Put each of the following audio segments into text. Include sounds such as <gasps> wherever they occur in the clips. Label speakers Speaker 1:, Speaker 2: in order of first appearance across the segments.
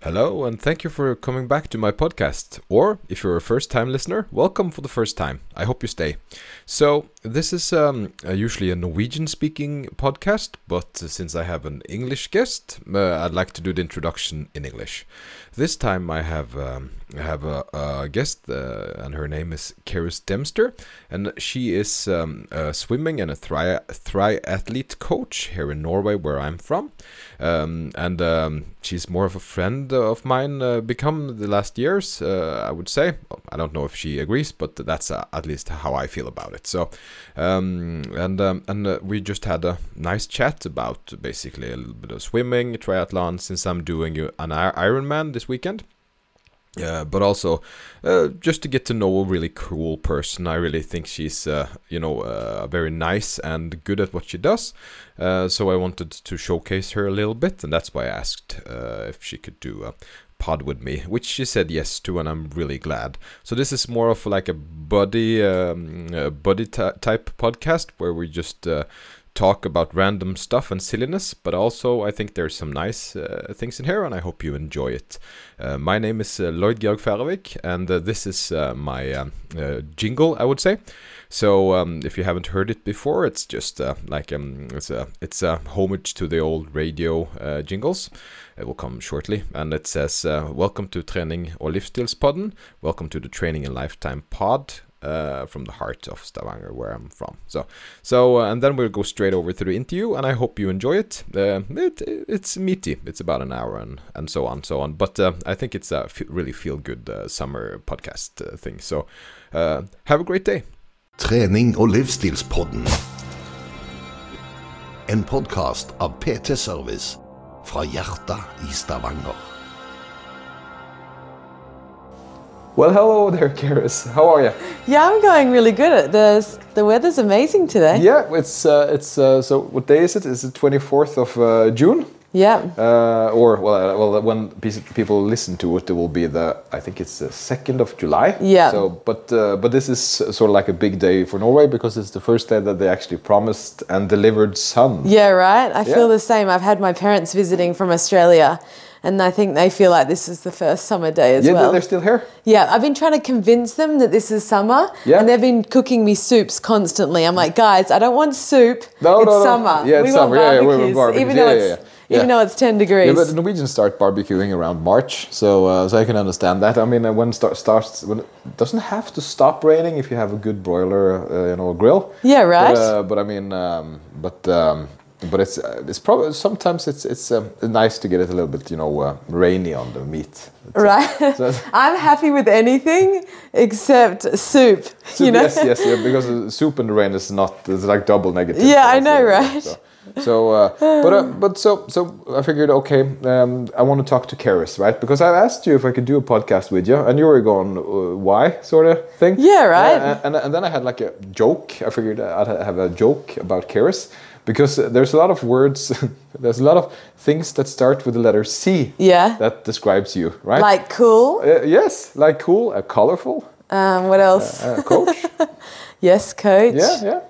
Speaker 1: Hello, and thank you for coming back to my podcast. Or, if you're a first time listener, welcome for the first time. I hope you stay. So, this is um, uh, usually a Norwegian speaking podcast, but uh, since I have an English guest, uh, I'd like to do the introduction in English. This time I have, um, I have a, a guest, uh, and her name is Karis Dempster, and she is um, a swimming and a thri- triathlete coach here in Norway, where I'm from. Um, and um, she's more of a friend of mine, uh, become the last years, uh, I would say. I don't know if she agrees, but that's uh, at least how I feel about it. So, um, and um, and uh, we just had a nice chat about basically a little bit of swimming, triathlon, since I'm doing uh, an I- Ironman this weekend. Uh, but also uh, just to get to know a really cool person. I really think she's, uh, you know, uh, very nice and good at what she does. Uh, so I wanted to showcase her a little bit, and that's why I asked uh, if she could do a pod with me, which she said yes to, and I'm really glad. So this is more of like a buddy, um, uh, buddy ty- type podcast where we just. Uh, Talk about random stuff and silliness, but also I think there's some nice uh, things in here, and I hope you enjoy it. Uh, my name is uh, Lloyd Georg Færøvik, and uh, this is uh, my um, uh, jingle, I would say. So um, if you haven't heard it before, it's just uh, like um, it's a it's a homage to the old radio uh, jingles. It will come shortly, and it says, uh, "Welcome to Training or Livsstilspodden. Welcome to the Training and Lifetime Pod." Uh, from the heart of Stavanger, where I'm from. So, so, uh, and then we'll go straight over to the interview, and I hope you enjoy it. Uh, it, it's meaty. It's about an hour and and so on, so on. But uh, I think it's a f- really feel good uh, summer podcast uh, thing. So, uh, have a great day.
Speaker 2: Trening og livsstilspodden. En podkast av PT Service fra hjertet i Stavanger.
Speaker 1: Well, hello there, Karis. How are you?
Speaker 3: Yeah, I'm going really good. The the weather's amazing today.
Speaker 1: Yeah, it's uh, it's uh, so. What day is it? It's the twenty fourth of uh, June.
Speaker 3: Yeah.
Speaker 1: Uh, or well, uh, well, when pe- people listen to it, it will be the I think it's the second of July.
Speaker 3: Yeah.
Speaker 1: So, but uh, but this is sort of like a big day for Norway because it's the first day that they actually promised and delivered sun.
Speaker 3: Yeah, right? I
Speaker 1: Yeah.
Speaker 3: feel the same. I've had my parents visiting from Australia and I think they feel like this is the first summer day as
Speaker 1: Yeah,
Speaker 3: well.
Speaker 1: they're still here.
Speaker 3: Yeah, I've been trying to convince them that this is summer
Speaker 1: Yeah.
Speaker 3: and they've been cooking me soups constantly. I'm like, "Guys, I don't want soup.
Speaker 1: No,
Speaker 3: it's
Speaker 1: no, no.
Speaker 3: summer.
Speaker 1: Yeah, it's
Speaker 3: we
Speaker 1: summer.
Speaker 3: want
Speaker 1: Yeah, yeah, we want
Speaker 3: barbecues,
Speaker 1: barbecues.
Speaker 3: even though
Speaker 1: Yeah, yeah,
Speaker 3: it's
Speaker 1: yeah. Yeah.
Speaker 3: even though it's 10 degrees."
Speaker 1: Yeah, but the Norwegians start barbecuing around March, so uh, so I can understand that. I mean, uh, when start starts when it doesn't have to stop raining if you have a good broiler, uh, you know, grill.
Speaker 3: Yeah, right.
Speaker 1: But, uh, but I mean, um, but um, but it's uh, it's probably sometimes it's it's um, nice to get it a little bit, you know, uh, rainy on the meat.
Speaker 3: <laughs>
Speaker 1: <laughs>
Speaker 3: right?
Speaker 1: so-
Speaker 3: I'm happy with anything <laughs> except soup,
Speaker 1: So
Speaker 3: <laughs> you know.
Speaker 1: yes, yes, yeah, because uh, soup in the rain is not it's like double negative.
Speaker 3: Yeah,
Speaker 1: for
Speaker 3: I
Speaker 1: us
Speaker 3: know,
Speaker 1: here,
Speaker 3: right?
Speaker 1: So, so uh, but
Speaker 3: <sighs>
Speaker 1: uh, but so so I figured, okay, um, I want to talk to Karis, right? Because I asked you if I could do a podcast with you, and you were going, uh, why, sort of thing. Uh,
Speaker 3: Yeah, right.
Speaker 1: and, and and then I had like a joke. I figured I'd ha- have a joke about Karis because uh, there's a lot of words, <laughs> there's a lot of things that start with the letter C.
Speaker 3: Yeah.
Speaker 1: That describes you, right?
Speaker 3: Like cool.
Speaker 1: Uh, yes, like cool, uh, colorful,
Speaker 3: Um, what else?
Speaker 1: uh, coach.
Speaker 3: <laughs> yes, coach.
Speaker 1: yeah, yeah.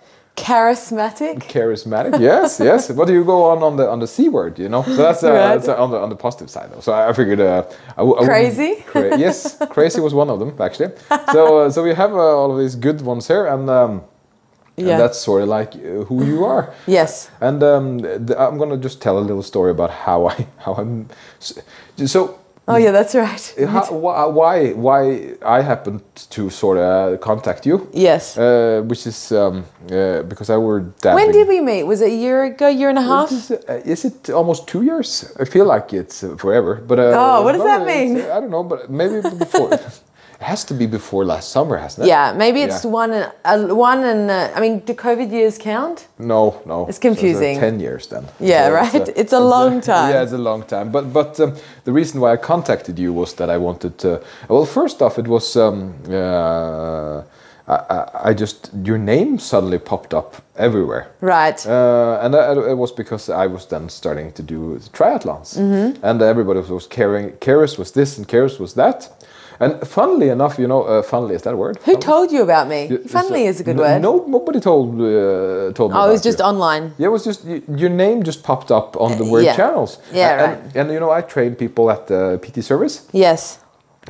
Speaker 3: Charismatic.
Speaker 1: charismatic yes <laughs> yes what do you go on on the on the c word you know so that's, uh,
Speaker 3: Right.
Speaker 1: that's uh, on the on the positive side though so i I figured uh I w- I wouldn't-
Speaker 3: Crazy?
Speaker 1: <laughs> cra- yes crazy was one of them actually so uh, so we have uh, all of these good ones here and um
Speaker 3: Yeah.
Speaker 1: and that's sort of like uh, who you are
Speaker 3: yes.
Speaker 1: and um th- i'm gonna just tell a little story about how i how i'm so, so
Speaker 3: Oh yeah, that's right.
Speaker 1: how, wh- uh, why why I happened to sort of contact you?
Speaker 3: Yes.
Speaker 1: Uh, which is um, uh, because I were dabbing.
Speaker 3: When did we meet? Was it a year ago? Year and a half?
Speaker 1: It is, uh, is it almost two years? I feel like it's uh, forever, but uh,
Speaker 3: Oh, what does
Speaker 1: no,
Speaker 3: that
Speaker 1: it's,
Speaker 3: mean?
Speaker 1: uh, I don't know, but maybe
Speaker 3: <laughs>
Speaker 1: before. it has to be before last summer, hasn't it?
Speaker 3: Yeah, maybe it's
Speaker 1: Yeah.
Speaker 3: one and uh, one and uh, I mean, do COVID years count?
Speaker 1: No, no.
Speaker 3: It's
Speaker 1: So uh,
Speaker 3: confusing.
Speaker 1: Ten years then.
Speaker 3: Yeah,
Speaker 1: So
Speaker 3: right. It's a long time.
Speaker 1: Yeah, it's a long time. But but um, the reason why I contacted you was that I wanted to. Well, first off, it was um, uh, I, I, I just your name suddenly popped up everywhere.
Speaker 3: Right.
Speaker 1: Uh, and that, it was because I was then starting to
Speaker 3: Mm-hmm.
Speaker 1: do triathlons, and everybody was caring. Karis was this and Karis was that, And funnily enough, you know, uh, funnily is that a word?
Speaker 3: Who
Speaker 1: Funnily?
Speaker 3: told you about me?
Speaker 1: Y-
Speaker 3: Funnily
Speaker 1: so-
Speaker 3: is a good
Speaker 1: no-
Speaker 3: word.
Speaker 1: No, nobody told uh, told me.
Speaker 3: oh, it was
Speaker 1: about you.
Speaker 3: just online.
Speaker 1: Yeah, it was just y- your name just popped up on the word
Speaker 3: yeah.
Speaker 1: channels.
Speaker 3: Yeah,
Speaker 1: A- and, and you know, I train people at the PT service,
Speaker 3: Yes.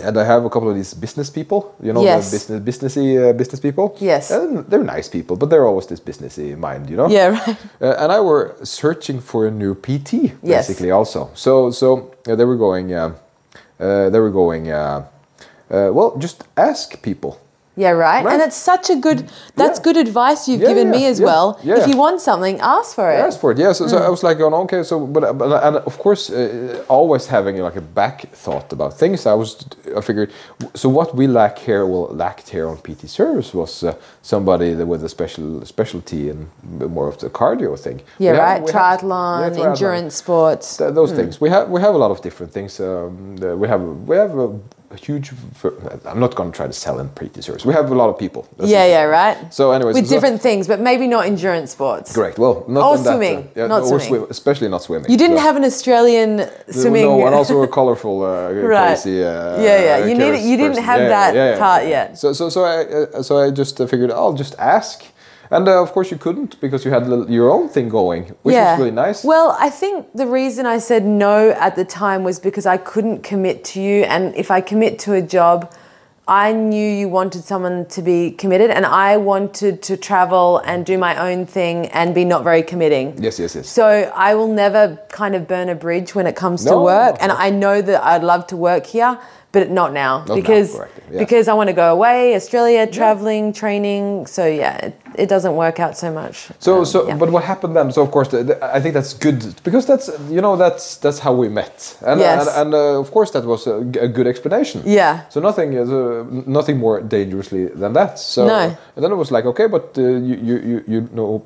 Speaker 1: and I have a couple of these business people. You know,
Speaker 3: Yes.
Speaker 1: the business businessy uh, business people.
Speaker 3: Yes.
Speaker 1: and they're nice people, but they're always this businessy mind. You know.
Speaker 3: Yeah, <laughs> right.
Speaker 1: Uh, and I were searching for a new PT
Speaker 3: Yes.
Speaker 1: basically also. So so uh, they were going, uh, uh, they were going. Uh, uh, well, just ask people.
Speaker 3: Yeah, right.
Speaker 1: Right.
Speaker 3: And it's such a good, that's
Speaker 1: Yeah.
Speaker 3: good advice you've
Speaker 1: Yeah,
Speaker 3: given
Speaker 1: yeah,
Speaker 3: me as
Speaker 1: yeah,
Speaker 3: well.
Speaker 1: yeah.
Speaker 3: If you want something, ask for it.
Speaker 1: I asked for it. Yeah. So, so
Speaker 3: Hmm.
Speaker 1: I was like, going, okay. So, but, but and of course, uh, always having like a back thought about things. I was, I figured. So what we lack here, well, lacked here on PT service was uh, somebody that with a special specialty and more of the cardio thing.
Speaker 3: Yeah,
Speaker 1: We have-
Speaker 3: right.
Speaker 1: we have- yeah,
Speaker 3: triathlon,
Speaker 1: triathlon.
Speaker 3: endurance sports.
Speaker 1: Th- those things. We have we have a lot of different things. Um, the- we have we have a, a huge. v- I'm not going to try to sell in PT service. We have a lot of people. That's
Speaker 3: yeah,
Speaker 1: the
Speaker 3: yeah,
Speaker 1: thing.
Speaker 3: right.
Speaker 1: So, anyways,
Speaker 3: with
Speaker 1: so-
Speaker 3: different things, but maybe not endurance sports.
Speaker 1: Correct. Well, not
Speaker 3: Or
Speaker 1: on that, uh,
Speaker 3: swimming.
Speaker 1: yeah,
Speaker 3: Not
Speaker 1: or
Speaker 3: swimming.
Speaker 1: swim- especially not swimming.
Speaker 3: You didn't
Speaker 1: So-
Speaker 3: have an Australian swimming.
Speaker 1: No, and
Speaker 3: <laughs>
Speaker 1: also a colorful, uh,
Speaker 3: Right.
Speaker 1: crazy. Uh,
Speaker 3: Yeah, yeah. You need-
Speaker 1: curious
Speaker 3: you didn't
Speaker 1: person.
Speaker 3: have that part yet.
Speaker 1: So, so, so I, uh, so I just uh, figured I'll just ask, and uh, of course you couldn't because you had li- your own thing going, which was really nice.
Speaker 3: Well, I think the reason I said no at the time was because I couldn't commit to you. And if I commit to a job, I knew you wanted someone to be committed, and I wanted to travel and do my own thing and be not very committing.
Speaker 1: yes, yes, yes.
Speaker 3: So I will never kind of burn a bridge when it comes to
Speaker 1: No,
Speaker 3: work,
Speaker 1: no,
Speaker 3: and
Speaker 1: no.
Speaker 3: I know that I'd love to work here, but not now
Speaker 1: now,
Speaker 3: because
Speaker 1: correct, yeah.
Speaker 3: because I want to go away, Australia, traveling, training. So yeah, it, it doesn't work out so much.
Speaker 1: So,
Speaker 3: Um,
Speaker 1: so,
Speaker 3: yeah.
Speaker 1: but what happened then? So, of course, the, the, I think that's good because that's you know that's that's how we met, and
Speaker 3: Yes.
Speaker 1: and, and uh, of course that was a, g- a good explanation.
Speaker 3: Yeah.
Speaker 1: So nothing is uh, n- nothing more dangerously than that. So
Speaker 3: No.
Speaker 1: and then it was like okay, but uh, you, you you you know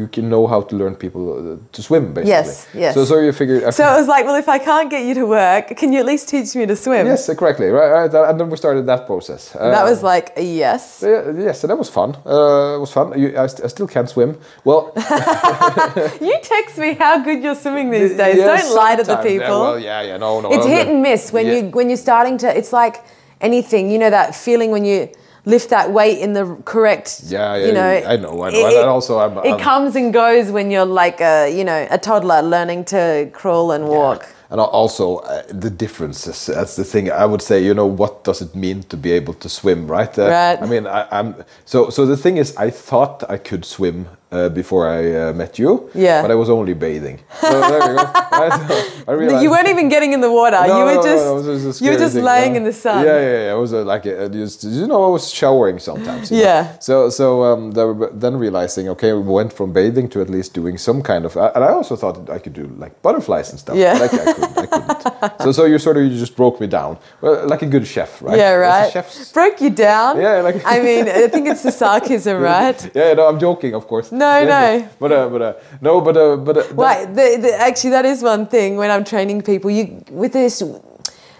Speaker 1: you can know how to learn people uh, to swim basically.
Speaker 3: Yes, yes.
Speaker 1: So so you figured. I
Speaker 3: So it was like, well, if I can't get you to work, can you at least teach me to swim?
Speaker 1: yes, correctly. Right, right, and then we started that process.
Speaker 3: That
Speaker 1: Uh,
Speaker 3: was like a yes. <laughs>
Speaker 1: yeah, yes, and that was fun. Uh, it was fun. You, I, st- I still can't swim. Well,
Speaker 3: You text me how good you're swimming these days.
Speaker 1: yeah,
Speaker 3: Don't lie to the
Speaker 1: sometimes.
Speaker 3: people.
Speaker 1: Yeah, well, yeah, yeah, no, no.
Speaker 3: it's
Speaker 1: no,
Speaker 3: hit
Speaker 1: no.
Speaker 3: and miss when
Speaker 1: Yeah.
Speaker 3: you when you're starting to. It's like anything. You know that feeling when you lift that weight in the correct.
Speaker 1: Yeah, yeah,
Speaker 3: you know.
Speaker 1: I know, I know. And also I'm-
Speaker 3: it
Speaker 1: I'm-
Speaker 3: comes and goes when you're like a you know a toddler learning to crawl and walk.
Speaker 1: And al- also uh, the differences. That's the thing. I would say, you know, what does it mean to be able to swim, right? Uh,
Speaker 3: Right.
Speaker 1: I mean, I, I'm so. So the thing is, I thought I could swim uh, before I uh, met you.
Speaker 3: Yeah.
Speaker 1: But I was only
Speaker 3: <laughs>
Speaker 1: bathing. So there you go. Right? So I realized.
Speaker 3: You weren't even getting in the water.
Speaker 1: No,
Speaker 3: you
Speaker 1: no,
Speaker 3: were
Speaker 1: no,
Speaker 3: just
Speaker 1: no, it was a
Speaker 3: you were
Speaker 1: scary
Speaker 3: just
Speaker 1: thing,
Speaker 3: laying
Speaker 1: yeah.
Speaker 3: in the sun.
Speaker 1: Yeah, yeah, yeah. It was uh, like uh, just you know, I was showering sometimes. you know.
Speaker 3: Yeah.
Speaker 1: So so um, there- but then realizing okay, we went from bathing to at least doing some kind of, and I also thought I could do like butterflies and stuff.
Speaker 3: Yeah.
Speaker 1: Like I couldn't. I
Speaker 3: <laughs>
Speaker 1: couldn't. so so you sort of you just broke me down, well, like a good chef, right? As
Speaker 3: Yeah,
Speaker 1: a
Speaker 3: right.
Speaker 1: chef's-
Speaker 3: Broke you down.
Speaker 1: Yeah, like-
Speaker 3: I mean, I think it's the
Speaker 1: <laughs>
Speaker 3: sarcasm, right?
Speaker 1: Yeah, no, I'm joking, of course.
Speaker 3: No,
Speaker 1: Yeah,
Speaker 3: no.
Speaker 1: But uh, but uh, no, but uh, but uh,
Speaker 3: Right. The, the, actually, that is one thing when I'm training people. You with this,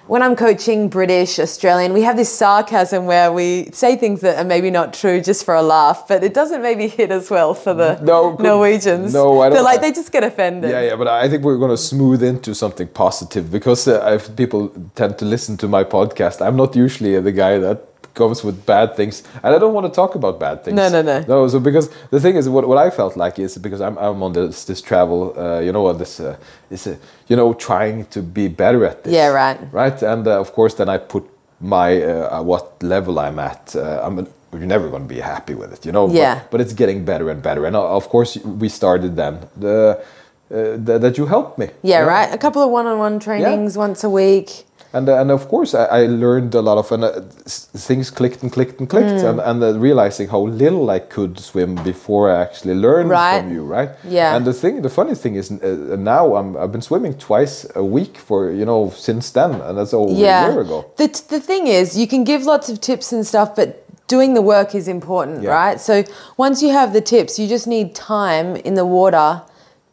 Speaker 3: when I'm coaching British Australian, we have this sarcasm where we say things that are maybe not true just for a laugh, but it doesn't maybe hit as well for the
Speaker 1: No, good-
Speaker 3: Norwegians.
Speaker 1: no, I don't-
Speaker 3: They're like they just get offended.
Speaker 1: Yeah, yeah, but I think we're going to smooth into something positive because uh, if people tend to listen to my podcast, I'm not usually the guy that comes with bad things, and I don't want to talk about bad things.
Speaker 3: No, no, no.
Speaker 1: No, so because the thing is, what, what I felt like is because I'm, I'm on this this travel, uh, you know, on this uh, this uh, you know trying to be better at this.
Speaker 3: Yeah, right.
Speaker 1: Right, and uh, of course then I put my uh, uh, what level I'm at. Uh, I'm you're never going to be happy with it, you know. but-
Speaker 3: Yeah.
Speaker 1: but it's getting better and better. And uh, of course, we started then the, uh, th- that you helped me.
Speaker 3: Yeah,
Speaker 1: you know?
Speaker 3: right. A couple of one-on-one trainings once a week.
Speaker 1: And uh, and of course, I, I learned a lot of and uh, s- things clicked and clicked and clicked,
Speaker 3: Mm.
Speaker 1: and and uh, realizing how little I could swim before I actually learned
Speaker 3: Right.
Speaker 1: from you, right?
Speaker 3: Yeah.
Speaker 1: And the thing, the funny thing is, uh, now I'm I've been swimming twice a week for you know since then, and that's over a year ago.
Speaker 3: The, t- the thing is, you can give lots of tips and stuff, but doing the work is important,
Speaker 1: Yeah.
Speaker 3: right? So once you have the tips, you just need time in the water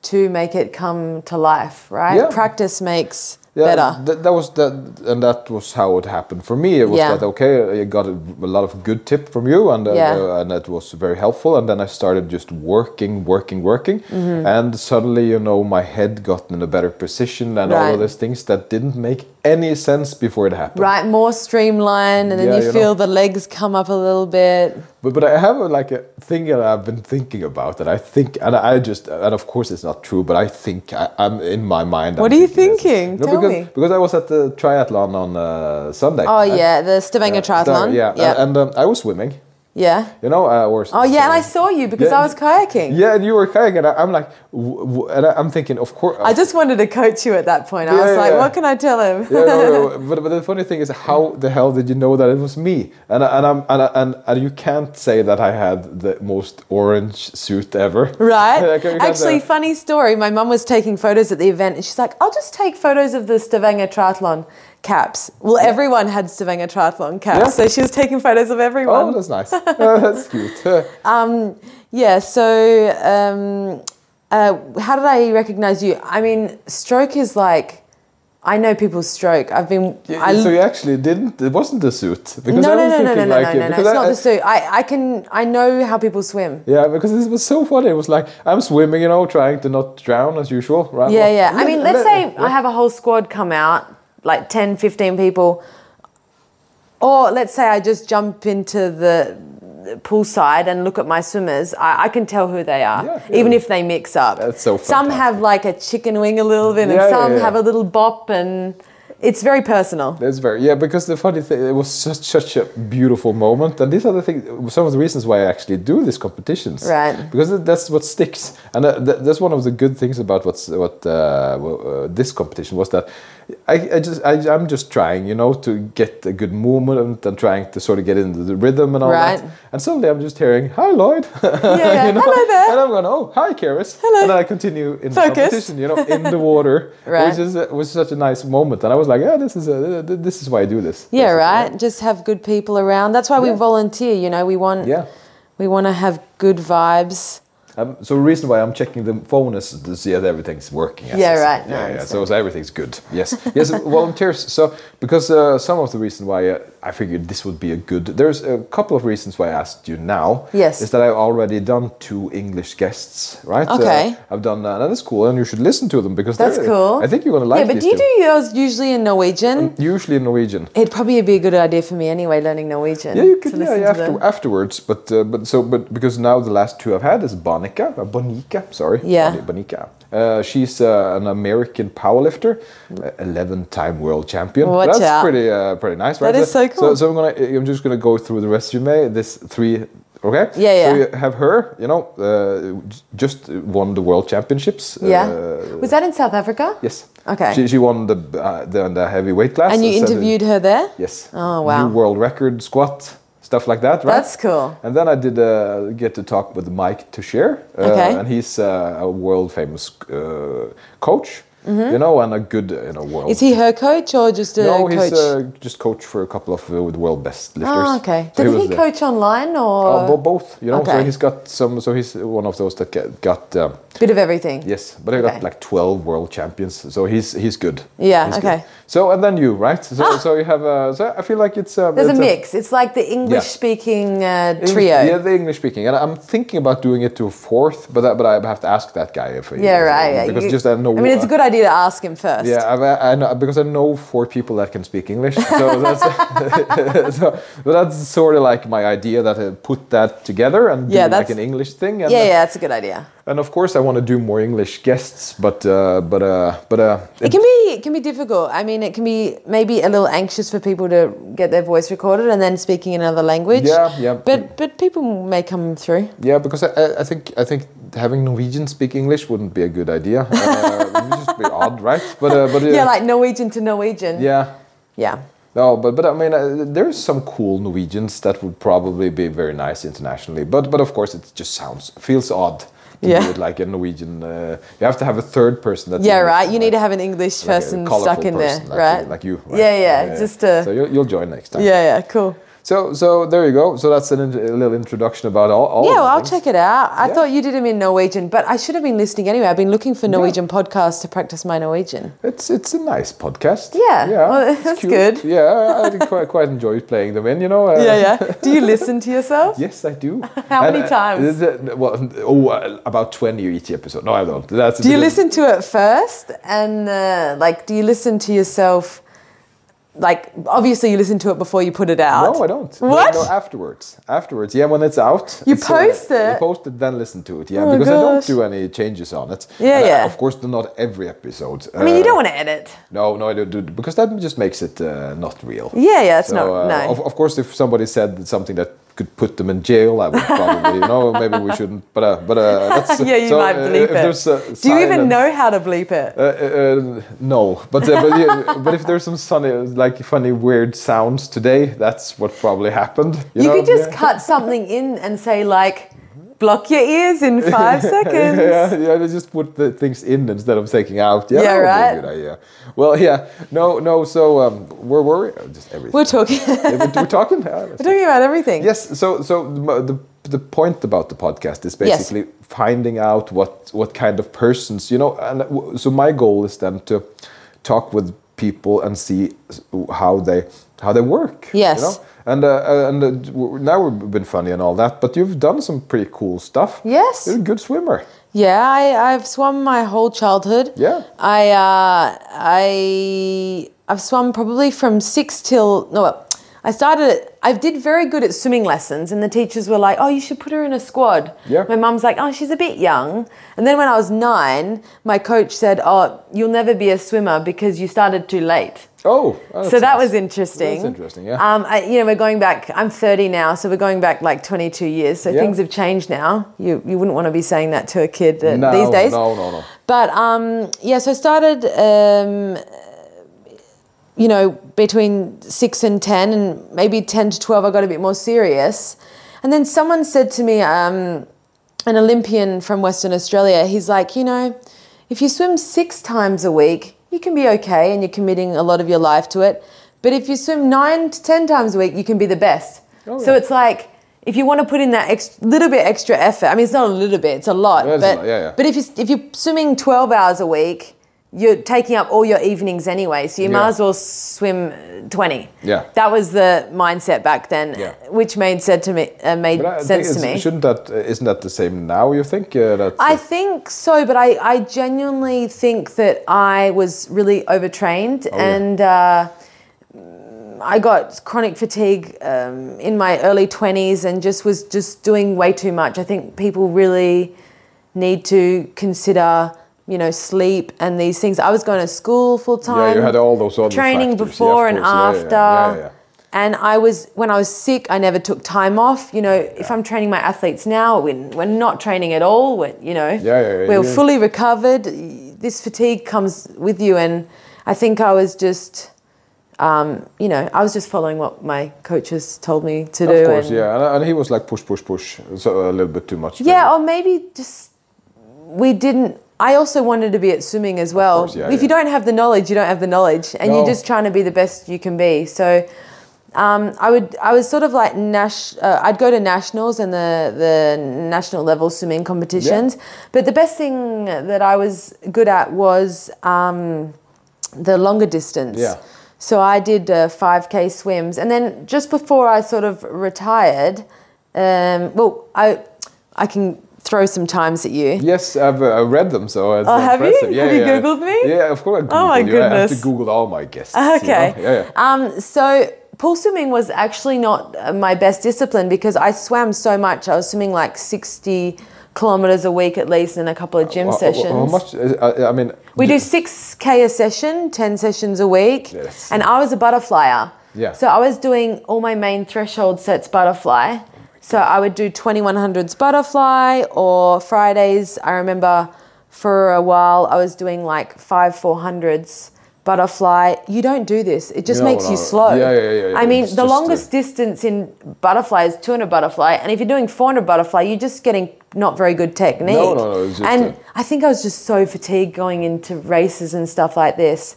Speaker 3: to make it come to life, right?
Speaker 1: Yeah.
Speaker 3: Practice makes
Speaker 1: Yeah,
Speaker 3: better.
Speaker 1: That, that was that, and that was how it happened for me. It was
Speaker 3: Yeah.
Speaker 1: that okay? I got a, a lot of good tip from you, and uh,
Speaker 3: Yeah.
Speaker 1: uh, and that was very helpful. And then I started just working, working, working,
Speaker 3: Mm-hmm.
Speaker 1: and suddenly you know my head got in a better position, and all
Speaker 3: Right.
Speaker 1: of those things that didn't make any sense before it happened.
Speaker 3: Right, more streamlined, and then
Speaker 1: Yeah,
Speaker 3: you,
Speaker 1: you
Speaker 3: feel
Speaker 1: know.
Speaker 3: the legs come up a little bit.
Speaker 1: But, but I have a, like a thing that I've been thinking about that I think, and I just, and of course it's not true, but I think I, I'm in my mind.
Speaker 3: What
Speaker 1: I'm
Speaker 3: are you
Speaker 1: this.
Speaker 3: thinking? Tell
Speaker 1: because,
Speaker 3: me.
Speaker 1: Because I was at the triathlon on uh, Sunday.
Speaker 3: Oh yeah, the Stavanger triathlon.
Speaker 1: Yeah,
Speaker 3: yeah,
Speaker 1: and, and um, I was swimming,
Speaker 3: yeah.
Speaker 1: you know. Uh, or
Speaker 3: Oh yeah, and I saw you because
Speaker 1: Yeah.
Speaker 3: I was kayaking.
Speaker 1: Yeah, and you were kayaking. And I, I'm like, w- w- and I, I'm thinking, of course. uh,
Speaker 3: <laughs> I just wanted to coach you at that point. I
Speaker 1: Yeah,
Speaker 3: was
Speaker 1: yeah,
Speaker 3: like,
Speaker 1: yeah.
Speaker 3: what can I tell him?
Speaker 1: yeah, no, no, but, but the funny thing is, how the hell did you know that it was me? And I- and I'm and I- and, and you can't say that I had the most orange suit ever,
Speaker 3: <laughs>
Speaker 1: <laughs>
Speaker 3: Right?
Speaker 1: You can't say
Speaker 3: Actually,
Speaker 1: that.
Speaker 3: funny story. My mum was taking photos at the event and she's like, I'll just take photos of the Stavanger Triathlon caps. Well, everyone had Stavanger Triathlon caps,
Speaker 1: Yeah.
Speaker 3: so she was taking photos of everyone.
Speaker 1: oh, that's
Speaker 3: <laughs>
Speaker 1: nice. <laughs> that's cute. Uh,
Speaker 3: Yeah, so um, uh, how did I recognize you? I mean, stroke is like, I know people's stroke. I've been. I,
Speaker 1: so you actually didn't. It wasn't the suit because
Speaker 3: no,
Speaker 1: I
Speaker 3: no,
Speaker 1: was
Speaker 3: no, no, no,
Speaker 1: thinking
Speaker 3: no,
Speaker 1: like
Speaker 3: no, no,
Speaker 1: it-
Speaker 3: no. It's
Speaker 1: because I-
Speaker 3: not
Speaker 1: I-
Speaker 3: the suit. I, I can, I know how people swim.
Speaker 1: Yeah, because this was so funny. It was like I'm swimming, you know, trying to not drown as usual. Right?
Speaker 3: Yeah,
Speaker 1: Well,
Speaker 3: yeah. I mean, let's
Speaker 1: let-
Speaker 3: say I have a whole squad come out, like 10, 15 people. Or let's say I just jump into the poolside and look at my swimmers. I, I can tell who they are,
Speaker 1: Yeah, yeah.
Speaker 3: even if they mix up.
Speaker 1: That's so
Speaker 3: Some have like a chicken wing a little bit,
Speaker 1: Yeah,
Speaker 3: and
Speaker 1: yeah,
Speaker 3: some
Speaker 1: yeah.
Speaker 3: have a little bop, and it's very personal.
Speaker 1: That's very yeah. Because the funny thing, it was such such a beautiful moment, and these are the things. Some of the reasons why I actually do these competitions,
Speaker 3: Right.
Speaker 1: Because th- that's what sticks, and uh, th- that's one of the good things about what's what uh, w- uh, this competition was that I, I just I, I'm just trying, you know, to get a good movement and trying to sort of get into the rhythm and all
Speaker 3: Right.
Speaker 1: that. And suddenly I'm just hearing, "Hi, Lloyd." <laughs>
Speaker 3: yeah.
Speaker 1: you know?
Speaker 3: Hello there.
Speaker 1: And I'm going, "Oh, hi, Karis." Hello. And I continue in the
Speaker 3: Focus.
Speaker 1: competition, you know, in the water,
Speaker 3: <laughs> Right.
Speaker 1: which is it was such a nice moment, and I was like, "Yeah, this is a, th- this is why I do this."
Speaker 3: Yeah,
Speaker 1: basically.
Speaker 3: right. Just have good people around. That's why we
Speaker 1: Yeah.
Speaker 3: volunteer. You know, we want
Speaker 1: Yeah.
Speaker 3: we want to have good vibes.
Speaker 1: Um, so the reason why I'm checking the phone is to see that everything's working. as
Speaker 3: Yeah,
Speaker 1: I said.
Speaker 3: right. No, I
Speaker 1: Yeah, yeah. So,
Speaker 3: understand.
Speaker 1: so everything's good. Yes, yes. <laughs> volunteers. So because uh, some of the reason why uh, I figured this would be a good. There's a couple of reasons why I asked you now.
Speaker 3: Yes.
Speaker 1: Is that I've already done two English guests, right?
Speaker 3: Okay.
Speaker 1: I've done uh, that is cool, and you should listen to them because
Speaker 3: That's
Speaker 1: they're-
Speaker 3: cool.
Speaker 1: I think you're gonna like.
Speaker 3: Yeah, but
Speaker 1: these
Speaker 3: do you
Speaker 1: two.
Speaker 3: do yours usually in Norwegian?
Speaker 1: Usually in Norwegian.
Speaker 3: It'd probably be a good idea for me anyway, learning Norwegian.
Speaker 1: Yeah, you could.
Speaker 3: to
Speaker 1: Yeah,
Speaker 3: listen
Speaker 1: yeah
Speaker 3: to them.
Speaker 1: after, afterwards, but uh, but so but because now the last two I've had is Bonica, uh, Bonica, sorry,
Speaker 3: Yeah.
Speaker 1: Boni- Bonica. Uh, she's uh, an American powerlifter, uh, eleven-time world champion.
Speaker 3: Watch
Speaker 1: That's
Speaker 3: out.
Speaker 1: pretty uh, pretty nice, right?
Speaker 3: That is
Speaker 1: So,
Speaker 3: so cool.
Speaker 1: so I'm gonna uh, I'm just gonna go through the resume. This three. Okay.
Speaker 3: Yeah,
Speaker 1: So
Speaker 3: yeah.
Speaker 1: you have her, you know, uh, j- just won the world championships.
Speaker 3: Yeah.
Speaker 1: uh,
Speaker 3: was that in South Africa?
Speaker 1: yes.
Speaker 3: Okay.
Speaker 1: She, she won the uh, the, the heavyweight class.
Speaker 3: and you
Speaker 1: so-
Speaker 3: interviewed her there?
Speaker 1: Yes.
Speaker 3: Oh, wow.
Speaker 1: New world record squat stuff like that, right?
Speaker 3: That's cool.
Speaker 1: And then I did uh, get to talk with Mike Teixeira, uh,
Speaker 3: Okay.
Speaker 1: and he's uh, a world famous uh, coach, you know, and a good you know world.
Speaker 3: Mm-hmm. Is he her coach or just a
Speaker 1: no,
Speaker 3: coach?
Speaker 1: he's uh, just coach for a couple of uh, with world best lifters.
Speaker 3: oh, okay.
Speaker 1: So
Speaker 3: Did he,
Speaker 1: was the-
Speaker 3: coach online
Speaker 1: Uh,
Speaker 3: or
Speaker 1: bo- both, you know. So
Speaker 3: Okay.
Speaker 1: he's got some. So he's one of those that get, got. Um,
Speaker 3: bit of everything?
Speaker 1: Yes, but I got
Speaker 3: Okay.
Speaker 1: like twelve world champions, so he's he's good.
Speaker 3: Yeah,
Speaker 1: He's
Speaker 3: okay. Ah!
Speaker 1: good. So and then you, right? So, so you have uh So I feel like it's um,
Speaker 3: There's a
Speaker 1: it's
Speaker 3: mix. It's like the English-speaking uh, trio.
Speaker 1: Yeah, the English speaking, and I'm thinking about doing it to a fourth, but that, but I have to ask that guy if he-
Speaker 3: Yeah, right. yeah.
Speaker 1: because
Speaker 3: You-
Speaker 1: just I know. uh,
Speaker 3: I mean, it's a good idea to ask him first.
Speaker 1: Yeah, I, I know because I know four people that can speak English, so <laughs> that's <laughs> so, but that's sort of like my idea that I put that together and
Speaker 3: Yeah,
Speaker 1: do like
Speaker 3: that's-
Speaker 1: an English thing. And
Speaker 3: yeah, yeah, that's a good idea.
Speaker 1: And of course, I want to do more English guests, but uh, but uh, but uh,
Speaker 3: It can be it can be difficult. I mean, it can be maybe a little anxious for people to get their voice recorded and then speaking in another language.
Speaker 1: Yeah, yeah.
Speaker 3: But but people may come through.
Speaker 1: Yeah, because I- I, I think I think having Norwegian speak English wouldn't be a good idea. Uh, it would just be odd, right? But uh, but uh,
Speaker 3: <laughs> Yeah, like Norwegian to Norwegian.
Speaker 1: yeah.
Speaker 3: Yeah.
Speaker 1: No, but but I mean, uh, there's some cool Norwegians that would probably be very nice internationally. But but of course, it just sounds feels odd to do
Speaker 3: Yeah.
Speaker 1: it like a Norwegian. Uh, you have to have a third person. That's
Speaker 3: Yeah,
Speaker 1: English,
Speaker 3: right. You need to have an English
Speaker 1: Like a
Speaker 3: person
Speaker 1: colourful
Speaker 3: stuck in there,
Speaker 1: person, like,
Speaker 3: right?
Speaker 1: uh, Like you. right?
Speaker 3: Yeah, yeah, Just a
Speaker 1: So you'll, you'll join next time.
Speaker 3: yeah, yeah. Cool.
Speaker 1: So so there you go. So that's an, int- a little introduction about all. all
Speaker 3: Yeah,
Speaker 1: of the
Speaker 3: well, I'll
Speaker 1: things.
Speaker 3: check it out. I
Speaker 1: Yeah.
Speaker 3: thought you did them in Norwegian, but I should have been listening anyway. I've been looking for Norwegian podcasts to practice my Norwegian.
Speaker 1: It's it's a nice podcast.
Speaker 3: Yeah,
Speaker 1: yeah,
Speaker 3: well,
Speaker 1: it's
Speaker 3: that's
Speaker 1: cute.
Speaker 3: good.
Speaker 1: Yeah, I did quite quite enjoy playing them in. You know. uh,
Speaker 3: Yeah, yeah. Do you listen to yourself?
Speaker 1: Yes, I do.
Speaker 3: <laughs> How many
Speaker 1: uh,
Speaker 3: times?
Speaker 1: th- th- well, oh, uh, about twenty each episode. No, I don't. That's a
Speaker 3: Do
Speaker 1: bit
Speaker 3: you
Speaker 1: of-
Speaker 3: listen to it first, and uh, like, do you listen to yourself like obviously you listen to it before you put it out.
Speaker 1: No, I don't. No,
Speaker 3: What?
Speaker 1: No, afterwards. Afterwards. Yeah, when it's out.
Speaker 3: You
Speaker 1: it's, uh,
Speaker 3: post it?
Speaker 1: You post it, then listen to it. Yeah,
Speaker 3: my
Speaker 1: because I don't
Speaker 3: gosh.
Speaker 1: do any changes on it.
Speaker 3: Yeah,
Speaker 1: And I-
Speaker 3: yeah.
Speaker 1: of course, not every episode. Uh,
Speaker 3: I mean, you don't want to edit.
Speaker 1: No, no, I don't do because that just makes it uh, not real.
Speaker 3: Yeah, yeah, it's not-
Speaker 1: uh,
Speaker 3: no. <laughs>
Speaker 1: Of, of course, if somebody said something that could put them in jail, I would probably you know maybe we shouldn't. But uh, but uh, that's,
Speaker 3: <laughs> yeah, you
Speaker 1: so,
Speaker 3: might
Speaker 1: uh,
Speaker 3: bleep
Speaker 1: if there's, uh,
Speaker 3: it. Do you even
Speaker 1: silence-
Speaker 3: know how to bleep it?
Speaker 1: Uh, uh, no, but uh, but, yeah, <laughs> but if there's some funny like funny weird sounds today, that's what probably happened. You,
Speaker 3: you
Speaker 1: know?
Speaker 3: could just
Speaker 1: Yeah.
Speaker 3: cut something in and say like, block your ears
Speaker 1: <laughs>
Speaker 3: in five seconds.
Speaker 1: Yeah, yeah, they just put the things in instead of taking out. Yeah,
Speaker 3: Yeah,
Speaker 1: that would be a
Speaker 3: right.
Speaker 1: good idea. Well, yeah, no, no. So um, where were we? Just everything.
Speaker 3: We're talking. <laughs>
Speaker 1: Yeah, we're, we're talking. Uh,
Speaker 3: We're talking about everything.
Speaker 1: Yes. So, so the mo- the the point about the podcast is
Speaker 3: Yes.
Speaker 1: basically finding out what what kind of persons you know. And uh, w- so my goal is then to talk with people and see s- how they how they work.
Speaker 3: Yes.
Speaker 1: You know? And uh, uh, and uh, d- w- now we've been funny and all that, but you've done some pretty cool stuff.
Speaker 3: Yes.
Speaker 1: You're a good swimmer.
Speaker 3: Yeah, I, I've swum my whole childhood.
Speaker 1: Yeah.
Speaker 3: I uh, I I've swum probably from six till no. well, I started. at- I did very good at swimming lessons, and the teachers were like, "Oh, you should put her in a squad."
Speaker 1: Yeah.
Speaker 3: My mum's like, "Oh, she's a bit young." And then when I was nine, my coach said, "Oh, you'll never be a swimmer because you started too late."
Speaker 1: Oh.
Speaker 3: so that was interesting.
Speaker 1: That's interesting, yeah.
Speaker 3: Um, I, you know, we're going back. I'm 30 now, so we're going back like 22 years. So
Speaker 1: Yeah.
Speaker 3: things have changed now. You you wouldn't want to be saying that to a kid uh,
Speaker 1: No,
Speaker 3: these days.
Speaker 1: no, no, no.
Speaker 3: But um, yeah, so I started. Um, you know, between six and 10, and maybe 10 to 12, I got a bit more serious. And then someone said to me, um, an Olympian from Western Australia, he's like, you know, if you swim six times a week, you can be okay and you're committing a lot of your life to it. But if you swim nine to 10 times a week, you can be the best.
Speaker 1: Oh,
Speaker 3: So
Speaker 1: yeah.
Speaker 3: it's like, if you want to put in that ex- little bit extra effort, I mean, it's not a little bit, it's a lot.
Speaker 1: Yeah, it's a
Speaker 3: but,
Speaker 1: lot, yeah, yeah.
Speaker 3: but if, you, if you're swimming 12 hours a week, you're taking up all your evenings anyway. So you
Speaker 1: Yeah.
Speaker 3: might as well swim 20.
Speaker 1: Yeah.
Speaker 3: That was the mindset back then,
Speaker 1: Yeah.
Speaker 3: which made said to me uh, made
Speaker 1: But I think
Speaker 3: sense to
Speaker 1: it's-
Speaker 3: me.
Speaker 1: Shouldn't that uh, isn't that the same now? You think uh, that?
Speaker 3: I think so, but I, I genuinely think that I was really overtrained
Speaker 1: Oh, yeah.
Speaker 3: and uh, I got chronic fatigue um, in my early 20s and just was just doing way too much. I think people really need to consider, you know, sleep and these things. I was going to school full time.
Speaker 1: yeah, you had all those other
Speaker 3: training
Speaker 1: factors. Yeah, of
Speaker 3: before and
Speaker 1: course.
Speaker 3: after.
Speaker 1: Yeah, yeah, yeah, yeah, yeah.
Speaker 3: And I was when I was sick, I never took time off. You know, if I'm training my athletes now, we're, we're not training at all. We're, you know,
Speaker 1: Yeah, yeah, yeah,
Speaker 3: we're
Speaker 1: yeah.
Speaker 3: fully recovered. This fatigue comes with you, and I think I was just, um, you know, I was just following what my coaches told me to do.
Speaker 1: Of course,
Speaker 3: and-
Speaker 1: yeah, and, and he was like push, push, push, so a little bit too much.
Speaker 3: yeah, oh. or maybe just we didn't. I also wanted to be at swimming as well.
Speaker 1: course, yeah,
Speaker 3: if you
Speaker 1: yeah.
Speaker 3: don't have the knowledge, you don't have the knowledge, and
Speaker 1: No.
Speaker 3: you're just trying to be the best you can be. So, um, I would, I was sort of like Nash. Uh, I'd go to nationals and the the national level swimming competitions. But the best thing that I was good at was um, the longer distance.
Speaker 1: Yeah.
Speaker 3: So I did uh, 5k swims, and then just before I sort of retired, um, well, I I can throw some times at you.
Speaker 1: Yes, I've uh, I read them, so it's
Speaker 3: Oh, have you?
Speaker 1: impressive. Yeah,
Speaker 3: Have you
Speaker 1: yeah.
Speaker 3: Googled me?
Speaker 1: Yeah, of course I Googled
Speaker 3: Oh, my
Speaker 1: you. I have
Speaker 3: goodness.
Speaker 1: to Google all my guests. you know?
Speaker 3: <laughs> Okay.
Speaker 1: Yeah, yeah.
Speaker 3: Um, so pool swimming was actually not uh, my best discipline because I swam so much. I was swimming like 60 kilometers a week at least in a couple of gym
Speaker 1: How- how-
Speaker 3: sessions.
Speaker 1: How, much? is- I, I mean,
Speaker 3: We do six k a session, ten sessions a week,
Speaker 1: Yes.
Speaker 3: and I was a butterflyer.
Speaker 1: Yeah.
Speaker 3: So I was doing all my main threshold sets butterfly. So I would do 2100s butterfly or Fridays. I remember for a while I was doing like five 400s butterfly. You don't do this. It just
Speaker 1: No,
Speaker 3: makes you
Speaker 1: no.
Speaker 3: slow.
Speaker 1: Yeah, yeah, yeah, yeah.
Speaker 3: I mean,
Speaker 1: It's just uh,
Speaker 3: the
Speaker 1: a-
Speaker 3: longest distance in butterfly is 200 butterfly. And if you're doing 400 butterfly, you're just getting not very good technique.
Speaker 1: No, no, no, it's just
Speaker 3: and
Speaker 1: a-
Speaker 3: I think I was just so fatigued going into races and stuff like this.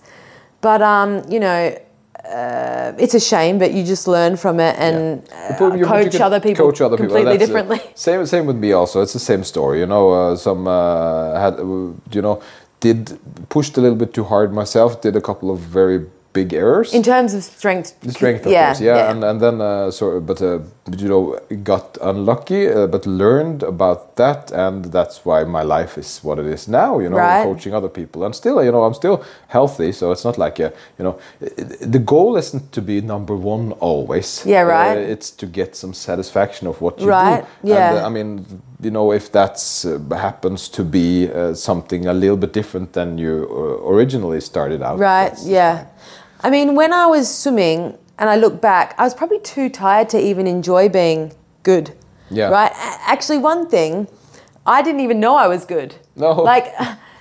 Speaker 3: But um, you know, uh, it's a shame, but you just learn from it and
Speaker 1: The problem-
Speaker 3: uh,
Speaker 1: you- but you
Speaker 3: coach
Speaker 1: can
Speaker 3: other people
Speaker 1: coach other people,
Speaker 3: completely
Speaker 1: that's it.
Speaker 3: differently.
Speaker 1: Same, same with me also. It's the same story. You know, uh, some uh, had, uh, you know, did pushed a little bit too hard myself. Did a couple of very big errors.
Speaker 3: in terms of strength.
Speaker 1: The strength of
Speaker 3: yeah,
Speaker 1: course, yeah, and and then uh, so but uh, but, you know got unlucky, uh, but learned about that, and that's why my life is what it is now. You know,
Speaker 3: Right.
Speaker 1: coaching other people, and still, you know, I'm still healthy, so it's not like a, you know, the goal isn't to be number one always.
Speaker 3: Yeah, right.
Speaker 1: Uh, it's to get some satisfaction of what you
Speaker 3: Right,
Speaker 1: do. And,
Speaker 3: yeah.
Speaker 1: uh, I mean, you know, if that's uh, happens to be uh, something a little bit different than you uh, originally started out.
Speaker 3: Right,
Speaker 1: that's-
Speaker 3: yeah. I mean, when I was swimming and I look back, I was probably too tired to even enjoy being good.
Speaker 1: Yeah.
Speaker 3: Right? A- Actually, one thing, I didn't even know I was good.
Speaker 1: No.
Speaker 3: <laughs> Like,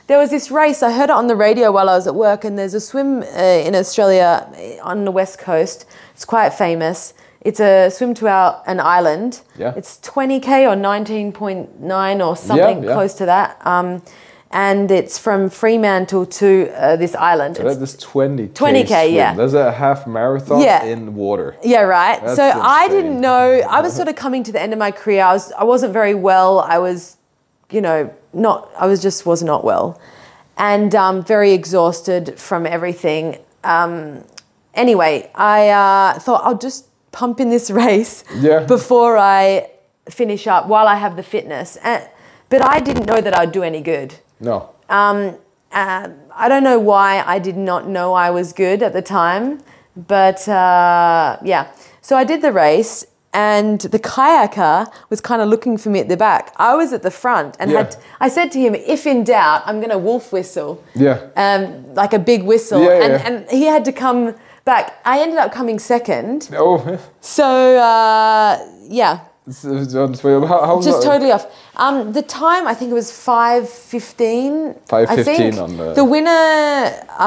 Speaker 3: there was this race, I heard it on the radio while I was at work, and there's a swim uh, in Australia eh, on the west coast. It's quite famous. It's a swim to our, an island.
Speaker 1: Yeah.
Speaker 3: It's 20K or 19.9 or something
Speaker 1: yeah.
Speaker 3: close to that. Um, and it's from Fremantle to uh, this island. It's-
Speaker 1: That is 20
Speaker 3: 20K,
Speaker 1: swim.
Speaker 3: yeah.
Speaker 1: There's a half marathon
Speaker 3: Yeah.
Speaker 1: in water.
Speaker 3: Yeah, right.
Speaker 1: That's
Speaker 3: so I
Speaker 1: insane.
Speaker 3: didn't know. I was sort of coming to the end of my career. I was. I wasn't very well. I was, you know, not. I was just was not well, and um, very exhausted from everything. Um, anyway, I uh, thought I'll just pump in this <laughs> race
Speaker 1: Yeah.
Speaker 3: before I finish up while I have the fitness. And, but I didn't know that I'd do any good
Speaker 1: No.
Speaker 3: Uh, um, I don't know why I did not know I was good at the time, but uh, yeah. So I did the race, and the kayaker was kind of looking for me at the back. I was at the front, and
Speaker 1: Yeah.
Speaker 3: had, I said to him, "If in doubt, I'm going to wolf whistle."
Speaker 1: Yeah.
Speaker 3: Um, like a big whistle,
Speaker 1: Yeah,
Speaker 3: and,
Speaker 1: yeah.
Speaker 3: and he had to come back. I ended up coming second.
Speaker 1: oh, <laughs>
Speaker 3: So uh, yeah,
Speaker 1: so- so- so how, how
Speaker 3: just
Speaker 1: lo-
Speaker 3: totally off. Um, the time I think it was five fifteen.
Speaker 1: 5:15 on the-
Speaker 3: the winner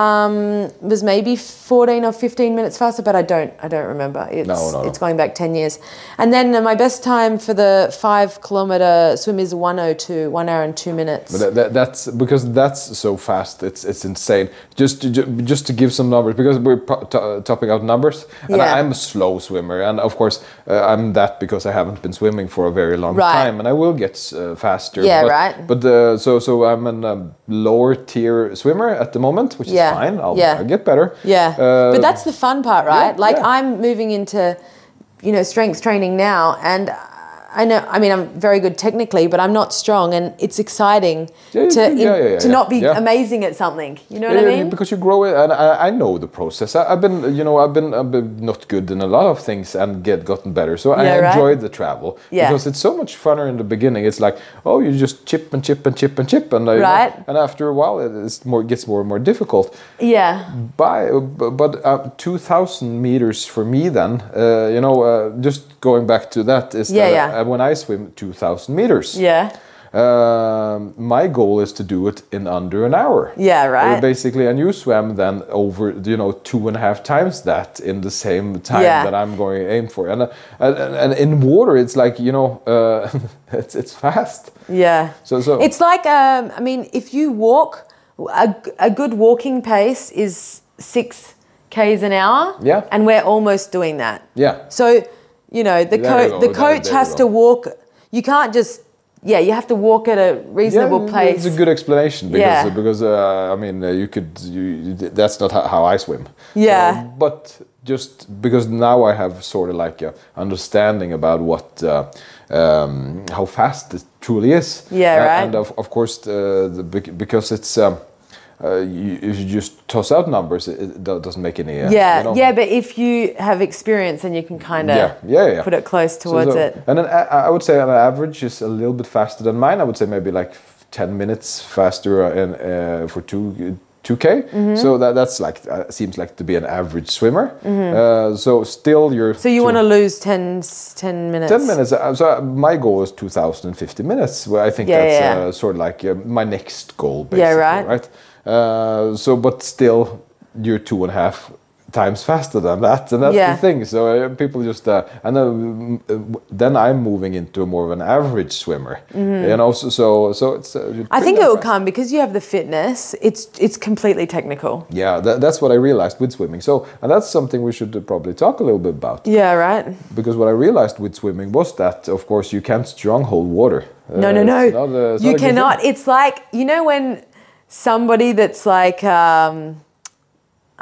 Speaker 3: um, was maybe fourteen or fifteen minutes faster, but I don't I don't remember. It's,
Speaker 1: no, no.
Speaker 3: it's going back ten years. And then uh, my best time for the five kilometer swim is one oh two, one hour and two minutes.
Speaker 1: That, that, that's because that's so fast. It's it's insane. Just to, ju- just to give some numbers because we're pro- to- uh, topping out numbers. And
Speaker 3: Yeah.
Speaker 1: I'm a slow swimmer, and of course uh, I'm that because I haven't been swimming for a very long
Speaker 3: Right.
Speaker 1: time, and I will get uh, faster.
Speaker 3: Yeah,
Speaker 1: but,
Speaker 3: right.
Speaker 1: But uh, so so I'm an um, lower tier swimmer at the moment, which
Speaker 3: Yeah,
Speaker 1: is fine. I'll,
Speaker 3: yeah.
Speaker 1: I'll get better.
Speaker 3: Yeah.
Speaker 1: Uh,
Speaker 3: but that's the fun part, right? like
Speaker 1: yeah.
Speaker 3: I'm moving into, you know, strength training now and I know I mean I'm very good technically, but I'm not strong and it's exciting
Speaker 1: Yeah, yeah,
Speaker 3: to in-
Speaker 1: yeah, yeah, yeah,
Speaker 3: to
Speaker 1: yeah.
Speaker 3: not be
Speaker 1: Yeah.
Speaker 3: amazing at something. You know what
Speaker 1: Yeah,
Speaker 3: I
Speaker 1: yeah,
Speaker 3: mean?
Speaker 1: Eh, Because you grow it, and I, I know the process. I, I've been, you know, I've been, I've been not good in a lot of things and get gotten better. So I
Speaker 3: Yeah, right.
Speaker 1: enjoyed the travel
Speaker 3: Yeah.
Speaker 1: because it's so much funner in the beginning. It's like, oh, you just chip and chip and chip and chip, and uh, you know,
Speaker 3: Right.
Speaker 1: and after a while, it is more gets more and more difficult.
Speaker 3: Yeah.
Speaker 1: By bu- but uh, two thousand meters for me then, uh, you know, uh, just going back to that is
Speaker 3: Yeah,
Speaker 1: that
Speaker 3: yeah.
Speaker 1: Uh, when I swim two thousand meters,
Speaker 3: Yeah.
Speaker 1: um, my goal is to do it in under an hour.
Speaker 3: Yeah, right.
Speaker 1: Uh, basically, and you swam then over, you know, two and a half times that in the same time
Speaker 3: Yeah.
Speaker 1: that I'm going to aim for. And, uh, and, and and in water, it's like, you know, uh, <laughs> it's, it's fast.
Speaker 3: Yeah.
Speaker 1: So- so-
Speaker 3: it's like um, I mean, if you walk, a, g- a good walking pace is six k's an hour.
Speaker 1: Yeah.
Speaker 3: And we're almost doing that.
Speaker 1: Yeah.
Speaker 3: So, you know, the
Speaker 1: There you
Speaker 3: coach
Speaker 1: go,
Speaker 3: the
Speaker 1: there-
Speaker 3: coach
Speaker 1: there you
Speaker 3: has
Speaker 1: go.
Speaker 3: to walk. You can't just yeah. You have to walk at a reasonable place.
Speaker 1: It's a good explanation because
Speaker 3: Yeah.
Speaker 1: because uh, I mean uh, you could you, you- that's not how, how I swim.
Speaker 3: Yeah.
Speaker 1: Uh, but just because now I have sort of like a understanding about what uh, um, how fast it truly is.
Speaker 3: Yeah,
Speaker 1: A-
Speaker 3: right.
Speaker 1: And of of course uh, the, bec- because it's. Um, uh, you, if you just toss out numbers, it, it do- doesn't make any. Uh,
Speaker 3: yeah,
Speaker 1: you know?
Speaker 3: yeah, but if you have experience, then you can kind of
Speaker 1: Yeah, yeah, yeah.
Speaker 3: put it close
Speaker 1: So-
Speaker 3: towards
Speaker 1: so-
Speaker 3: it.
Speaker 1: And then uh, I I would say on average is a little bit faster than mine. I would say maybe like f- ten minutes faster uh, in, uh, for two. 2k
Speaker 3: Mm-hmm.
Speaker 1: so that that's like uh, seems like to be an average swimmer uh, so still you're
Speaker 3: Mm-hmm. So you want to lose 10, s- 10 minutes?
Speaker 1: 10 minutes uh, so uh, my goal is 2050 minutes where i think
Speaker 3: Yeah,
Speaker 1: that's
Speaker 3: yeah, yeah.
Speaker 1: Uh, sort of like uh, my next goal basically
Speaker 3: Yeah,
Speaker 1: right,
Speaker 3: right.
Speaker 1: Uh, so but still you're two and a half times faster than that and that's
Speaker 3: Yeah.
Speaker 1: the thing so uh, people just uh, and then, mm, uh, then i'm moving into more of an average swimmer you know so so, so it's uh,
Speaker 3: Mm-hmm. I
Speaker 1: pretty
Speaker 3: think it will
Speaker 1: impressive.
Speaker 3: come because you have the fitness. It's it's completely technical.
Speaker 1: yeah that, that's what i realized with swimming so and that's something we should uh, probably talk a little bit about
Speaker 3: Yeah, right.
Speaker 1: because what I realized with swimming was that, of course, you can't stronghold water. Uh,
Speaker 3: No, no, no.
Speaker 1: it's not a- it's not a good
Speaker 3: you
Speaker 1: thing.
Speaker 3: cannot. It's like you know when somebody that's like um,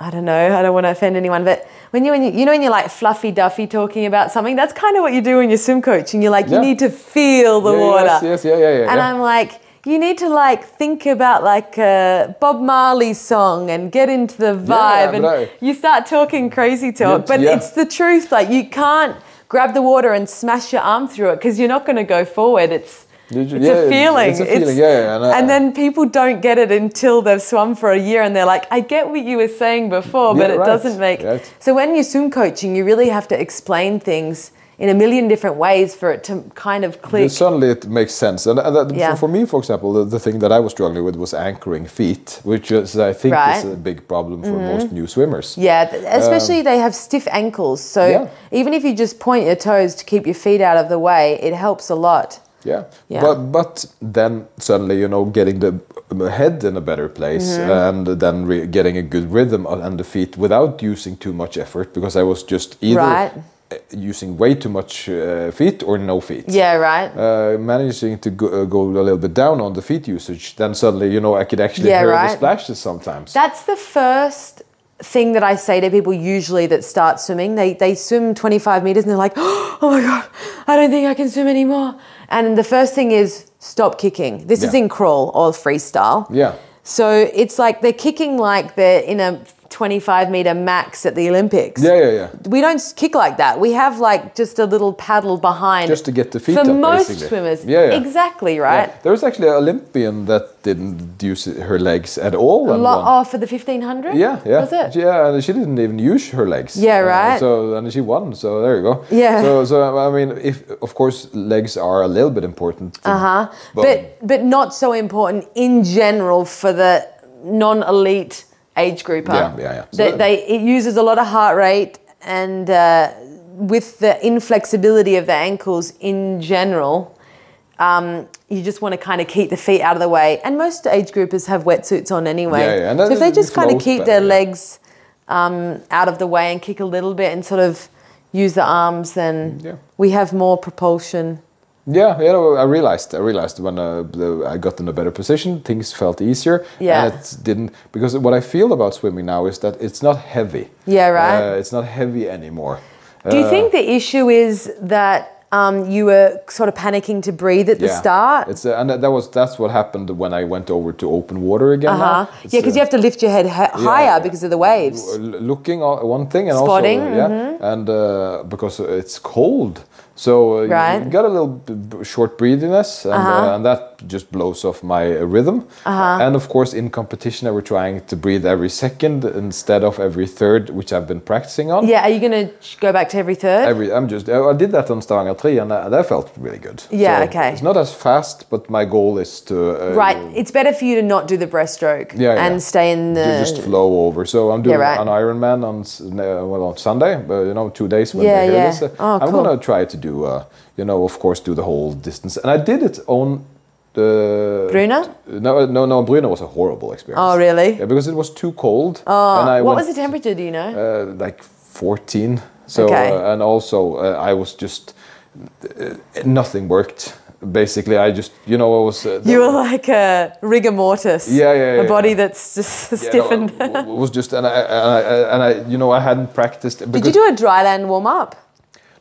Speaker 3: I don't know, I don't want to offend anyone, but when you, when you, you know, when you're like fluffy duffy talking about something, that's kind of what you do when you're swim coaching. You're like,
Speaker 1: Yeah.
Speaker 3: you need to feel the
Speaker 1: Yeah,
Speaker 3: water.
Speaker 1: yes, yes, yeah, yeah, yeah,
Speaker 3: And
Speaker 1: yeah.
Speaker 3: I'm like, you need to like think about like a Bob Marley song and get into the vibe,
Speaker 1: but
Speaker 3: and
Speaker 1: I-
Speaker 3: you start talking crazy talk.
Speaker 1: Yeah,
Speaker 3: But
Speaker 1: yeah.
Speaker 3: it's the truth. Like you can't grab the water and smash your arm through it because you're not going to go forward. It's
Speaker 1: Did you-
Speaker 3: it's,
Speaker 1: yeah,
Speaker 3: a
Speaker 1: it's-
Speaker 3: feeling.
Speaker 1: it's a feeling, yeah, yeah, and I-
Speaker 3: and then people don't get it until they've swum for a year and they're like, I get what you were saying before,
Speaker 1: Yeah,
Speaker 3: but it
Speaker 1: right,
Speaker 3: doesn't make.
Speaker 1: right.
Speaker 3: So when you're swim coaching, you really have to explain things in a million different ways for it to kind of click.
Speaker 1: It- suddenly it makes sense. And, and that,
Speaker 3: Yeah.
Speaker 1: for, for me, for example, the, the thing that I was struggling with was anchoring feet, which is, I think is
Speaker 3: Right. Mm-hmm.
Speaker 1: a big problem for most new swimmers.
Speaker 3: Yeah, th- especially they have stiff ankles. So
Speaker 1: Um, Yeah.
Speaker 3: even if you just point your toes to keep your feet out of the way, it helps a lot.
Speaker 1: Yeah.
Speaker 3: Yeah.
Speaker 1: But but then suddenly you know getting the um, head in a better place
Speaker 3: Mm-hmm.
Speaker 1: and then re- getting a good rhythm on- and the feet without using too much effort because I was just either
Speaker 3: Right.
Speaker 1: uh, using way too much uh, feet or no feet.
Speaker 3: Yeah, right?
Speaker 1: Uh, managing to go, uh, go a little bit down on the feet usage, then suddenly you know I could actually
Speaker 3: Yeah,
Speaker 1: hear the
Speaker 3: right.
Speaker 1: splashes sometimes.
Speaker 3: That's the first thing that I say to people usually that start swimming. They they swim 25 meters and they're like, <gasps> "Oh my god, I don't think I can swim anymore." And the first thing is stop kicking. This is
Speaker 1: Yeah.
Speaker 3: in crawl or freestyle.
Speaker 1: yeah,
Speaker 3: So it's like they're kicking like they're in a 25 meter max at the Olympics.
Speaker 1: yeah, yeah, yeah.
Speaker 3: we don't kick like that. We have like just a little paddle behind.
Speaker 1: Just to get the feet
Speaker 3: For
Speaker 1: up,
Speaker 3: most
Speaker 1: basically.
Speaker 3: swimmers.
Speaker 1: Yeah, yeah.
Speaker 3: Exactly,
Speaker 1: Yeah.
Speaker 3: right?
Speaker 1: There was actually an Olympian that didn't use her legs at all. and
Speaker 3: Lo-
Speaker 1: won.
Speaker 3: oh, for the 1500?
Speaker 1: Yeah, yeah.
Speaker 3: Was it?
Speaker 1: Yeah, and she didn't even use her legs.
Speaker 3: Yeah,
Speaker 1: Uh,
Speaker 3: right.
Speaker 1: so and she won. So there you go.
Speaker 3: Yeah.
Speaker 1: So so I mean, if of course legs are a little bit important.
Speaker 3: Uh huh. But, but not so important in general for the non elite age grouper.
Speaker 1: Yeah, yeah, yeah.
Speaker 3: They,
Speaker 1: So-
Speaker 3: they, it uses a lot of heart rate and uh, with the inflexibility of the ankles in general. Um, you just want to kind of keep the feet out of the way, and most age groupers have wetsuits on anyway.
Speaker 1: Yeah, yeah, and
Speaker 3: So if they
Speaker 1: that-
Speaker 3: just
Speaker 1: that
Speaker 3: kind of
Speaker 1: flows
Speaker 3: keep
Speaker 1: better,
Speaker 3: their
Speaker 1: yeah.
Speaker 3: legs um, out of the way and kick a little bit and sort of use the arms, then
Speaker 1: Yeah.
Speaker 3: we have more propulsion.
Speaker 1: Yeah, you know, I realized, I realized when uh, the, I got in a better position, things felt easier.
Speaker 3: Yeah.
Speaker 1: And it didn't, because what I feel about swimming now is that it's not heavy.
Speaker 3: Yeah, right.
Speaker 1: Uh, it's not heavy anymore.
Speaker 3: Do
Speaker 1: Uh,
Speaker 3: you think the issue is that um, you were sort of panicking to breathe at the
Speaker 1: Yeah.
Speaker 3: start?
Speaker 1: It's, uh, and that that was, that's what happened when I went over to open water again.
Speaker 3: Uh-huh.
Speaker 1: now. It's,
Speaker 3: Yeah, because you have to lift your head hi- higher
Speaker 1: yeah.
Speaker 3: because of the waves.
Speaker 1: l- looking o- one thing and
Speaker 3: Spotting, mm-hmm.
Speaker 1: also yeah and uh, because it's cold so uh, you-
Speaker 3: Right. Uh-huh.
Speaker 1: you got a little b- b- short breathiness and, uh and that just blows off my uh, rhythm and of course in competition i were trying to breathe every second instead of every third which i've been practicing on
Speaker 3: Yeah, are you going to go back to every third?
Speaker 1: Every, I'm just I I did that on Stavanger 3 and uh, that felt really good.
Speaker 3: Yeah,
Speaker 1: So
Speaker 3: okay.
Speaker 1: It's not as fast, but my goal is to uh,
Speaker 3: right, it's better for you to not do the breaststroke
Speaker 1: Yeah, yeah.
Speaker 3: and stay in the.
Speaker 1: You just flow over. So I'm doing
Speaker 3: right.
Speaker 1: an Ironman on s- n- uh, well on Sunday, but you know two days when
Speaker 3: Yeah,
Speaker 1: they hear
Speaker 3: yeah.
Speaker 1: this. Uh,
Speaker 3: Oh,
Speaker 1: I'm
Speaker 3: cool.
Speaker 1: gonna try to do uh, you know of course do the whole distance, and I did it on. Uh,
Speaker 3: Bruna?
Speaker 1: t- No, no, no. Bruna was a horrible experience.
Speaker 3: Oh, really?
Speaker 1: Yeah, because it was too cold. Oh, and I
Speaker 3: what
Speaker 1: went,
Speaker 3: was the temperature, do you know?
Speaker 1: Uh, like 14. So
Speaker 3: Okay.
Speaker 1: uh, and also uh, I was just uh, nothing worked. Basically, I just you know I was. Uh,
Speaker 3: you were like a rigor mortis.
Speaker 1: Yeah, yeah, yeah,
Speaker 3: A body
Speaker 1: yeah.
Speaker 3: that's just <laughs>
Speaker 1: Yeah, no,
Speaker 3: stiffened.
Speaker 1: w- w- was just and I, and I and I you know I hadn't practiced.
Speaker 3: Did you do a dry land warm up?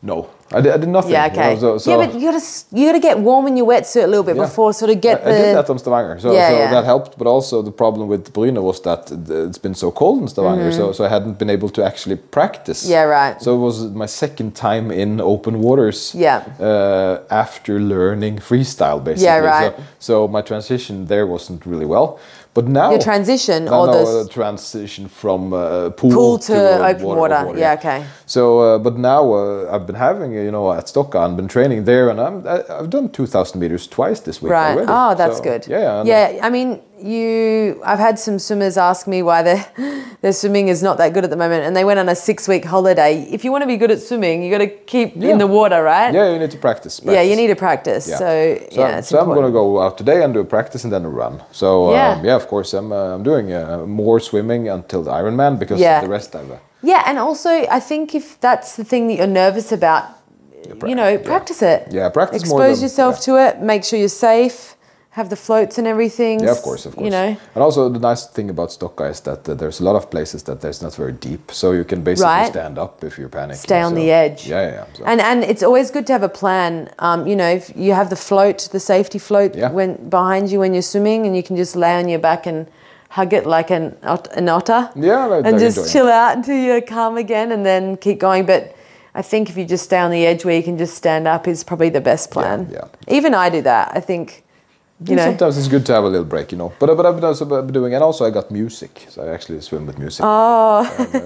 Speaker 1: No, I did, I did nothing.
Speaker 3: Yeah,
Speaker 1: you know,
Speaker 3: okay.
Speaker 1: so, so
Speaker 3: yeah, but you gotta s- you gotta get warm in your wetsuit a little bit
Speaker 1: yeah.
Speaker 3: before sort of get
Speaker 1: I,
Speaker 3: the.
Speaker 1: I did that on Stavanger, so,
Speaker 3: Yeah,
Speaker 1: so
Speaker 3: yeah.
Speaker 1: that helped. But also the problem with Bruno was that th- it's been so cold in Stavanger, so so I hadn't been able to actually practice.
Speaker 3: Mm-hmm. Yeah, right.
Speaker 1: So it was my second time in open waters.
Speaker 3: Yeah.
Speaker 1: Uh, after learning freestyle, basically.
Speaker 3: right.
Speaker 1: So, so my transition there wasn't really well, but now
Speaker 3: Your transition
Speaker 1: No,
Speaker 3: or
Speaker 1: no,
Speaker 3: the s-
Speaker 1: uh, transition from uh, pool,
Speaker 3: Pool to
Speaker 1: uh,
Speaker 3: open water. Yeah, okay.
Speaker 1: So, uh, but now uh, I've been having, uh, you know, at Stocka and been training there, and I'm, I, I've done 2,000 meters twice this week
Speaker 3: Right.
Speaker 1: already.
Speaker 3: Oh, that's
Speaker 1: So,
Speaker 3: good.
Speaker 1: Yeah. and-
Speaker 3: Yeah. I mean, you. I've had some swimmers ask me why their <laughs> their swimming is not that good at the moment, and they went on a six week holiday. If you want to be good at swimming, you got to keep
Speaker 1: Yeah.
Speaker 3: in the water, right?
Speaker 1: Yeah, you need to practice.
Speaker 3: Yeah, you
Speaker 1: practice.
Speaker 3: need to practice. So, yeah,
Speaker 1: I'm-
Speaker 3: it's
Speaker 1: so I'm
Speaker 3: important.
Speaker 1: going to go out today and do a practice and then a run. So
Speaker 3: Yeah.
Speaker 1: um, yeah, of course I'm uh, I'm doing uh, more swimming until the Ironman because
Speaker 3: Yeah.
Speaker 1: the rest I've uh,
Speaker 3: Yeah, and also I think if that's the thing that you're nervous about, you know,
Speaker 1: yeah.
Speaker 3: practice it.
Speaker 1: Yeah, practice more
Speaker 3: Expose
Speaker 1: than-
Speaker 3: yourself
Speaker 1: yeah.
Speaker 3: to it. Make sure you're safe. have the floats and everything.
Speaker 1: Yeah, of course, of course.
Speaker 3: You know,
Speaker 1: And also the nice thing about Stokka is that uh, there's a lot of places that there's not very deep, so you can basically
Speaker 3: Right.
Speaker 1: stand up if you're panicking.
Speaker 3: stay on
Speaker 1: so-
Speaker 3: the edge.
Speaker 1: Yeah, yeah. yeah. So-
Speaker 3: And and it's always good to have a plan. Um, you know, if you have the float, the safety float
Speaker 1: Yeah.
Speaker 3: when behind you when you're swimming, and you can just lay on your back and hug it like an ot- an otter.
Speaker 1: Yeah, like-
Speaker 3: and
Speaker 1: like
Speaker 3: just
Speaker 1: enjoying.
Speaker 3: chill out until you're calm again, and then keep going. But I think if you just stay on the edge where you can just stand up is probably the best plan.
Speaker 1: yeah.
Speaker 3: Even I do that. I think. You know.
Speaker 1: Sometimes it's good to have a little break, you know. But uh, but I've been also been doing, and also I got music, so I actually swim with music. Oh,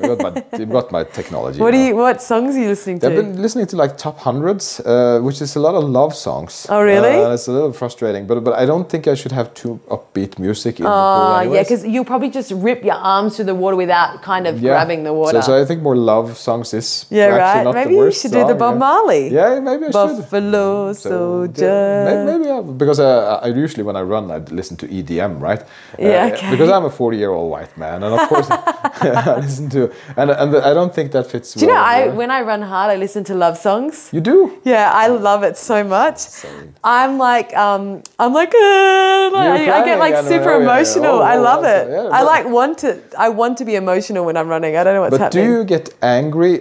Speaker 1: I got my, I've got my technology.
Speaker 3: What do
Speaker 1: now.
Speaker 3: you? What songs are you listening to?
Speaker 1: I've been listening to like top hundreds, uh, which is a lot of love songs.
Speaker 3: Oh, really?
Speaker 1: Uh, it's a little frustrating, but but I don't think I should have too upbeat music in the pool.
Speaker 3: Oh, yeah,
Speaker 1: anyways.
Speaker 3: because you'll probably just rip your arms through the water without kind of
Speaker 1: Yeah.
Speaker 3: grabbing the
Speaker 1: So-
Speaker 3: water.
Speaker 1: So, I think more love songs is
Speaker 3: Yeah,
Speaker 1: actually
Speaker 3: right.
Speaker 1: not
Speaker 3: Maybe
Speaker 1: the
Speaker 3: you
Speaker 1: worst
Speaker 3: should do the
Speaker 1: song,
Speaker 3: Bob
Speaker 1: yeah.
Speaker 3: Marley.
Speaker 1: Yeah, maybe I should.
Speaker 3: Buffalo soldier.
Speaker 1: Maybe, maybe I, because uh, I usually when I run I listen to EDM, right?
Speaker 3: Yeah,
Speaker 1: Uh,
Speaker 3: okay.
Speaker 1: Because I'm a 40 year old white man, and of
Speaker 3: <laughs>
Speaker 1: course <laughs> I listen to and and I don't think that fits.
Speaker 3: Do you know,
Speaker 1: well
Speaker 3: I
Speaker 1: with-
Speaker 3: when I run hard, I listen to love songs.
Speaker 1: you do.
Speaker 3: Yeah, I love it so much. I'm like, um, I'm like, uh, I, I
Speaker 1: crying,
Speaker 3: get like
Speaker 1: I know,
Speaker 3: super
Speaker 1: yeah, yeah.
Speaker 3: emotional.
Speaker 1: Oh,
Speaker 3: I
Speaker 1: oh,
Speaker 3: love
Speaker 1: that's-
Speaker 3: it.
Speaker 1: yeah,
Speaker 3: I
Speaker 1: but-
Speaker 3: like want to. I want to be emotional when I'm running. I don't know what's
Speaker 1: But
Speaker 3: happening.
Speaker 1: do you get angry,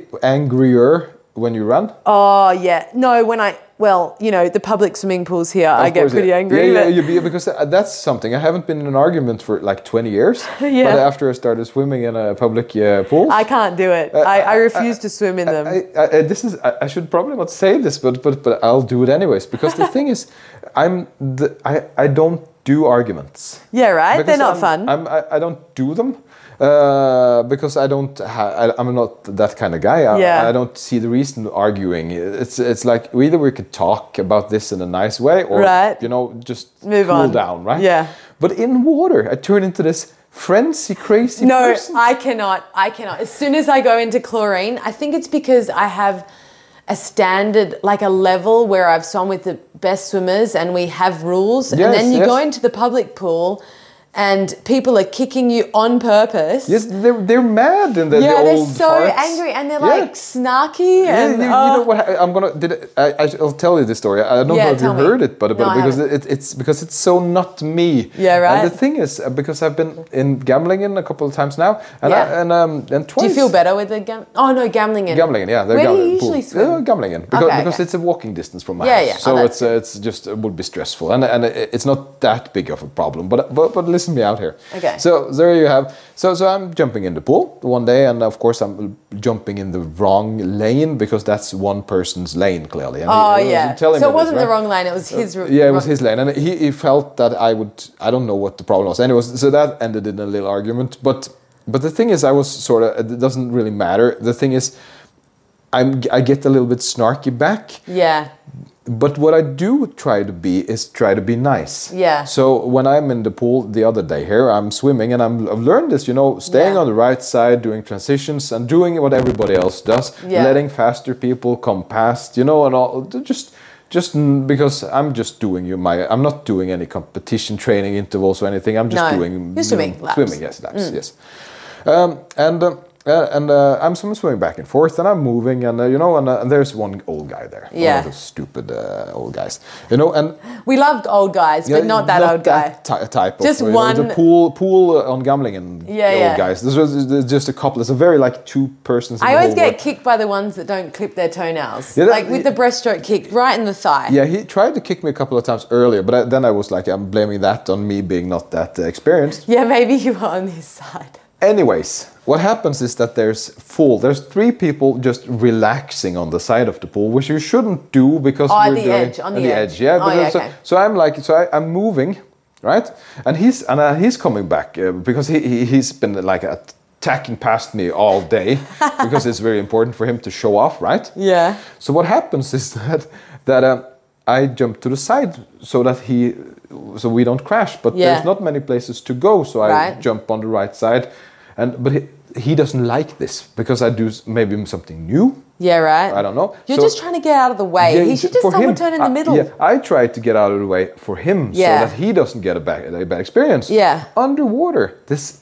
Speaker 1: angrier when you run?
Speaker 3: oh yeah, no. When I well, you know, the public swimming pools here, I
Speaker 1: Of
Speaker 3: get
Speaker 1: course,
Speaker 3: pretty
Speaker 1: yeah.
Speaker 3: angry.
Speaker 1: Yeah, yeah,
Speaker 3: but-
Speaker 1: you be, because uh, that's something. I haven't been in an argument for like 20 years.
Speaker 3: <laughs> Yeah.
Speaker 1: But after I started swimming in a public uh, pool,
Speaker 3: I can't do it.
Speaker 1: Uh,
Speaker 3: I, I refuse to swim in them.
Speaker 1: I, I, I- this is I, I should probably not say this, but but but I'll do it anyways because
Speaker 3: <laughs>
Speaker 1: the thing is, I'm the, I I don't do arguments.
Speaker 3: yeah, right? They're
Speaker 1: Because
Speaker 3: not
Speaker 1: I'm-
Speaker 3: fun.
Speaker 1: I'm, I, I don't do them uh, because I don't. Ha- I, I'm not that kind of guy. I,
Speaker 3: Yeah.
Speaker 1: I don't see the reason arguing. It's it's like either we could talk about this in a nice way, or
Speaker 3: Right.
Speaker 1: you know, just
Speaker 3: Move
Speaker 1: cool
Speaker 3: on.
Speaker 1: down, right?
Speaker 3: Yeah.
Speaker 1: But in water, I turn into this frenzy, crazy
Speaker 3: no,
Speaker 1: person.
Speaker 3: I cannot. I cannot. As soon as I go into chlorine, I think it's because I have a standard, like a level where I've swum with the best swimmers and we have
Speaker 1: Yes,
Speaker 3: rules. and then you
Speaker 1: yes.
Speaker 3: go into the public pool and people are kicking you on purpose.
Speaker 1: Yes, they're, they're mad and they're
Speaker 3: yeah,
Speaker 1: the
Speaker 3: they're
Speaker 1: old
Speaker 3: so
Speaker 1: farts.
Speaker 3: angry and they're
Speaker 1: Yeah.
Speaker 3: like snarky
Speaker 1: Yeah,
Speaker 3: and
Speaker 1: you, you
Speaker 3: oh.
Speaker 1: know what? I- I'm gonna. Did I, I? I'll tell you the story. I don't
Speaker 3: Yeah,
Speaker 1: know if you
Speaker 3: tell me.
Speaker 1: heard it, but, but
Speaker 3: No, I
Speaker 1: because
Speaker 3: haven't.
Speaker 1: it, it's because it's so not me.
Speaker 3: Yeah, right.
Speaker 1: And the thing is, uh, because I've been in gambling in a couple of times now, and I,
Speaker 3: Yeah.
Speaker 1: and um and twice.
Speaker 3: Do you feel better with the gam? Oh no, gambling in.
Speaker 1: Gambling, yeah. They're
Speaker 3: Where
Speaker 1: gambling,
Speaker 3: do you
Speaker 1: pool.
Speaker 3: usually swim?
Speaker 1: Uh, gambling, because,
Speaker 3: Okay,
Speaker 1: because
Speaker 3: okay.
Speaker 1: it's a walking distance from my
Speaker 3: Yeah,
Speaker 1: house,
Speaker 3: yeah. Oh,
Speaker 1: so
Speaker 3: that's
Speaker 1: it's uh, it's just it would be stressful, and and it- it's not that big of a problem. But but but listen me out here.
Speaker 3: Okay.
Speaker 1: So there you have. So so I'm jumping in the pool one day, and of course I'm jumping in the wrong lane because that's one person's lane clearly. And he-
Speaker 3: Oh
Speaker 1: he was
Speaker 3: yeah. So
Speaker 1: telling
Speaker 3: it
Speaker 1: me this,
Speaker 3: wasn't
Speaker 1: right?
Speaker 3: the
Speaker 1: Uh,
Speaker 3: wrong line. It was his. r-
Speaker 1: Yeah, it
Speaker 3: wrong-
Speaker 1: was his lane, and he, he felt that I would. I don't know what the problem was. Anyways, so that ended in a little argument. But but the thing is, I was sort of. It doesn't really matter. The thing is, I'm I get a little bit snarky back.
Speaker 3: Yeah.
Speaker 1: But what I do try to be is try to be nice.
Speaker 3: Yeah.
Speaker 1: So when I'm in the pool the other day here, I'm swimming and I'm, I've learned this, you know, staying
Speaker 3: Yeah.
Speaker 1: on the right side, doing transitions and doing what everybody else does,
Speaker 3: Yeah.
Speaker 1: letting faster people come past, you know, and all just just n- because I'm just doing you my I'm not doing any competition training intervals or anything. I'm just
Speaker 3: No.
Speaker 1: doing
Speaker 3: You're
Speaker 1: you know,
Speaker 3: swimming laps. Mm.
Speaker 1: swimming, yes, laps, yes and uh, uh, and uh, I'm swim- swimming back and forth, and I'm moving, and uh, you know, and, uh, and there's one old guy there, one
Speaker 3: Yeah.
Speaker 1: of those stupid uh, old guys, you know, and
Speaker 3: We loved old guys, but
Speaker 1: yeah,
Speaker 3: not that old guy.
Speaker 1: that ty- type of
Speaker 3: Just
Speaker 1: you know,
Speaker 3: one-
Speaker 1: the pool pool uh, on gambling and
Speaker 3: Yeah,
Speaker 1: old
Speaker 3: yeah.
Speaker 1: guys. This was there's just a couple. It's a very like two persons. in
Speaker 3: I
Speaker 1: the
Speaker 3: always
Speaker 1: whole
Speaker 3: get
Speaker 1: world.
Speaker 3: kicked by the ones that don't clip their toenails.
Speaker 1: Yeah, that-
Speaker 3: like with the breaststroke kick, right in the thigh.
Speaker 1: Yeah, he tried to kick me a couple of times earlier, but I, then I was like, I'm blaming that on me being not that uh, experienced.
Speaker 3: Yeah, maybe you are on his side.
Speaker 1: Anyways, what happens is that there's full. There's three people just relaxing on the side of the pool, which you shouldn't do because
Speaker 3: Oh, at
Speaker 1: we're
Speaker 3: the
Speaker 1: doing,
Speaker 3: edge, on
Speaker 1: at
Speaker 3: the
Speaker 1: edge.
Speaker 3: edge.
Speaker 1: Yeah,
Speaker 3: Oh,
Speaker 1: but
Speaker 3: yeah,
Speaker 1: so,
Speaker 3: okay.
Speaker 1: so I'm like, so I, I'm moving, right? And he's and uh, he's coming back uh, because he, he he's been like attacking past me all day
Speaker 3: <laughs>
Speaker 1: because it's very important for him to show off, right?
Speaker 3: Yeah.
Speaker 1: So what happens is <laughs> that that um, I jump to the side so that he so we don't crash. But
Speaker 3: Yeah.
Speaker 1: there's not many places to go, so I
Speaker 3: Right.
Speaker 1: jump on the right side, and but he, he doesn't like this because I do s- maybe something new.
Speaker 3: Yeah, right.
Speaker 1: I don't know.
Speaker 3: You're
Speaker 1: So-
Speaker 3: just trying to get out of the way.
Speaker 1: Yeah,
Speaker 3: he should just
Speaker 1: for
Speaker 3: someone
Speaker 1: him,
Speaker 3: turn in
Speaker 1: I-
Speaker 3: the middle.
Speaker 1: yeah, I try to get out of the way for him
Speaker 3: Yeah.
Speaker 1: so that he doesn't get a bad, a bad experience.
Speaker 3: Yeah.
Speaker 1: Underwater, this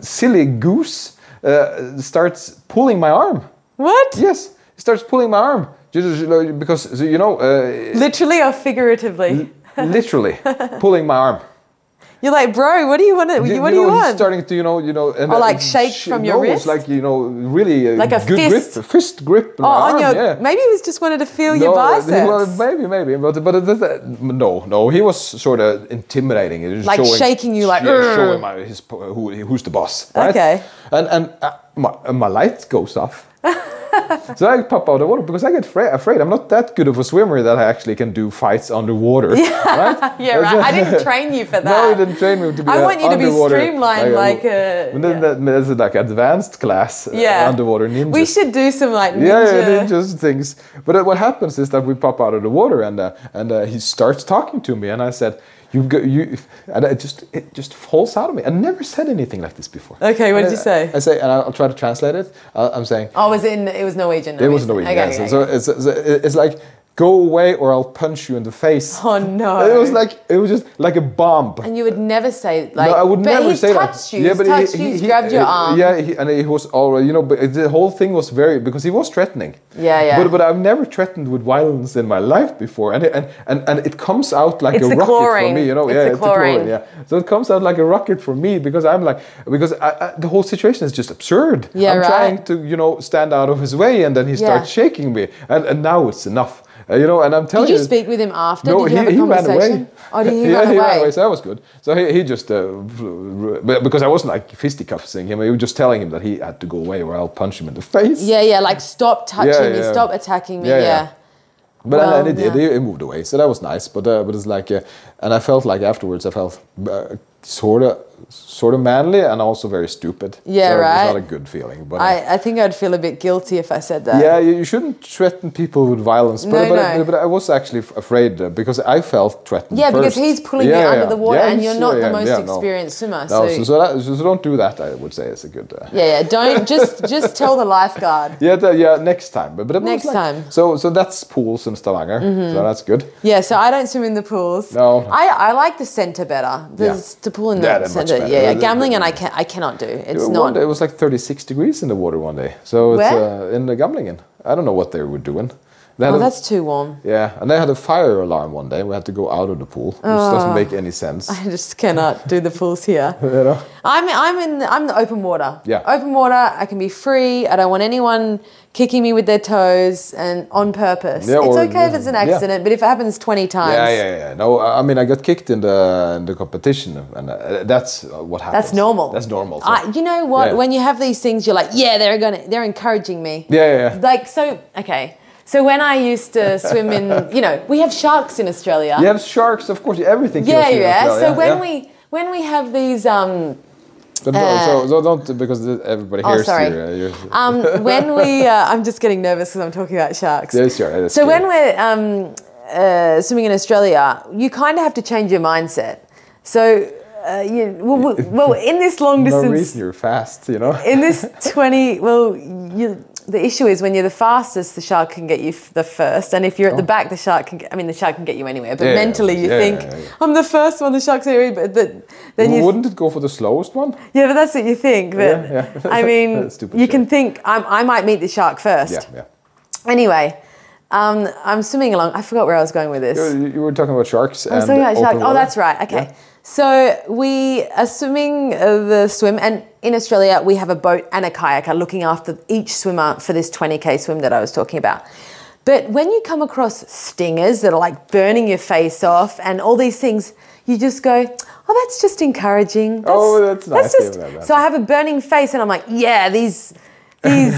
Speaker 1: silly goose uh, starts pulling my arm.
Speaker 3: What?
Speaker 1: Yes, he starts pulling my arm. Just- Because you know, uh,
Speaker 3: <laughs> Literally or figuratively?
Speaker 1: literally pulling my arm.
Speaker 3: You're like, bro, what do you want? To,
Speaker 1: You-
Speaker 3: what
Speaker 1: you
Speaker 3: do you
Speaker 1: know, he's
Speaker 3: want?
Speaker 1: starting to, you know, you know, and
Speaker 3: Or,
Speaker 1: uh,
Speaker 3: like, shake
Speaker 1: sh-
Speaker 3: from your
Speaker 1: no, It's
Speaker 3: wrist?
Speaker 1: like you know, really a
Speaker 3: Like a
Speaker 1: good
Speaker 3: fist?
Speaker 1: grip, fist grip.
Speaker 3: oh,
Speaker 1: my
Speaker 3: on
Speaker 1: arm,
Speaker 3: your,
Speaker 1: yeah.
Speaker 3: maybe he was just wanted to feel your
Speaker 1: uh,
Speaker 3: biceps.
Speaker 1: well, maybe, maybe, but but it- it- no, no, he was sort of intimidating. He was
Speaker 3: Like
Speaker 1: showing-
Speaker 3: shaking you, like,
Speaker 1: yeah,
Speaker 3: "Urgh."
Speaker 1: showing my, his, po- who, who's the boss. Right?
Speaker 3: Okay.
Speaker 1: And and uh, my and my light goes
Speaker 3: <laughs>
Speaker 1: off. so I pop out of the water because I get fra- afraid. I'm not that good of a swimmer that I actually can do fights underwater.
Speaker 3: <laughs>
Speaker 1: Right? <laughs>
Speaker 3: yeah, right. I didn't train you for that.
Speaker 1: No, you didn't train me to be.
Speaker 3: I
Speaker 1: a
Speaker 3: want you to be
Speaker 1: underwater-
Speaker 3: streamlined, like a-
Speaker 1: and then that- that's like advanced class. uh,
Speaker 3: Yeah.
Speaker 1: underwater ninja.
Speaker 3: We should do some like ninja.
Speaker 1: Yeah, yeah, ninjas things. But uh, what happens is that we pop out of the water, and uh, and uh, he starts talking to me, and I said, "You go, you," and it just it just falls out of me. I never said anything like this before.
Speaker 3: Okay, what
Speaker 1: And
Speaker 3: did you
Speaker 1: I-
Speaker 3: say?
Speaker 1: I say, and I'll try to translate it. Uh, I'm saying
Speaker 3: Oh, was it in? It was Norwegian.
Speaker 1: it was
Speaker 3: obviously.
Speaker 1: Norwegian.
Speaker 3: Okay,
Speaker 1: yeah, so-
Speaker 3: okay,
Speaker 1: so
Speaker 3: okay.
Speaker 1: it's, it's it's like go away or I'll punch you in the face.
Speaker 3: Oh, no.
Speaker 1: <laughs> It was like it was just like a bomb.
Speaker 3: and you would never say like.
Speaker 1: No, I would
Speaker 3: but
Speaker 1: never
Speaker 3: he's
Speaker 1: say
Speaker 3: touched
Speaker 1: that.
Speaker 3: You, he's touched you. He's grabbed your
Speaker 1: he- uh,
Speaker 3: arm.
Speaker 1: Yeah, he, and he was already, you know, but it- the whole thing was very because he was threatening.
Speaker 3: Yeah, yeah.
Speaker 1: But but I've never threatened with violence in my life before, and it- and and, and it comes out like
Speaker 3: It's
Speaker 1: a
Speaker 3: the
Speaker 1: rocket for
Speaker 3: chlorine.
Speaker 1: me, you know.
Speaker 3: It's
Speaker 1: yeah,
Speaker 3: the chlorine.
Speaker 1: Yeah. So it comes out like a rocket for me because I'm like because I, I, the whole situation is just absurd.
Speaker 3: Yeah,
Speaker 1: I'm
Speaker 3: right.
Speaker 1: trying to you know stand out of his way, and then he
Speaker 3: Yeah.
Speaker 1: starts shaking me, and, and now it's enough, Uh, you know. And I'm telling
Speaker 3: Did you speak with him after?
Speaker 1: no,
Speaker 3: Did
Speaker 1: he,
Speaker 3: you have a
Speaker 1: he ran
Speaker 3: conversation?
Speaker 1: away.
Speaker 3: Oh, did
Speaker 1: <laughs>
Speaker 3: he
Speaker 1: yeah,
Speaker 3: run away?
Speaker 1: he ran away. So that was good. So he, he just, uh, flew- but- because I wasn't like fisticuffing him, I was just telling him that he had to go away or I'll punch him in the face.
Speaker 3: Yeah, yeah. Like stop touching me.
Speaker 1: yeah.
Speaker 3: Stop attacking me.
Speaker 1: Yeah,
Speaker 3: Yeah.
Speaker 1: yeah. But then-
Speaker 3: Well,
Speaker 1: then he did.
Speaker 3: yeah.
Speaker 1: He, he moved away, so that was nice. But uh, but it's like, uh, and I felt like afterwards, I felt uh, sort of sort of manly and also very stupid.
Speaker 3: Yeah,
Speaker 1: so It's
Speaker 3: right.
Speaker 1: not a good feeling. But uh,
Speaker 3: I, I think I'd feel a bit guilty if I said that.
Speaker 1: yeah, you, you shouldn't threaten people with violence. But,
Speaker 3: No,
Speaker 1: but,
Speaker 3: no.
Speaker 1: but I was actually f- afraid uh, because I felt threatened.
Speaker 3: Yeah, because
Speaker 1: first.
Speaker 3: he's pulling you
Speaker 1: Yeah,
Speaker 3: under
Speaker 1: yeah.
Speaker 3: the water,
Speaker 1: Yeah,
Speaker 3: and you're
Speaker 1: sure,
Speaker 3: not
Speaker 1: yeah,
Speaker 3: the most
Speaker 1: yeah, no.
Speaker 3: experienced swimmer.
Speaker 1: No,
Speaker 3: so,
Speaker 1: so, so, that, so, so don't do that. I would say is a good. Uh,
Speaker 3: yeah, yeah. Don't
Speaker 1: <laughs>
Speaker 3: just just tell the lifeguard.
Speaker 1: yeah, the- yeah. Next time, but, but it was
Speaker 3: Next
Speaker 1: like-
Speaker 3: time. Mm-hmm.
Speaker 1: So so that's pools in Stavanger. So that's good.
Speaker 3: Yeah, so I don't swim in the pools.
Speaker 1: No.
Speaker 3: I, I like the centre better. The,
Speaker 1: Yeah.
Speaker 3: the pool in the
Speaker 1: Yeah, they're much
Speaker 3: centre.
Speaker 1: better.
Speaker 3: Yeah, yeah.
Speaker 1: The-
Speaker 3: Gambling
Speaker 1: the-
Speaker 3: and I can I cannot do. It's
Speaker 1: One
Speaker 3: not.
Speaker 1: day- it was like 36 degrees in the water one day. So it's
Speaker 3: Where?
Speaker 1: uh, in the Gamlingen. I don't know what they were doing. They had
Speaker 3: Oh,
Speaker 1: a-
Speaker 3: that's too warm.
Speaker 1: yeah, and they had a fire alarm one day. We had to go out of the pool, which
Speaker 3: Oh.
Speaker 1: doesn't make any sense.
Speaker 3: <laughs> I just cannot do the pools
Speaker 1: <laughs>
Speaker 3: here.
Speaker 1: You know?
Speaker 3: I'm I'm in the, I'm the open water.
Speaker 1: Yeah.
Speaker 3: Open water. I can be free. I don't want anyone kicking me with their toes and on purpose.
Speaker 1: Yeah,
Speaker 3: it's
Speaker 1: or-
Speaker 3: okay if it's an
Speaker 1: yeah.
Speaker 3: accident, but if it happens twenty times,
Speaker 1: Yeah, yeah, yeah. No, I I mean, I got kicked in the in the competition, and uh, that's uh, what happens.
Speaker 3: that's normal. Ah,
Speaker 1: That's normal. so-
Speaker 3: I, you know what?
Speaker 1: Yeah.
Speaker 3: When you have these things, you're like, yeah, they're gonna they're encouraging me.
Speaker 1: Yeah, yeah, yeah.
Speaker 3: Like so. Okay. So when I used to swim in, you know, we have sharks in Australia.
Speaker 1: you have sharks, of course. Everything.
Speaker 3: Yeah,
Speaker 1: kills you in
Speaker 3: yeah.
Speaker 1: Australia,
Speaker 3: So when
Speaker 1: yeah.
Speaker 3: we when we have these um
Speaker 1: But
Speaker 3: Uh,
Speaker 1: so, so don't because th- everybody
Speaker 3: Oh,
Speaker 1: hears
Speaker 3: sorry.
Speaker 1: you. Uh, you're,
Speaker 3: um, when we, uh, I'm just getting nervous because I'm talking about sharks.
Speaker 1: Yeah, sure, that's
Speaker 3: so
Speaker 1: good.
Speaker 3: when we're um, uh, swimming in Australia, you kind of have to change your mindset. So, uh, you, well, well, well, in this long
Speaker 1: <laughs> no
Speaker 3: distance,
Speaker 1: reason you're fast, you know.
Speaker 3: in this 20, well, you, the issue is when you're the fastest, the shark can get you f- the first, and if you're at the back, the shark can. Get, I mean, the shark can get you anywhere, but
Speaker 1: Oh. Yeah,
Speaker 3: mentally you
Speaker 1: yeah,
Speaker 3: think,
Speaker 1: yeah, yeah.
Speaker 3: "I'm the first one, the shark's anywhere," but the, then you
Speaker 1: Wouldn't it go for the slowest one?
Speaker 3: yeah, but that's what you think. But
Speaker 1: Yeah, yeah. <laughs>
Speaker 3: I mean,
Speaker 1: Stupid
Speaker 3: you
Speaker 1: shark.
Speaker 3: can think I'm, I might meet the shark first.
Speaker 1: Yeah, yeah.
Speaker 3: Anyway, um, I'm swimming along. I forgot where I was going with this.
Speaker 1: Uh, You, you were talking about sharks.
Speaker 3: I
Speaker 1: and
Speaker 3: was talking about
Speaker 1: open
Speaker 3: shark. Oh,
Speaker 1: water.
Speaker 3: that's right. Okay. So we are swimming uh, the swim, and in Australia we have a boat and a kayaker looking after each swimmer for this 20k swim that I was talking about. But when you come across stingers that are like burning your face off and all these things, you just go, "Oh, that's just encouraging." That's,
Speaker 1: Oh, that's nice.
Speaker 3: just-
Speaker 1: Yeah, yeah, yeah.
Speaker 3: So I have a burning face, and I'm like, "Yeah, these." These,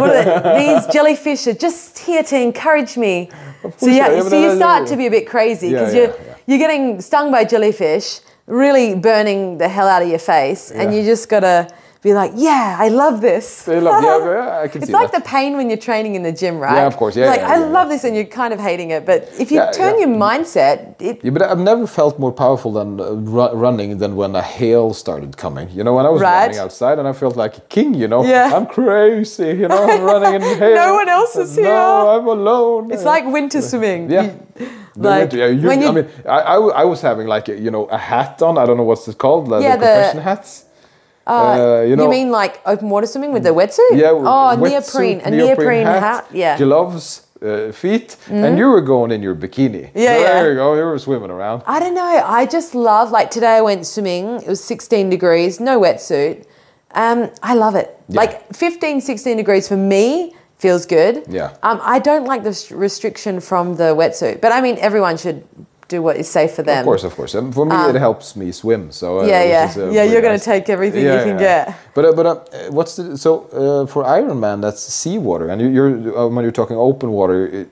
Speaker 3: what are they? these jellyfish are just here to encourage me. So
Speaker 1: course,
Speaker 3: yeah,
Speaker 1: yeah, but
Speaker 3: so you
Speaker 1: that's-
Speaker 3: start to be a bit crazy because
Speaker 1: Yeah,
Speaker 3: you're
Speaker 1: yeah, yeah.
Speaker 3: you're getting stung by jellyfish, really burning the hell out of your face, and
Speaker 1: Yeah.
Speaker 3: you just gotta be like, yeah, I love this.
Speaker 1: They love-
Speaker 3: <laughs>
Speaker 1: yeah, yeah, I can
Speaker 3: it's
Speaker 1: see
Speaker 3: like
Speaker 1: that.
Speaker 3: the pain when you're training in the gym, right?
Speaker 1: Yeah, of course, yeah,
Speaker 3: You're like
Speaker 1: yeah,
Speaker 3: I
Speaker 1: yeah,
Speaker 3: love this, and you're kind of hating it, but if you
Speaker 1: Yeah,
Speaker 3: turn
Speaker 1: yeah.
Speaker 3: your mindset, it
Speaker 1: Yeah, but I've never felt more powerful than uh, ru- running than when a hail started coming. You know, when I was
Speaker 3: Right.
Speaker 1: running outside and I felt like a king. You know,
Speaker 3: Yeah.
Speaker 1: I'm crazy. You know, I'm running in hail.
Speaker 3: <laughs> No one else is
Speaker 1: no,
Speaker 3: here.
Speaker 1: I'm alone.
Speaker 3: it's like winter swimming.
Speaker 1: Yeah.
Speaker 3: You-
Speaker 1: The
Speaker 3: like
Speaker 1: winter, yeah, you-
Speaker 3: when you
Speaker 1: I mean, I, I, w- I was having like a, you know a hat on. I don't know what's it called. Like
Speaker 3: Yeah,
Speaker 1: the
Speaker 3: the-
Speaker 1: compression hats. Uh,
Speaker 3: you, mean like open water swimming with the wetsuit?
Speaker 1: Yeah.
Speaker 3: Oh,
Speaker 1: wetsuit,
Speaker 3: neoprene, a neoprene, hat. Yeah. Mm-hmm.
Speaker 1: Gloves, uh, feet, and you were going in your bikini.
Speaker 3: Yeah,
Speaker 1: there
Speaker 3: yeah.
Speaker 1: you go. You were swimming around.
Speaker 3: I don't know. I just love like today I went swimming. It was 16 degrees, no wetsuit. Um, I love it. Like 15, 16 degrees for me feels good.
Speaker 1: Yeah.
Speaker 3: Um, I don't like the s- restriction from the wetsuit, but I mean everyone should do what is safe for them.
Speaker 1: Of course, of course. And for me, it helps me swim. So uh,
Speaker 3: Um, Yeah,
Speaker 1: which
Speaker 3: yeah.
Speaker 1: is, uh,
Speaker 3: Yeah,
Speaker 1: really
Speaker 3: you're gonna
Speaker 1: nice.
Speaker 3: take everything you can get.
Speaker 1: But uh, but uh, uh, what's the so uh, for Ironman? That's seawater, and you- you're uh, when you're talking open water, it,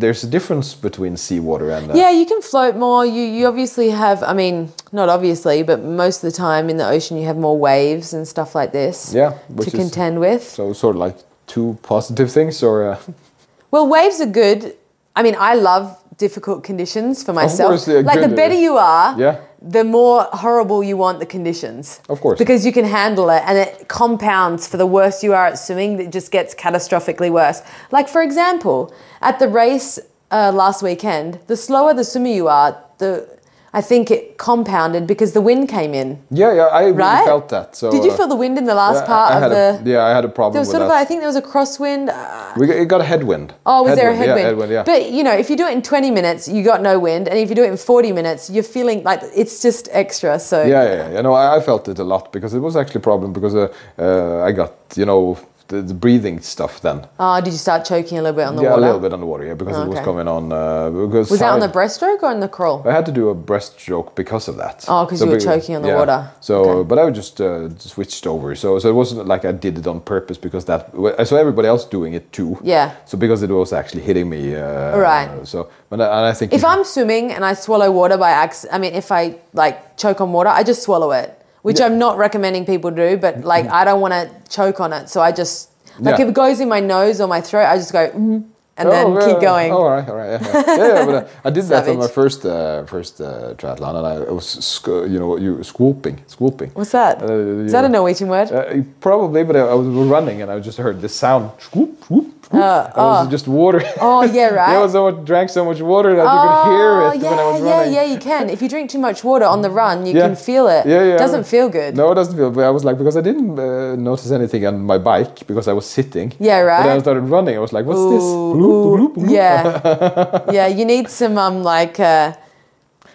Speaker 1: there's a difference between seawater and uh,
Speaker 3: Yeah, you can float more. You you obviously have. I mean, not obviously, but most of the time in the ocean you have more waves and stuff like this.
Speaker 1: Yeah, which
Speaker 3: To
Speaker 1: is-
Speaker 3: contend with.
Speaker 1: So sort of like two positive things, or uh, <laughs>
Speaker 3: Well, waves are good. I mean, I love difficult conditions for myself.
Speaker 1: course they're
Speaker 3: like
Speaker 1: good.
Speaker 3: the better you are,
Speaker 1: Yeah.
Speaker 3: the more horrible you want the conditions.
Speaker 1: Of course.
Speaker 3: Because you can handle it and it compounds for the worse you are at swimming, it just gets catastrophically worse. Like for example, at the race uh, last weekend, the slower the swimmer you are, the I think it compounded because the wind came in.
Speaker 1: yeah, yeah. I really
Speaker 3: Right?
Speaker 1: felt that. So
Speaker 3: Did you
Speaker 1: uh,
Speaker 3: feel the wind in the last
Speaker 1: yeah,
Speaker 3: part
Speaker 1: I, I
Speaker 3: of
Speaker 1: had
Speaker 3: the?
Speaker 1: a, yeah, I had a
Speaker 3: there
Speaker 1: problem
Speaker 3: was
Speaker 1: with
Speaker 3: sort of,
Speaker 1: that.
Speaker 3: I think there was a crosswind. Uh,
Speaker 1: we got, it got a headwind.
Speaker 3: Oh, was there a
Speaker 1: Yeah,
Speaker 3: headwind?
Speaker 1: headwind. Yeah.
Speaker 3: But you know, if you do it in 20 minutes, you got no wind, and if you do it in 40 minutes, you're feeling like it's just extra. So
Speaker 1: Yeah, yeah, yeah. No, I, I felt it a lot because it was actually a problem because uh, uh, I got you know the, the breathing stuff then.
Speaker 3: Oh, did you start choking a little bit on the
Speaker 1: yeah,
Speaker 3: water?
Speaker 1: a little bit on the water, yeah, because it was
Speaker 3: Okay.
Speaker 1: coming on. Uh, because
Speaker 3: Was that on the
Speaker 1: side-
Speaker 3: breaststroke or on the crawl?
Speaker 1: I had to do a breaststroke because of that.
Speaker 3: Oh, 'cause you were choking on the water.
Speaker 1: So,
Speaker 3: Okay.
Speaker 1: but I was just uh, switched over. So, so it wasn't like I did it on purpose because that. I saw everybody else doing it too.
Speaker 3: Yeah.
Speaker 1: So because it was actually hitting me. Uh,
Speaker 3: Right.
Speaker 1: So, and I, and I think
Speaker 3: If I'm swimming and I swallow water by accident, I mean, if I like choke on water, I just swallow it, which I'm not recommending people do, but like I don't want to choke on it, so I just like
Speaker 1: Yeah.
Speaker 3: if it goes in my nose or my throat, I just go mm, and then
Speaker 1: yeah,
Speaker 3: keep
Speaker 1: yeah.
Speaker 3: going.
Speaker 1: Oh, all right, all right. Yeah, yeah. yeah, yeah, but uh, I did that on my
Speaker 3: Savage.
Speaker 1: first uh, first uh, triathlon, and I was sc- you know you scooping, scooping.
Speaker 3: What's that? Is
Speaker 1: Uh,
Speaker 3: that
Speaker 1: yeah.
Speaker 3: a Norwegian word?
Speaker 1: Uh, probably, but I, I was running and I just heard this sound. Whoop, whoop, whoop.
Speaker 3: Uh,
Speaker 1: And it was just water. <laughs>
Speaker 3: oh yeah, right.
Speaker 1: I was so much, drank so much water that you could hear it
Speaker 3: Oh, yeah,
Speaker 1: when I was
Speaker 3: yeah,
Speaker 1: running. Mm.
Speaker 3: yeah, you can. If you drink too much water on the run, you
Speaker 1: Yeah.
Speaker 3: can feel it.
Speaker 1: Yeah, yeah.
Speaker 3: Doesn't feel good.
Speaker 1: No, it doesn't feel. But I was like, because I didn't uh, notice anything on my bike because I was sitting.
Speaker 3: Yeah,
Speaker 1: But then I
Speaker 3: right.
Speaker 1: started running. I was like, what's this?
Speaker 3: Ooh,
Speaker 1: Bloop,
Speaker 3: ooh,
Speaker 1: bloop, bloop.
Speaker 3: Yeah,
Speaker 1: <laughs>
Speaker 3: yeah. You need some um like uh,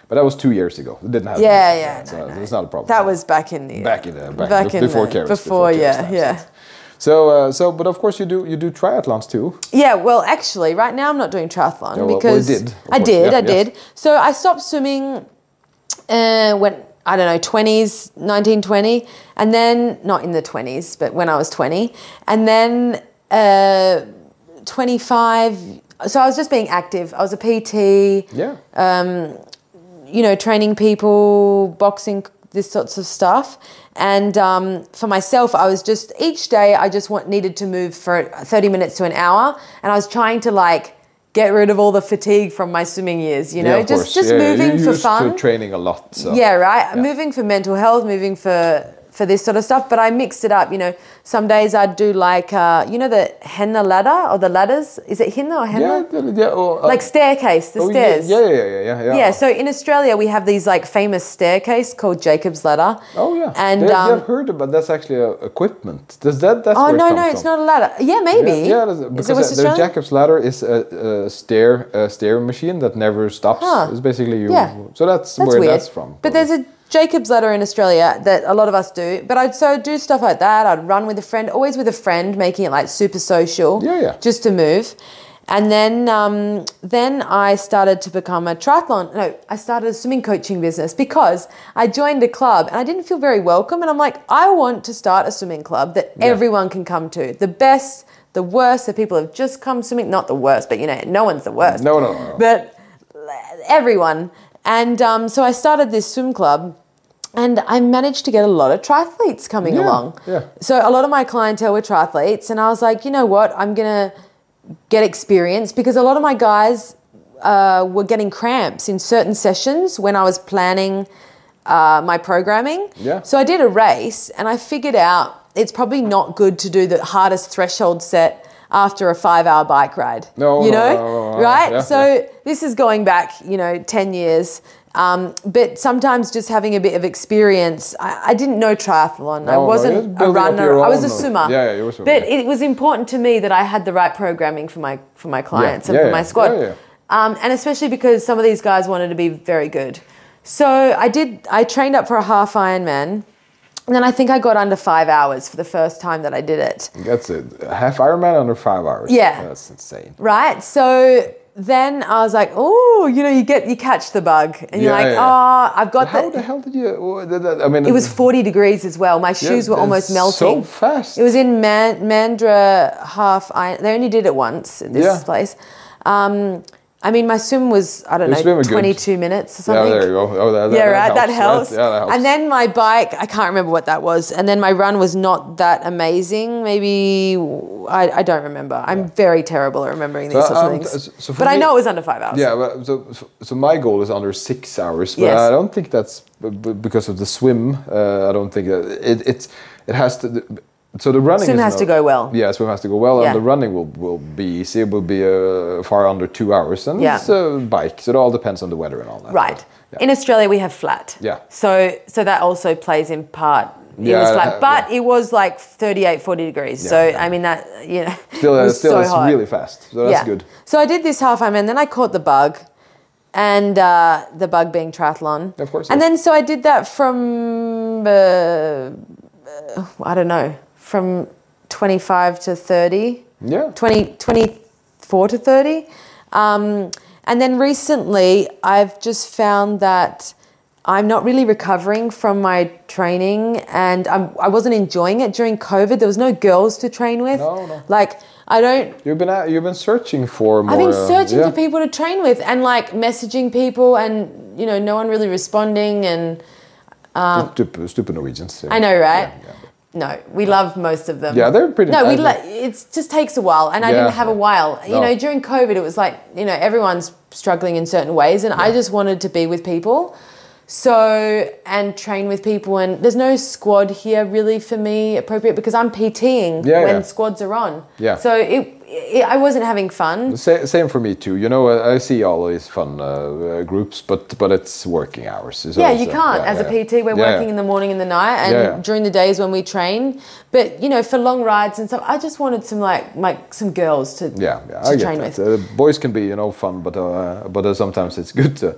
Speaker 1: But that was two years ago. It didn't happen.
Speaker 3: Yeah,
Speaker 1: this
Speaker 3: yeah,
Speaker 1: time, So it's not a problem.
Speaker 3: that was back in the
Speaker 1: back in the back,
Speaker 3: back in
Speaker 1: before
Speaker 3: the-
Speaker 1: Keros,
Speaker 3: before,
Speaker 1: Keros
Speaker 3: yeah,
Speaker 1: times.
Speaker 3: yeah.
Speaker 1: So, uh, so, but of course you do you do triathlons too.
Speaker 3: Yeah, well, actually, right now I'm not doing triathlon
Speaker 1: Yeah, Oh, well- well, you
Speaker 3: because
Speaker 1: did, of
Speaker 3: I
Speaker 1: course.
Speaker 3: did,
Speaker 1: Yeah,
Speaker 3: I
Speaker 1: yes.
Speaker 3: did. So I stopped swimming uh, when I don't know, 20s, 19, 20, and then not in the 20s, but when I was 20, and then uh, 25. So I was just being active. I was a PT,
Speaker 1: Yeah.
Speaker 3: Uh, you know, training people, boxing, this sorts of stuff. And um, for myself, I was just each day I just want, needed to move for 30 minutes to an hour, and I was trying to like get rid of all the fatigue from my swimming years. You
Speaker 1: Yeah,
Speaker 3: know,
Speaker 1: of
Speaker 3: just
Speaker 1: course.
Speaker 3: just
Speaker 1: Yeah,
Speaker 3: moving
Speaker 1: you're
Speaker 3: for
Speaker 1: used
Speaker 3: fun.
Speaker 1: To training a lot. So.
Speaker 3: Yeah, right.
Speaker 1: Yeah.
Speaker 3: Moving for mental health, moving for for this sort of stuff. But I mixed it up. You know, some days I'd do like uh, you know the henna ladder or the ladders. Is it henna or
Speaker 1: Yeah.
Speaker 3: henna?
Speaker 1: yeah, yeah or, uh,
Speaker 3: Like staircase, the
Speaker 1: oh, yeah,
Speaker 3: stairs.
Speaker 1: Yeah, yeah, yeah, yeah, yeah.
Speaker 3: Yeah, so in Australia we have these like famous staircase called Jacob's Ladder.
Speaker 1: Oh yeah,
Speaker 3: And
Speaker 1: they,
Speaker 3: um,
Speaker 1: they've heard about that's actually uh, equipment. Does that? That's
Speaker 3: oh
Speaker 1: where it
Speaker 3: no,
Speaker 1: comes
Speaker 3: no, it's
Speaker 1: from.
Speaker 3: not a ladder. Yeah, maybe.
Speaker 1: Yeah, yeah that's-
Speaker 3: Is it
Speaker 1: because uh,
Speaker 3: West
Speaker 1: the
Speaker 3: Australian?
Speaker 1: Jacob's ladder is a, a stair a stair machine that never stops.
Speaker 3: Huh.
Speaker 1: It's basically you.
Speaker 3: Yeah.
Speaker 1: So that's,
Speaker 3: That's
Speaker 1: where
Speaker 3: weird.
Speaker 1: that's from.
Speaker 3: But there's a Jacob's Ladder in Australia that a lot of us do. But I'd so I'd do stuff like that. I'd run with a friend, always with a friend, making it like super social.
Speaker 1: Yeah, yeah.
Speaker 3: Just to move. And then, um, then I started to become a triathlon. No, I started a swimming coaching business because I joined a club and I didn't feel very welcome. And I'm like, I want to start a swimming club that everyone can come to. The best, the worst, the people who've just come swimming. Not the worst, but you know, no one's the worst.
Speaker 1: No, no, no, no.
Speaker 3: But everyone. And um, so I started this swim club, and I managed to get a lot of triathletes coming
Speaker 1: Yeah,
Speaker 3: along.
Speaker 1: yeah.
Speaker 3: So a lot of my clientele were triathletes, and I was like, you know what? I'm gonna get experience because a lot of my guys uh, were getting cramps in certain sessions when I was planning uh, my programming.
Speaker 1: Yeah.
Speaker 3: So I did a race, and I figured out it's probably not good to do the hardest threshold set after a five-hour bike ride.
Speaker 1: No,
Speaker 3: you
Speaker 1: no,
Speaker 3: know,
Speaker 1: no, no, no, no.
Speaker 3: right?
Speaker 1: Yeah,
Speaker 3: so
Speaker 1: yeah.
Speaker 3: this is going back, you know, 10 years. Um, but sometimes just having a bit of experience, I, I didn't know triathlon.
Speaker 1: No,
Speaker 3: I
Speaker 1: no, you're
Speaker 3: wasn't a
Speaker 1: building up
Speaker 3: runner.
Speaker 1: your
Speaker 3: I was a
Speaker 1: own
Speaker 3: swimmer.
Speaker 1: knowledge. Yeah, yeah, you were a swimmer,
Speaker 3: But
Speaker 1: yeah.
Speaker 3: it was important to me that I had the right programming for my for my clients and
Speaker 1: yeah,
Speaker 3: for my
Speaker 1: yeah,
Speaker 3: squad.
Speaker 1: yeah, yeah.
Speaker 3: Um, and especially because some of these guys wanted to be very good. So I did. I trained up for a half Ironman, and then I think I got under five hours for the first time that I did it.
Speaker 1: That's it. A half Ironman under five hours.
Speaker 3: Yeah.
Speaker 1: That's insane.
Speaker 3: right? So then I was like, oh, you know, you get you catch the bug, and you're
Speaker 1: Yeah,
Speaker 3: like,
Speaker 1: yeah,
Speaker 3: oh,
Speaker 1: yeah.
Speaker 3: I've got
Speaker 1: How the
Speaker 3: the.
Speaker 1: hell did you? wha- did that- I mean,
Speaker 3: It was 40 degrees as well. My
Speaker 1: yeah,
Speaker 3: shoes were
Speaker 1: it's
Speaker 3: almost melting.
Speaker 1: So fast.
Speaker 3: It was in Man- Mandra half. I they only did it once at this
Speaker 1: Yeah.
Speaker 3: place. Um, I mean, my swim was I don't
Speaker 1: Your swim
Speaker 3: know
Speaker 1: were good.
Speaker 3: 22 minutes or
Speaker 1: Yeah,
Speaker 3: something.
Speaker 1: there you go. Oh, that, that,
Speaker 3: Yeah,
Speaker 1: that
Speaker 3: right. that
Speaker 1: helps,
Speaker 3: helps.
Speaker 1: right? Yeah, that helps.
Speaker 3: And then my bike, I can't remember what that was. And then my run was not that amazing. Maybe I, I don't remember. I'm very terrible at remembering these
Speaker 1: So,
Speaker 3: sorts of
Speaker 1: um,
Speaker 3: things.
Speaker 1: so- so for
Speaker 3: but I
Speaker 1: me-
Speaker 3: know it was under five hours.
Speaker 1: Yeah, well, so, so- so my goal is under six hours, but
Speaker 3: Yes.
Speaker 1: I don't think that's b- b- because of the swim. Uh, I don't think that it it, it has to. So the running
Speaker 3: Swim
Speaker 1: is
Speaker 3: has
Speaker 1: no-
Speaker 3: to go well.
Speaker 1: Yeah, swim has to go well,
Speaker 3: Yeah.
Speaker 1: and the running will, will be easy. It will be uh, far under two hours, and
Speaker 3: Yeah.
Speaker 1: it's a bike, so it all depends on the weather and all that.
Speaker 3: Right.
Speaker 1: Yeah.
Speaker 3: In Australia, we have flat.
Speaker 1: Yeah.
Speaker 3: So so that also plays in part. It
Speaker 1: Yeah,
Speaker 3: was
Speaker 1: uh,
Speaker 3: flat, but
Speaker 1: yeah.
Speaker 3: it was like 38, 40 degrees.
Speaker 1: Yeah,
Speaker 3: so
Speaker 1: yeah.
Speaker 3: I mean that you know, <laughs>
Speaker 1: Still,
Speaker 3: it
Speaker 1: uh,
Speaker 3: was
Speaker 1: still,
Speaker 3: so
Speaker 1: it's
Speaker 3: hot.
Speaker 1: really fast. So that's good.
Speaker 3: So I did this half Ironman, then I caught the bug, and uh, the bug being triathlon.
Speaker 1: Of course,
Speaker 3: And
Speaker 1: yes.
Speaker 3: then so I did that from uh, uh, I don't know from 25 to 30.
Speaker 1: Yeah.
Speaker 3: 20, 24 to 30. Um, and then recently, I've just found that I'm not really recovering from my training and I'm, I wasn't enjoying it during COVID. There was no girls to train with.
Speaker 1: No, no.
Speaker 3: Like, I don't
Speaker 1: You've been out, you've been searching for more.
Speaker 3: I've been
Speaker 1: uh,
Speaker 3: searching
Speaker 1: yeah.
Speaker 3: for people to train with and like messaging people and you know no one really responding and
Speaker 1: Stupid, stupid Norwegians. yeah.
Speaker 3: I know right
Speaker 1: Yeah, yeah.
Speaker 3: no we love most of them
Speaker 1: Yeah, they're pretty
Speaker 3: no we
Speaker 1: nice.
Speaker 3: like it just takes a while and I
Speaker 1: Yeah.
Speaker 3: didn't have a while you
Speaker 1: No.
Speaker 3: know during covid it was like you know everyone's struggling in certain ways and I just wanted to be with people so and train with people and there's no squad here really for me appropriate because I'm PTing
Speaker 1: Yeah,
Speaker 3: when
Speaker 1: yeah.
Speaker 3: squads are on
Speaker 1: Yeah.
Speaker 3: so it, it I wasn't having fun
Speaker 1: Sa- Same for me too. You know, I I see all these fun uh, uh, groups, but but it's working hours. It's
Speaker 3: Yeah,
Speaker 1: also-
Speaker 3: you can't.
Speaker 1: yeah,
Speaker 3: As
Speaker 1: yeah,
Speaker 3: a PT, we're
Speaker 1: yeah, yeah.
Speaker 3: working in the morning and the night, and
Speaker 1: Yeah, yeah.
Speaker 3: during the days when we train. But you know, for long rides and stuff, I just wanted some like like some girls to
Speaker 1: Yeah, yeah,
Speaker 3: to
Speaker 1: I get
Speaker 3: train
Speaker 1: that.
Speaker 3: with.
Speaker 1: Uh, boys can be you know fun, but uh, but uh, sometimes it's good to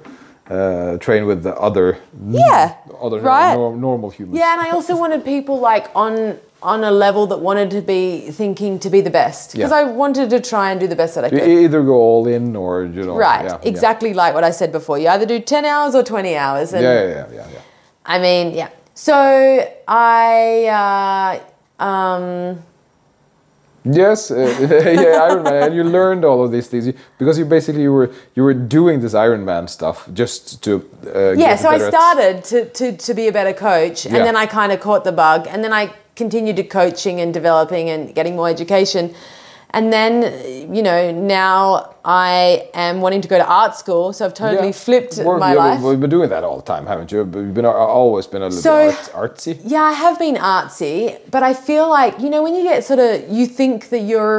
Speaker 1: uh, train with the other
Speaker 3: Yeah,
Speaker 1: other
Speaker 3: right?
Speaker 1: nor- normal humans.
Speaker 3: Yeah, and I
Speaker 1: <laughs>
Speaker 3: also wanted people like on on a level that wanted to be thinking to be the best because
Speaker 1: Yeah.
Speaker 3: I wanted to try and do the best that I
Speaker 1: You
Speaker 3: could.
Speaker 1: E-, either go all in or you know.
Speaker 3: right,
Speaker 1: yeah, yeah.
Speaker 3: exactly like what I said before. You either do ten hours or twenty hours, and
Speaker 1: Yeah, yeah, yeah, yeah. yeah.
Speaker 3: I mean, yeah. So I. Uh, um,
Speaker 1: Yes, uh, <laughs> yeah, Iron Man, and you learned all of these things you, because you basically were you were doing this Iron Man stuff just to uh,
Speaker 3: yeah
Speaker 1: get
Speaker 3: so i
Speaker 1: better at-
Speaker 3: started to, to, to be a better coach and
Speaker 1: Yeah.
Speaker 3: then i kind of caught the bug and then i continued to coaching and developing and getting more education and then you know now i am wanting to go to art school so i've totally
Speaker 1: Yeah.
Speaker 3: flipped
Speaker 1: Well,
Speaker 3: my
Speaker 1: yeah,
Speaker 3: life
Speaker 1: We've been doing that all the time, haven't you? But You've been uh, always been a little
Speaker 3: So-
Speaker 1: bit art, artsy.
Speaker 3: yeah i have been artsy but i feel like you know when you get sort of you think that you're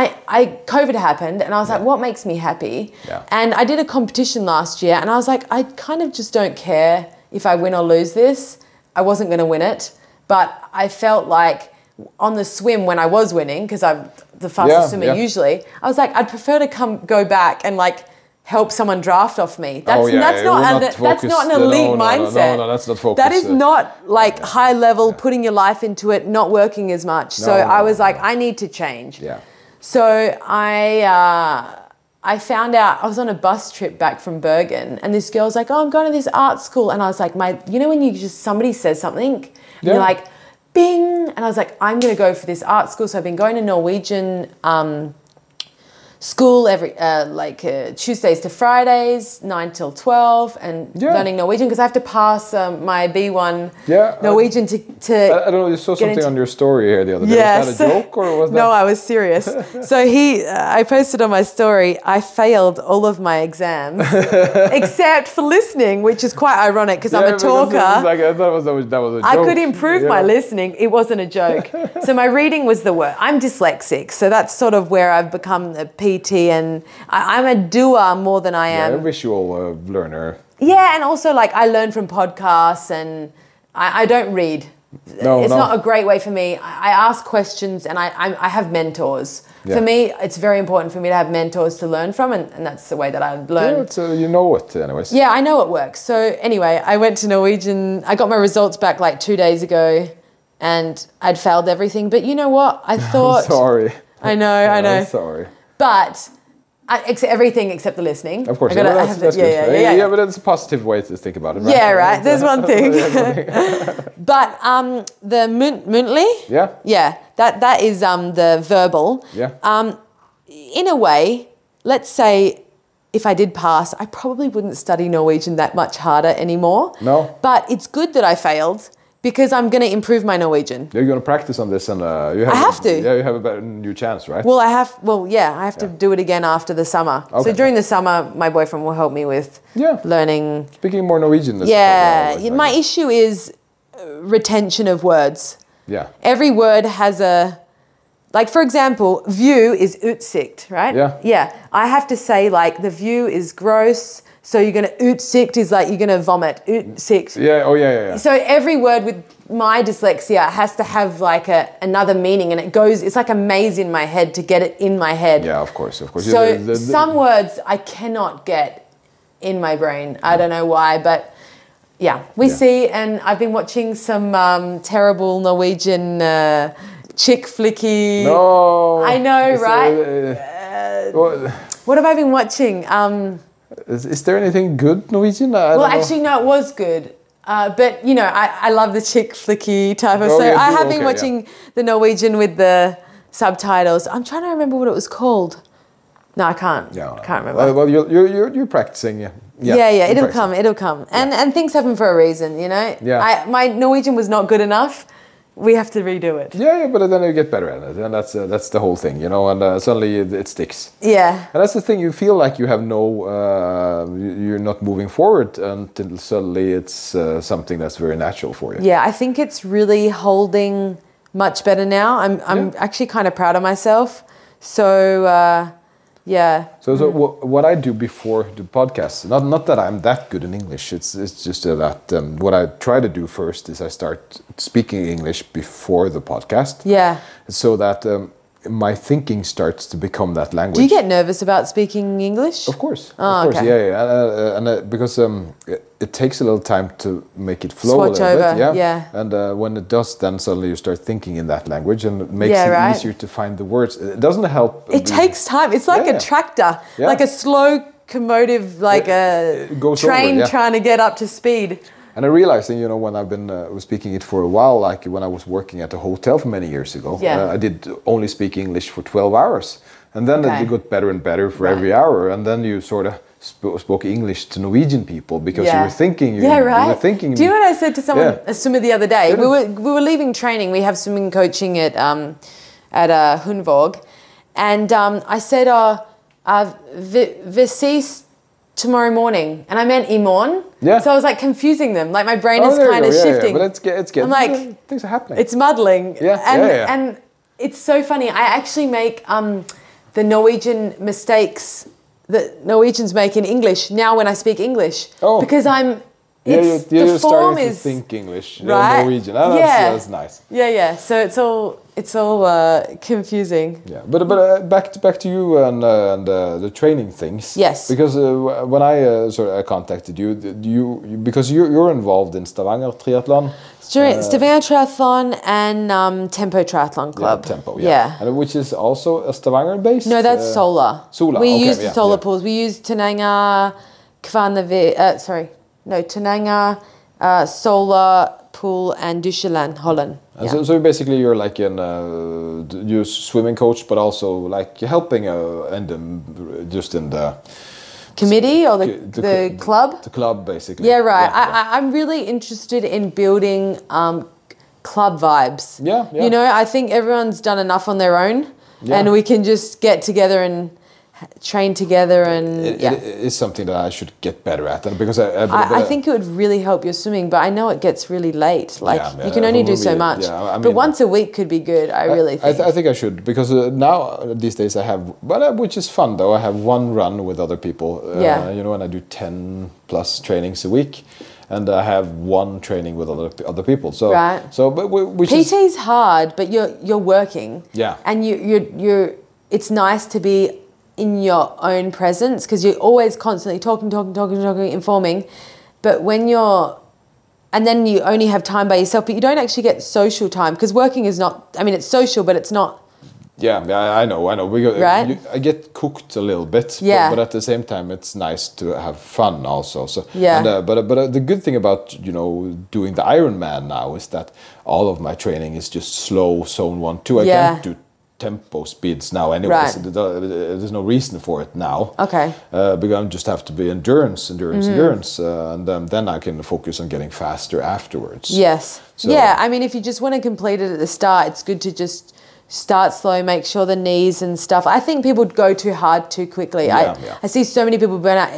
Speaker 3: I, I covid happened and i was like what makes me happy
Speaker 1: Yeah.
Speaker 3: and i did a competition last year and i was like i kind of just don't care if i win or lose this i wasn't going to win it but i felt like on the swim when i was winning because i'm the fastest
Speaker 1: Yeah,
Speaker 3: swimmer
Speaker 1: yeah.
Speaker 3: usually i was like i'd prefer to come go back and like help someone draft off me that's,
Speaker 1: Oh, yeah,
Speaker 3: that's,
Speaker 1: it
Speaker 3: not,
Speaker 1: will
Speaker 3: an,
Speaker 1: not
Speaker 3: that's
Speaker 1: focus-
Speaker 3: not an
Speaker 1: no,
Speaker 3: elite
Speaker 1: no, no, no, no,
Speaker 3: mindset
Speaker 1: no, that's not
Speaker 3: that
Speaker 1: focus,
Speaker 3: is
Speaker 1: uh,
Speaker 3: not like high level putting your life into it not working as much so
Speaker 1: No,
Speaker 3: i
Speaker 1: no,
Speaker 3: was
Speaker 1: no,
Speaker 3: like
Speaker 1: no.
Speaker 3: i need to change
Speaker 1: Yeah.
Speaker 3: so I uh, I found out I was on a bus trip back from Bergen, and this girl's like, "Oh, I'm going to this art school," and I was like, "My, you know, when you just somebody says something, and you're
Speaker 1: Yeah.
Speaker 3: like, bing," and I was like, "I'm going to go for this art school." So I've been going to Norwegian. Um, School every uh, like uh, Tuesdays to Fridays, nine till twelve, and
Speaker 1: Yeah.
Speaker 3: learning Norwegian because I have to pass um, my B one
Speaker 1: Yeah, I-
Speaker 3: Norwegian to, to
Speaker 1: I, I don't know. You saw something
Speaker 3: into-
Speaker 1: on your story here the other day. Was that a joke or
Speaker 3: <laughs>
Speaker 1: was that?
Speaker 3: no, I was serious.
Speaker 1: <laughs>
Speaker 3: So he, uh, I posted on my story, I failed all of my
Speaker 1: <laughs>
Speaker 3: exams except for listening, which is quite ironic because
Speaker 1: Yeah,
Speaker 3: I'm a
Speaker 1: because it's
Speaker 3: talker.
Speaker 1: Like, I thought it was, that was that was a
Speaker 3: I
Speaker 1: joke.
Speaker 3: could improve
Speaker 1: Yeah.
Speaker 3: my listening. It wasn't a
Speaker 1: <laughs>
Speaker 3: joke. so my reading was the worst. I'm dyslexic, so that's sort of where I've become a PT, and I, I'm a doer more than I
Speaker 1: Yeah,
Speaker 3: am.
Speaker 1: a visual uh, learner.
Speaker 3: yeah, and also like I learn from podcasts and I, I don't read.
Speaker 1: No,
Speaker 3: it's
Speaker 1: no.
Speaker 3: not a great way for me. I, I ask questions and I, I, I have mentors.
Speaker 1: Yeah.
Speaker 3: For me, it's very important for me to have mentors to learn from, and, and that's the way that I learn.
Speaker 1: Yeah, it's, uh, you know it, anyways. <laughs>
Speaker 3: Yeah, I know it works. So anyway, I went to Norwegian. I got my results back like two days ago, and I'd failed everything. But you know what?
Speaker 1: <laughs>
Speaker 3: I thought.
Speaker 1: Sorry.
Speaker 3: I know. I know.
Speaker 1: I'm sorry.
Speaker 3: But I, ex- everything except the listening.
Speaker 1: Of course,
Speaker 3: I gotta-
Speaker 1: yeah,
Speaker 3: I
Speaker 1: that's,
Speaker 3: have
Speaker 1: that's
Speaker 3: to- yeah,
Speaker 1: good.
Speaker 3: yeah, yeah, yeah.
Speaker 1: but it's a positive way to think about it, right? <laughs>
Speaker 3: Yeah, right. There's one thing. <laughs> but um, the munt- muntly.
Speaker 1: yeah.
Speaker 3: Yeah, that that is um the verbal.
Speaker 1: Yeah.
Speaker 3: Um, in a way, let's say if I did pass, I probably wouldn't study Norwegian that much harder anymore.
Speaker 1: No.
Speaker 3: But it's good that I failed because I'm going to improve my Norwegian.
Speaker 1: You're going to practice on this, and uh, you have.
Speaker 3: have to.
Speaker 1: Yeah, you have a better new chance, right?
Speaker 3: Well, I have. Well, yeah, I have to do it again after the summer.
Speaker 1: Okay.
Speaker 3: So during the summer, my boyfriend will help me with
Speaker 1: Yeah.
Speaker 3: learning.
Speaker 1: Speaking more Norwegian. uh, Is
Speaker 3: Yeah,
Speaker 1: probably always
Speaker 3: my
Speaker 1: nice.
Speaker 3: issue is uh, retention of words.
Speaker 1: Yeah.
Speaker 3: every word has a like for example view is utsicht right
Speaker 1: Yeah.
Speaker 3: yeah i have to say like the view is gross so you're gonna utsicht is like you're gonna vomit utsicht
Speaker 1: Yeah. Oh yeah. Yeah. yeah.
Speaker 3: so every word with my dyslexia has to have like a another meaning and it goes it's like a maze in my head to get it in my head
Speaker 1: Yeah, of course, of course.
Speaker 3: so
Speaker 1: The- the- the-
Speaker 3: some words i cannot get in my brain i don't know why but yeah, we
Speaker 1: Yeah.
Speaker 3: see, and I've been watching some um, terrible Norwegian uh, chick flicky.
Speaker 1: No.
Speaker 3: I know,
Speaker 1: It's, uh, uh, well,
Speaker 3: What have I been watching? Um,
Speaker 1: is, is there anything good Norwegian? I
Speaker 3: well,
Speaker 1: don't know.
Speaker 3: actually, no, it was good. Uh, but you know, I, I love the chick flicky type of.
Speaker 1: Oh,
Speaker 3: so
Speaker 1: yeah,
Speaker 3: I
Speaker 1: do-
Speaker 3: have been
Speaker 1: okay,
Speaker 3: watching the Norwegian with the subtitles. I'm trying to remember what it was called. No, I can't.
Speaker 1: Yeah,
Speaker 3: I can't remember.
Speaker 1: Well, well you're, you're, you're, you're practicing. Yeah,
Speaker 3: yeah, yeah,
Speaker 1: you're
Speaker 3: it'll
Speaker 1: practicing.
Speaker 3: come, it'll come, and and things happen for a reason, you know.
Speaker 1: Yeah.
Speaker 3: I, my Norwegian was not good enough. We have to redo it.
Speaker 1: Yeah, yeah, but then you get better at it, and that's uh, that's the whole thing, you know. And uh, suddenly it, it sticks.
Speaker 3: Yeah.
Speaker 1: And that's the thing. You feel like you have no, uh, you- you're not moving forward until suddenly it's uh, something that's very natural for you.
Speaker 3: Yeah, I think it's really holding much better now. I'm I'm
Speaker 1: Yeah.
Speaker 3: actually kind of proud of myself. So uh, yeah,
Speaker 1: So, so wh- what I do before the podcast, not not that I'm that good in English. It's it's just that um, what I try to do first is I start speaking English before the podcast.
Speaker 3: yeah.
Speaker 1: So that um, my thinking starts to become that language.
Speaker 3: Do you get nervous about speaking English?
Speaker 1: Of course,
Speaker 3: Oh,
Speaker 1: of course,
Speaker 3: okay.
Speaker 1: yeah, yeah, and, uh, and uh, because um, it, it takes a little time to make it flow
Speaker 3: Swatch
Speaker 1: a little
Speaker 3: over,
Speaker 1: bit, yeah,
Speaker 3: yeah.
Speaker 1: and uh, when it does, then suddenly you start thinking in that language, and it makes
Speaker 3: Yeah,
Speaker 1: it
Speaker 3: right.
Speaker 1: easier to find the words. It doesn't help.
Speaker 3: It
Speaker 1: the-
Speaker 3: takes time. It's like
Speaker 1: Yeah.
Speaker 3: a tractor,
Speaker 1: Yeah.
Speaker 3: like a slow commotive, like a
Speaker 1: it goes over,
Speaker 3: train
Speaker 1: yeah.
Speaker 3: trying to get up to speed.
Speaker 1: And I realized, that, you know, when I've been uh, was speaking it for a while, like when I was working at a hotel for many years ago,
Speaker 3: Yeah.
Speaker 1: uh, I did only speak English for 12 hours. And then
Speaker 3: Okay.
Speaker 1: it got better and better for every hour. And then you sort of sp- spoke English to Norwegian people because you were thinking, you,
Speaker 3: yeah,
Speaker 1: you
Speaker 3: right.
Speaker 1: were thinking.
Speaker 3: Do you know what I said to someone,
Speaker 1: Yeah.
Speaker 3: a swimmer the other day?
Speaker 1: Yeah.
Speaker 3: We were we were leaving training. We have swimming coaching at um, at uh, Hundvåg, and um, I said, "Uh, uh vi- vi ses tomorrow morning," and I meant imorn.
Speaker 1: Yeah.
Speaker 3: So I was like confusing them. Like my brain
Speaker 1: Oh,
Speaker 3: is
Speaker 1: there you
Speaker 3: kind
Speaker 1: go.
Speaker 3: of
Speaker 1: Yeah, yeah,
Speaker 3: shifting.
Speaker 1: But it's ge- it's getting
Speaker 3: like,
Speaker 1: uh, things are happening.
Speaker 3: It's muddling.
Speaker 1: Yeah,
Speaker 3: And,
Speaker 1: yeah, yeah.
Speaker 3: and it's so funny. I actually make um, the Norwegian mistakes that Norwegians make in English now when I speak English.
Speaker 1: Oh.
Speaker 3: Because I'm.
Speaker 1: yeah,
Speaker 3: It's,
Speaker 1: you're,
Speaker 3: the
Speaker 1: you're
Speaker 3: form
Speaker 1: starting
Speaker 3: is.
Speaker 1: to think English, uh,
Speaker 3: right?
Speaker 1: Norwegian. Ah, that's,
Speaker 3: Yeah.
Speaker 1: that's nice.
Speaker 3: Yeah, yeah. So it's all it's all uh, confusing.
Speaker 1: Yeah, but but uh, back to, back to you and uh, and uh, the training things.
Speaker 3: Yes.
Speaker 1: Because uh, w- when I uh, sort of contacted you, th- you, you because you're, you're involved in Stavanger Triathlon
Speaker 3: During Stavanger Triathlon and um, Tempo Triathlon Club.
Speaker 1: uh, Yeah, Tempo, yeah, and which is also a Stavanger based.
Speaker 3: No, that's solar.
Speaker 1: solar,
Speaker 3: We
Speaker 1: okay,
Speaker 3: use the
Speaker 1: yeah,
Speaker 3: solar
Speaker 1: yeah.
Speaker 3: pools. We use Tananga, Kvanavi, uh, sorry, no, Tananga, uh, solar pool and Dushelan, Holland.
Speaker 1: And
Speaker 3: Yeah.
Speaker 1: so, so basically, you're like an uh, d- you're a swimming coach, but also like you're helping uh, and um, just in the
Speaker 3: Committee or Oh, the,
Speaker 1: the
Speaker 3: the,
Speaker 1: cl-
Speaker 3: club?
Speaker 1: the club basically.
Speaker 3: yeah, right.
Speaker 1: yeah.
Speaker 3: I, I, I'm really interested in building um, club vibes.
Speaker 1: Yeah, yeah.
Speaker 3: You know, I think everyone's done enough on their own
Speaker 1: Yeah.
Speaker 3: and we can just get together and train together and
Speaker 1: It,
Speaker 3: yeah.
Speaker 1: it is something that I should get better at, and because I, I, but uh,
Speaker 3: I, I think it would really help your swimming, but I know it gets really late. Like
Speaker 1: Yeah,
Speaker 3: you can
Speaker 1: yeah,
Speaker 3: only
Speaker 1: for
Speaker 3: do so
Speaker 1: me,
Speaker 3: much.
Speaker 1: yeah, I
Speaker 3: but
Speaker 1: mean-
Speaker 3: once a week could be good. I really
Speaker 1: I,
Speaker 3: think.
Speaker 1: th- I think I should because uh, now uh, these days I have, but uh, which is fun though. I have one run with other people. Uh,
Speaker 3: Yeah.
Speaker 1: You know, and I do ten plus trainings a week, and I have one training with other other people. So
Speaker 3: Right.
Speaker 1: so but we, which is
Speaker 3: PT's hard, but you're you're working.
Speaker 1: Yeah.
Speaker 3: And you you you it's nice to be in your own presence because you're always constantly talking, talking, talking, talking, informing. But when you're and then you only have time by yourself, but you don't actually get social time because working is not I mean it's social, but it's not
Speaker 1: yeah yeah, I, I know I know because
Speaker 3: Right.
Speaker 1: you, I get cooked a little bit. but-
Speaker 3: Yeah.
Speaker 1: But, at the same time, it's nice to have fun also. So
Speaker 3: Yeah.
Speaker 1: And, uh, but uh, but uh, the good thing about you know doing the Ironman now is that all of my training is just slow zone one two. I
Speaker 3: Yeah.
Speaker 1: can't do tempo speeds now anyway.
Speaker 3: Right.
Speaker 1: So the- the- there's no reason for it now.
Speaker 3: Okay. Mm-hmm.
Speaker 1: Uh, because I just have to be endurance, endurance, endurance, uh, and um, then I can focus on getting faster afterwards.
Speaker 3: Yes.
Speaker 1: So-
Speaker 3: yeah, I mean, if you just want to complete it at the start, it's good to just start slow, make sure the knees and stuff. I think people go too hard too quickly.
Speaker 1: Yeah,
Speaker 3: I,
Speaker 1: yeah.
Speaker 3: I see so many people burn out.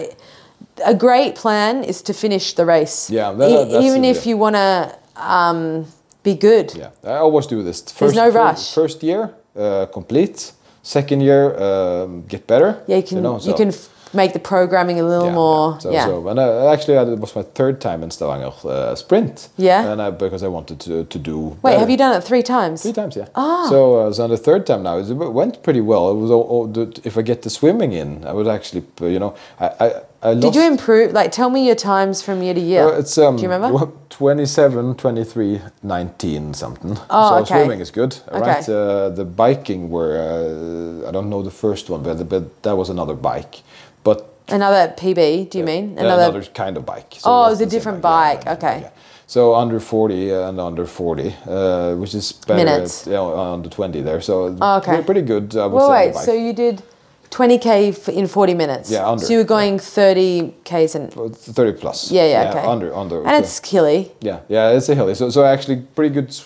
Speaker 3: A great plan is to finish the race.
Speaker 1: Yeah, that-
Speaker 3: E-
Speaker 1: that's-
Speaker 3: even if
Speaker 1: yeah.
Speaker 3: you want to um, be good.
Speaker 1: Yeah, I always do this. First,
Speaker 3: There's no
Speaker 1: fir-
Speaker 3: rush.
Speaker 1: First year, uh, complete. Second year, um, get better.
Speaker 3: Yeah, you can you,
Speaker 1: know, so-
Speaker 3: can f- make the programming a little
Speaker 1: yeah,
Speaker 3: more.
Speaker 1: Yeah. So,
Speaker 3: yeah.
Speaker 1: so- and uh, actually, I, it was my third time in Stavanger uh, sprint.
Speaker 3: Yeah.
Speaker 1: And I, because I wanted to to do.
Speaker 3: Wait,
Speaker 1: better.
Speaker 3: have you done Ah. it three times?
Speaker 1: Three times, yeah. So, uh, so on the third time now, it went pretty well. It was all, all the, if I get the swimming in, I would actually, you know, I I, I lost.
Speaker 3: Did you improve? Like, tell me your times from year to year.
Speaker 1: Uh, it's um,
Speaker 3: Do you remember?
Speaker 1: well, 27, 23, 19 something.
Speaker 3: Oh,
Speaker 1: so
Speaker 3: okay.
Speaker 1: swimming is good,
Speaker 3: Okay.
Speaker 1: right? Uh, the biking were uh, I don't know the first one, but, but that was another bike, but
Speaker 3: Another PB? Do you mean
Speaker 1: yeah, another, kind of bike. So
Speaker 3: Oh, it was
Speaker 1: wasn't
Speaker 3: a
Speaker 1: the same
Speaker 3: different bike,
Speaker 1: yeah,
Speaker 3: okay.
Speaker 1: So under 40 and under 40, uh, which is better
Speaker 3: Minutes.
Speaker 1: At, yeah, under 20 there. So
Speaker 3: Oh, okay.
Speaker 1: pre- pretty good, I would
Speaker 3: Well,
Speaker 1: say. on the
Speaker 3: wait,
Speaker 1: bike.
Speaker 3: so you did 20k f- in 40 minutes.
Speaker 1: Yeah, under,
Speaker 3: So you were going 30k's and
Speaker 1: But 30 plus.
Speaker 3: yeah, yeah, okay.
Speaker 1: Under, under.
Speaker 3: And it's hilly.
Speaker 1: Yeah, yeah, it's a hilly. So, so actually, pretty good s-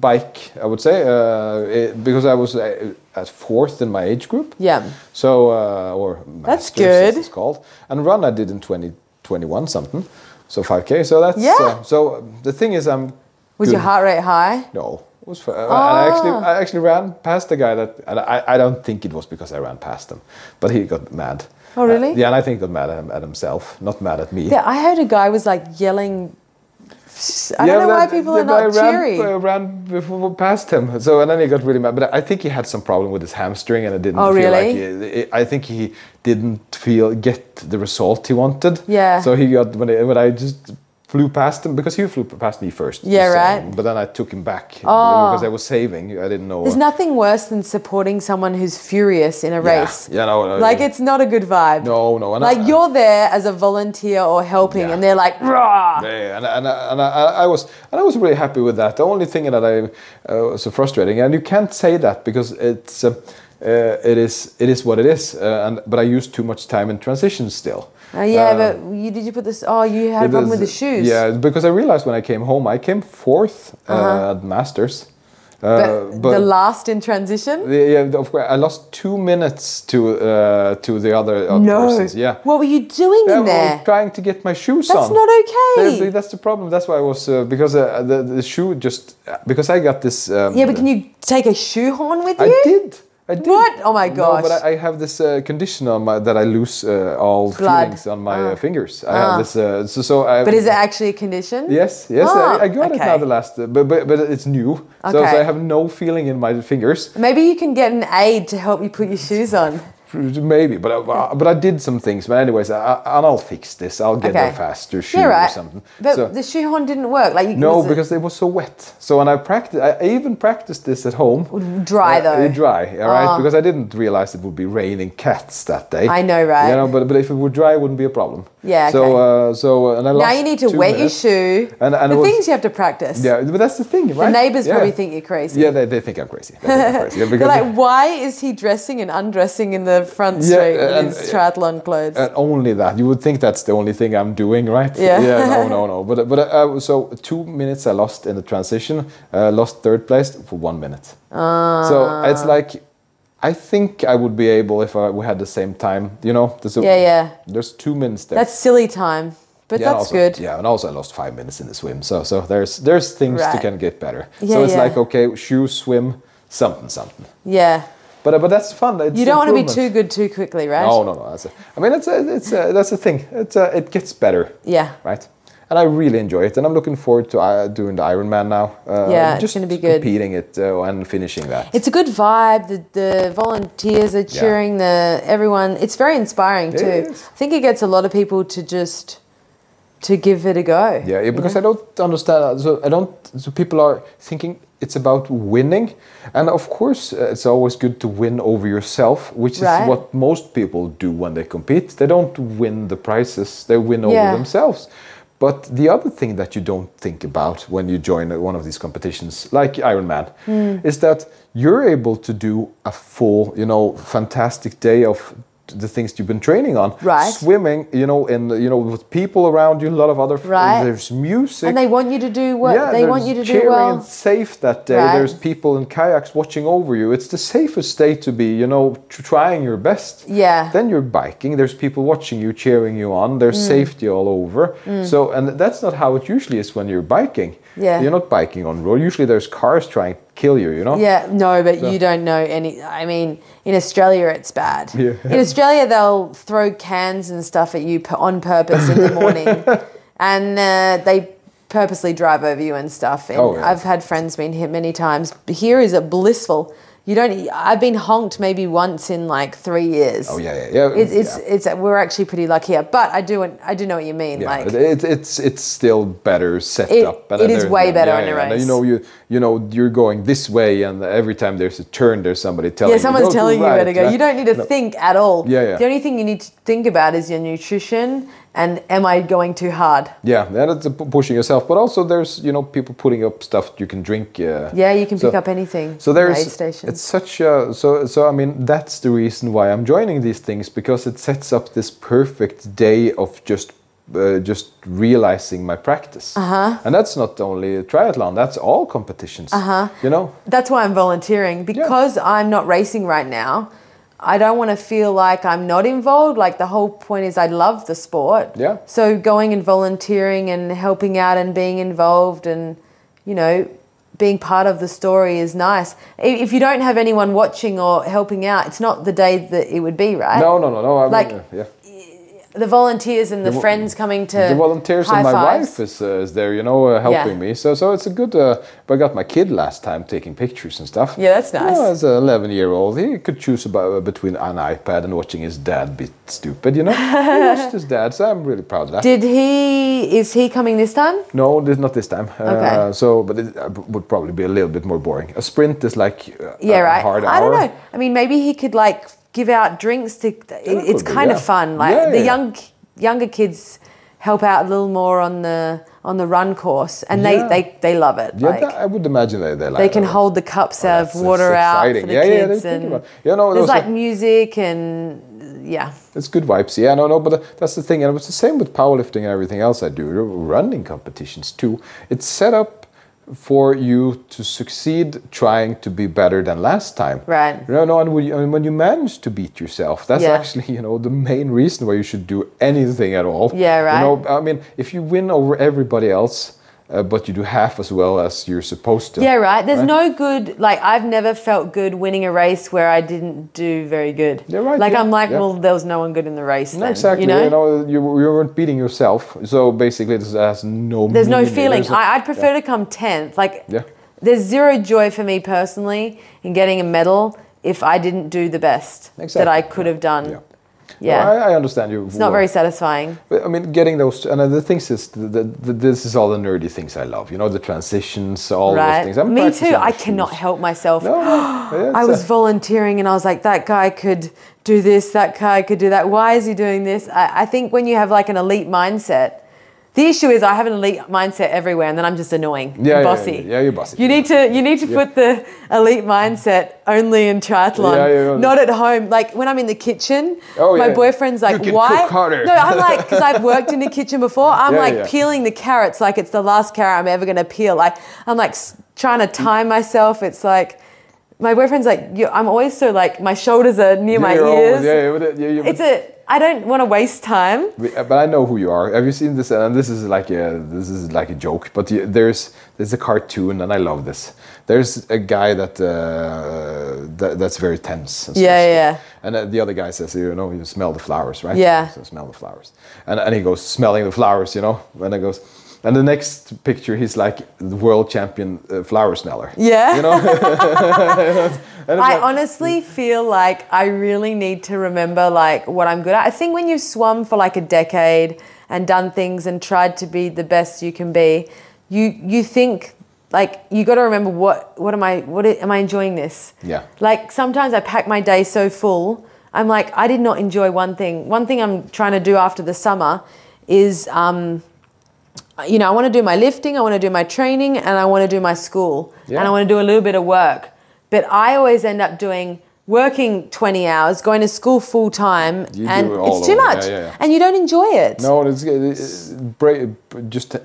Speaker 1: bike, I would say, uh, it- because I was uh, at fourth in my age group.
Speaker 3: Yeah.
Speaker 1: So, uh, or
Speaker 3: That's
Speaker 1: masters, as
Speaker 3: good.
Speaker 1: It's called and run I did in twenty twenty one something, so five k. So that's
Speaker 3: Yeah.
Speaker 1: uh, so um, the thing is, I'm.
Speaker 3: Was your
Speaker 1: good.
Speaker 3: heart Ah. rate high?
Speaker 1: No, it was. Fun. I actually, I actually ran past the guy that, and I, I don't think it was because I ran past him, but he got mad.
Speaker 3: Oh, really?
Speaker 1: Uh, yeah, and I think he got mad at, him, at himself, not mad at me.
Speaker 3: Yeah, I heard a guy was like yelling. I don't know
Speaker 1: but
Speaker 3: why people are
Speaker 1: the guy
Speaker 3: not
Speaker 1: ran,
Speaker 3: cheery.
Speaker 1: uh, ran before, past him, so and then he got really mad. But I think he had some problem with his hamstring, and it didn't.
Speaker 3: Oh,
Speaker 1: feel
Speaker 3: really?
Speaker 1: Like he, I think he didn't feel get the result he wanted.
Speaker 3: Yeah.
Speaker 1: So he got when I, when I just flew past him because he flew past me first.
Speaker 3: Yeah,
Speaker 1: so-
Speaker 3: right. Oh.
Speaker 1: But then I took him back because I was saving. I didn't know.
Speaker 3: There's nothing worse than supporting someone who's furious in a
Speaker 1: Yeah.
Speaker 3: race.
Speaker 1: Yeah, no, no,
Speaker 3: Like
Speaker 1: yeah.
Speaker 3: it's not a good vibe.
Speaker 1: No, no, and I-
Speaker 3: Like you're there as a volunteer or helping,
Speaker 1: Yeah.
Speaker 3: and they're like, rah.
Speaker 1: Yeah, and, and, and I, I was and I was really happy with that. The only thing that I uh, was so frustrating, and you can't say that because it's uh, uh, it is it is what it is. Uh, and but I used too much time in transition still.
Speaker 3: Oh, yeah,
Speaker 1: Uh,
Speaker 3: but you did you put this? Oh, you had a
Speaker 1: it
Speaker 3: problem with the
Speaker 1: is-
Speaker 3: shoes.
Speaker 1: Yeah, because I realized when I came home, I came 4th uh, at Masters. Uh,
Speaker 3: Uh-huh. But, the last in transition.
Speaker 1: yeah, yeah, of course, I lost two minutes to uh, to the other uh,
Speaker 3: No.
Speaker 1: persons. Yeah.
Speaker 3: What were you doing
Speaker 1: Yeah,
Speaker 3: in
Speaker 1: well,
Speaker 3: there?
Speaker 1: trying to get my shoes
Speaker 3: That's
Speaker 1: on.
Speaker 3: not okay.
Speaker 1: That- that's the problem. That's why I was uh, because uh, the, the shoe just because I got this. Um,
Speaker 3: yeah, but can you take a shoehorn with you?
Speaker 1: I did. I did.
Speaker 3: What? Oh my
Speaker 1: No,
Speaker 3: gosh.
Speaker 1: but I, I have this uh, condition on my that I lose uh, all
Speaker 3: Blood. Ah.
Speaker 1: feelings on my uh, fingers. I have this. Uh, so, so I.
Speaker 3: But is it actually a condition?
Speaker 1: <laughs> Yes, yes,
Speaker 3: Ah,
Speaker 1: I, I got it now.
Speaker 3: okay.
Speaker 1: The last, uh, but, but but it's new, so, so
Speaker 3: Okay.
Speaker 1: I have no feeling in my fingers.
Speaker 3: Maybe you can get an aid to help you put your shoes
Speaker 1: <laughs>
Speaker 3: on.
Speaker 1: Maybe, but I, but I did some things. But anyways, I, I, and I'll fix this. I'll get
Speaker 3: Okay.
Speaker 1: a faster shoe
Speaker 3: Yeah, right.
Speaker 1: or something.
Speaker 3: But
Speaker 1: So-
Speaker 3: the shoehorn didn't work. Like you
Speaker 1: No,
Speaker 3: was it-
Speaker 1: because it was so wet. So when I practiced, I even practiced this at home. Uh,
Speaker 3: Dry, though. Ah.
Speaker 1: Dry, all right. Because I didn't realize it would be raining cats that day.
Speaker 3: I know, right?
Speaker 1: You know, but but if it were dry, it wouldn't be a problem.
Speaker 3: Yeah,
Speaker 1: So uh, so uh, and I
Speaker 3: now
Speaker 1: lost
Speaker 3: you need to
Speaker 1: two
Speaker 3: wet your
Speaker 1: minutes.
Speaker 3: shoe.
Speaker 1: And- and it
Speaker 3: the
Speaker 1: was-
Speaker 3: things you have to practice.
Speaker 1: Yeah, but that's the thing,
Speaker 3: The
Speaker 1: right?
Speaker 3: neighbors
Speaker 1: Yeah.
Speaker 3: probably think you're crazy.
Speaker 1: Yeah, they, they think I'm crazy. They think I'm crazy. Yeah,
Speaker 3: <laughs> They're
Speaker 1: because
Speaker 3: like, why is he dressing and undressing in the front
Speaker 1: Yeah,
Speaker 3: street
Speaker 1: and-
Speaker 3: with his triathlon clothes?
Speaker 1: and only that you would think that's the only thing I'm doing, right?
Speaker 3: Yeah. <laughs>
Speaker 1: no, no, no. But but uh, so two minutes I lost
Speaker 3: Ah.
Speaker 1: in the transition, uh, lost third place for one minute. So it's like I think I would be able if I, we had the same time. You know, there's a-
Speaker 3: Yeah, yeah.
Speaker 1: There's two minutes there.
Speaker 3: That's silly time, but
Speaker 1: Yeah, and
Speaker 3: that's
Speaker 1: also-
Speaker 3: good.
Speaker 1: Yeah, and also I lost five minutes in the swim. So so there's there's things to
Speaker 3: Right.
Speaker 1: can get better.
Speaker 3: Yeah,
Speaker 1: so it's
Speaker 3: yeah.
Speaker 1: like okay, shoes, swim, something, something.
Speaker 3: Yeah.
Speaker 1: But uh, but that's fun. It's
Speaker 3: You don't want to be
Speaker 1: improvement.
Speaker 3: too good too quickly, right?
Speaker 1: No, no, no. That's a, I mean, it's a, it's a, that's the thing. It's a, it gets better.
Speaker 3: Yeah.
Speaker 1: Right. And I really enjoy it, and I'm looking forward to uh, doing the Ironman now. Uh,
Speaker 3: Yeah, it's
Speaker 1: just
Speaker 3: gonna be good.
Speaker 1: Competing it uh, and finishing that.
Speaker 3: It's a good vibe. The, the volunteers are cheering. The everyone. It's very inspiring too.
Speaker 1: is.
Speaker 3: I think it gets a lot of people to just to give it a go.
Speaker 1: yeah, yeah, because I don't understand. So I don't. So people are thinking it's about winning, and of course, uh, it's always good to win over yourself, which
Speaker 3: Right.
Speaker 1: is what most people do when they compete. They don't win the prizes; they win over
Speaker 3: Yeah.
Speaker 1: themselves. But the other thing that you don't think about when you join one of these competitions, like Ironman,
Speaker 3: Hmm.
Speaker 1: is that you're able to do a full, you know, fantastic day of the things you've been training on.
Speaker 3: Right.
Speaker 1: Swimming, you know, and you know, with people around you, a lot of other
Speaker 3: Right.
Speaker 1: there's music.
Speaker 3: And they want you to do well.
Speaker 1: yeah,
Speaker 3: they want
Speaker 1: there's
Speaker 3: you to do
Speaker 1: cheering
Speaker 3: well.
Speaker 1: and safe that day.
Speaker 3: Right.
Speaker 1: There's people in kayaks watching over you. It's the safest day to be, you know, tr- trying your best.
Speaker 3: Yeah. Mm.
Speaker 1: Then you're biking. There's people watching you, cheering you on. There's safety all over. So, and that's not how it usually is when you're biking.
Speaker 3: Yeah.
Speaker 1: You're not biking on road. Usually there's cars trying to kill you, you know?
Speaker 3: Yeah, no, but you don't know any. I mean, in Australia, it's bad.
Speaker 1: Yeah.
Speaker 3: In Australia, they'll throw cans and stuff at you p- on purpose
Speaker 1: <laughs>
Speaker 3: in the morning, and uh, they purposely drive over you and stuff. And
Speaker 1: Oh, yeah.
Speaker 3: I've had friends been hit many times. Here is a blissful. You don't. I've been honked maybe once in like three years.
Speaker 1: Oh, yeah, yeah, yeah.
Speaker 3: It's it's,
Speaker 1: Yeah.
Speaker 3: it's we're actually pretty lucky here, but I do I do know what you mean.
Speaker 1: Yeah,
Speaker 3: like
Speaker 1: it, it, it's it's still better set
Speaker 3: It-
Speaker 1: up.
Speaker 3: it
Speaker 1: then
Speaker 3: is
Speaker 1: there's-
Speaker 3: way better in a
Speaker 1: and
Speaker 3: race.
Speaker 1: You know you you know you're going this way, and every time there's a turn, there's somebody telling
Speaker 3: yeah,
Speaker 1: you. "Go
Speaker 3: someone's
Speaker 1: to
Speaker 3: telling you where
Speaker 1: right,"
Speaker 3: to go.
Speaker 1: yeah.
Speaker 3: You don't need to
Speaker 1: No.
Speaker 3: think at all.
Speaker 1: Yeah, yeah.
Speaker 3: The only thing you need to think about is your nutrition and am I going too hard?
Speaker 1: Yeah, and it's p- pushing yourself, but also there's you know people putting up stuff you can drink. Uh,
Speaker 3: Yeah, you can
Speaker 1: so-
Speaker 3: pick up anything.
Speaker 1: So
Speaker 3: from the
Speaker 1: there's
Speaker 3: aid station.
Speaker 1: it's such a so so I mean that's the reason why I'm joining these things because it sets up this perfect day of just uh, just realizing my practice. Uh-huh. And that's not only triathlon, that's all competitions. Uh-huh. You know?
Speaker 3: That's why I'm volunteering because I'm not racing right now. I don't want to feel like I'm not involved. Like the whole point is I love the sport.
Speaker 1: Yeah.
Speaker 3: So going and volunteering and helping out and being involved and you know being part of the story is nice. I- If you don't have anyone watching or helping out, it's not the day that it would be, right?
Speaker 1: No, no, no, no. I mean,
Speaker 3: Like-
Speaker 1: uh, yeah.
Speaker 3: The volunteers and the,
Speaker 1: vo-
Speaker 3: friends coming to
Speaker 1: the volunteers and my
Speaker 3: high fives.
Speaker 1: wife is, uh, is there, you know, uh, helping me. So so it's a good. Uh, but I got my kid last time taking pictures and stuff.
Speaker 3: Yeah, that's nice.
Speaker 1: Yeah, as an eleven-year-old, he could choose about, uh, between an iPad and watching his dad be stupid. You know, he
Speaker 3: <laughs>
Speaker 1: watched his dad, so I'm really proud of that.
Speaker 3: Did he? Is he coming this time?
Speaker 1: no, this, not this time.
Speaker 3: Okay.
Speaker 1: Uh, so, but it uh, b- would probably be a little bit more boring. A sprint is like uh,
Speaker 3: Yeah,
Speaker 1: a
Speaker 3: right.
Speaker 1: hard
Speaker 3: I
Speaker 1: hour.
Speaker 3: don't know. I mean, maybe he could like give out drinks to. it- it's
Speaker 1: could be,
Speaker 3: kind of
Speaker 1: yeah.
Speaker 3: fun. Like
Speaker 1: Yeah,
Speaker 3: the
Speaker 1: yeah.
Speaker 3: young younger kids help out a little more on the on the run course, and
Speaker 1: Yeah.
Speaker 3: they they they love it.
Speaker 1: Yeah,
Speaker 3: like
Speaker 1: that- I would imagine they they, like
Speaker 3: they can
Speaker 1: that.
Speaker 3: hold the cups out of
Speaker 1: that's-
Speaker 3: water
Speaker 1: that's
Speaker 3: out for
Speaker 1: exciting.
Speaker 3: the
Speaker 1: Yeah, yeah, they
Speaker 3: kids,
Speaker 1: think
Speaker 3: and
Speaker 1: about- you know,
Speaker 3: there's
Speaker 1: those
Speaker 3: like
Speaker 1: are-
Speaker 3: music and yeah.
Speaker 1: It's good vibes, yeah. No, no, but tha- that's the thing, and it was the same with powerlifting and everything else I do. r- Running competitions too. It's set up for you to succeed, trying to be better than last time.
Speaker 3: Right.
Speaker 1: No, no, and when you, and when you manage to beat yourself, that's
Speaker 3: Yeah.
Speaker 1: actually you know the main reason why you should do anything at all.
Speaker 3: Yeah, right.
Speaker 1: You know, I mean, if you win over everybody else, uh, but you do half as well as you're supposed to.
Speaker 3: Yeah, right. There's no good. Like I've never felt good winning a race where I didn't do very good.
Speaker 1: Yeah, right,
Speaker 3: Like
Speaker 1: yeah,
Speaker 3: I'm like,
Speaker 1: yeah.
Speaker 3: well, there was no one good in the race.
Speaker 1: No,
Speaker 3: then,
Speaker 1: exactly.
Speaker 3: You know.
Speaker 1: You, know, you, you weren't beating yourself, so basically, this has no.
Speaker 3: there's no
Speaker 1: meaning.
Speaker 3: feeling.
Speaker 1: There's no-
Speaker 3: I, I'd prefer to come tenth. Like
Speaker 1: Yeah.
Speaker 3: there's zero joy for me personally in getting a medal if I didn't do the best that I
Speaker 1: Exactly,
Speaker 3: could have done.
Speaker 1: Yeah.
Speaker 3: Yeah.
Speaker 1: No, I, I understand you.
Speaker 3: it's not very satisfying.
Speaker 1: I mean, getting those and uh, the things is the, the, the, this is all the nerdy things I love. You know, the transitions, all those
Speaker 3: Right.
Speaker 1: things. I'm
Speaker 3: Me too.
Speaker 1: practicing the
Speaker 3: I cannot
Speaker 1: shoes.
Speaker 3: help myself.
Speaker 1: No,
Speaker 3: <gasps>
Speaker 1: no, yeah,
Speaker 3: I
Speaker 1: it's
Speaker 3: was
Speaker 1: a-
Speaker 3: volunteering and I was like, that guy could do this, that guy could do that. Why is he doing this? I, I think when you have like an elite mindset, the issue is I have an elite mindset everywhere and then I'm just annoying. and
Speaker 1: Yeah, yeah,
Speaker 3: bossy.
Speaker 1: yeah, yeah, you're bossy.
Speaker 3: You need to you need to put the elite mindset only in triathlon.
Speaker 1: Yeah, yeah, yeah.
Speaker 3: Not at home. Like when I'm in the kitchen,
Speaker 1: Oh,
Speaker 3: my
Speaker 1: yeah.
Speaker 3: boyfriend's like,
Speaker 1: You can
Speaker 3: why?
Speaker 1: cook harder."
Speaker 3: No, I'm
Speaker 1: <laughs>
Speaker 3: like, because I've worked in the kitchen before. I'm
Speaker 1: Yeah,
Speaker 3: like
Speaker 1: yeah.
Speaker 3: peeling the carrots like it's the last carrot I'm ever gonna peel. Like I'm like s- trying to time myself. It's like my boyfriend's like, you, I'm always so like, my shoulders are near my
Speaker 1: You're
Speaker 3: ears.
Speaker 1: always- yeah, yeah, but, yeah, yeah,
Speaker 3: It's
Speaker 1: but-
Speaker 3: a, I don't want to waste time.
Speaker 1: We- uh, but I know who you are. Have you seen this? And this is like a this is like a joke. But you, there's there's a cartoon, and I love this. There's a guy that uh, that that's very tense. and
Speaker 3: Yeah,
Speaker 1: stressful.
Speaker 3: yeah.
Speaker 1: And uh, the other guy says, you know, you smell the flowers, right?
Speaker 3: Yeah.
Speaker 1: So smell the flowers, and and he goes smelling the flowers, you know. And it goes, and the next picture, he's like the world champion uh, flower smeller.
Speaker 3: Yeah.
Speaker 1: You know. <laughs>
Speaker 3: I honestly feel like I really need to remember like what I'm good at. I think when you've swum for like a decade and done things and tried to be the best you can be, you you think like you got to remember what what am I what i- am I enjoying this?
Speaker 1: Yeah.
Speaker 3: Like sometimes I pack my day so full. I'm like I did not enjoy one thing. One thing I'm trying to do after the summer is um you know, I want to do my lifting, I want to do my training, and I want to do my school.
Speaker 1: Yeah.
Speaker 3: And I want to do a little bit of work. But I always end up doing working 20 hours, going to school full time,
Speaker 1: You
Speaker 3: and
Speaker 1: do it all
Speaker 3: it's too
Speaker 1: over.
Speaker 3: much.
Speaker 1: Yeah, yeah, yeah.
Speaker 3: And you don't enjoy it.
Speaker 1: no, it's, it's uh, bra- just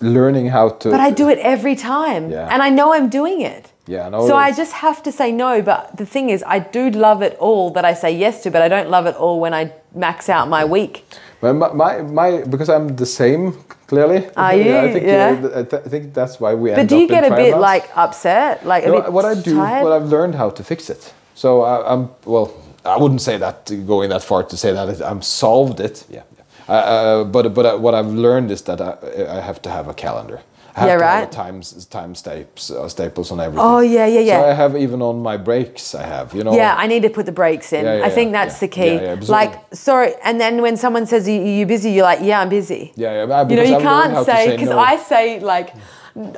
Speaker 1: learning how to.
Speaker 3: But I do it every time.
Speaker 1: Yeah.
Speaker 3: And I know I'm doing it.
Speaker 1: Yeah, no,
Speaker 3: so I
Speaker 1: it's-
Speaker 3: just have to say no. But the thing is, I do love it all that I say yes to, but I don't love it all when I max out my week.
Speaker 1: Well, my, my, my because I'm the same clearly.
Speaker 3: Are you?
Speaker 1: I think,
Speaker 3: Yeah.
Speaker 1: th- I, th- I think that's why we.
Speaker 3: But
Speaker 1: end
Speaker 3: do you
Speaker 1: up in
Speaker 3: get a bit
Speaker 1: triathlons.
Speaker 3: like upset? Like
Speaker 1: No,
Speaker 3: a bit
Speaker 1: what I do?
Speaker 3: tired?
Speaker 1: Well, I've learned how to fix it. So I, I'm well. I wouldn't say that going that far to say that it- I'm solved it. Yeah. yeah. Uh, uh, but but uh, what I've learned is that I, I have to have a calendar. I have
Speaker 3: Yeah,
Speaker 1: to
Speaker 3: right.
Speaker 1: Have a times time staples, uh, staples on everything.
Speaker 3: Oh, yeah, yeah, yeah.
Speaker 1: So I have even on my breaks. I have you know.
Speaker 3: Yeah, I need to put the brakes in.
Speaker 1: Oh. Yeah, yeah,
Speaker 3: I think
Speaker 1: yeah,
Speaker 3: that's
Speaker 1: yeah.
Speaker 3: the key.
Speaker 1: Yeah, yeah, absolutely.
Speaker 3: like, sorry, and then when someone says, "Are you busy?" You're like, "Yeah, I'm busy."
Speaker 1: Yeah, yeah, but-
Speaker 3: you know,
Speaker 1: because
Speaker 3: you
Speaker 1: I've learned how
Speaker 3: can't
Speaker 1: to
Speaker 3: say
Speaker 1: say
Speaker 3: because
Speaker 1: no.
Speaker 3: I say like,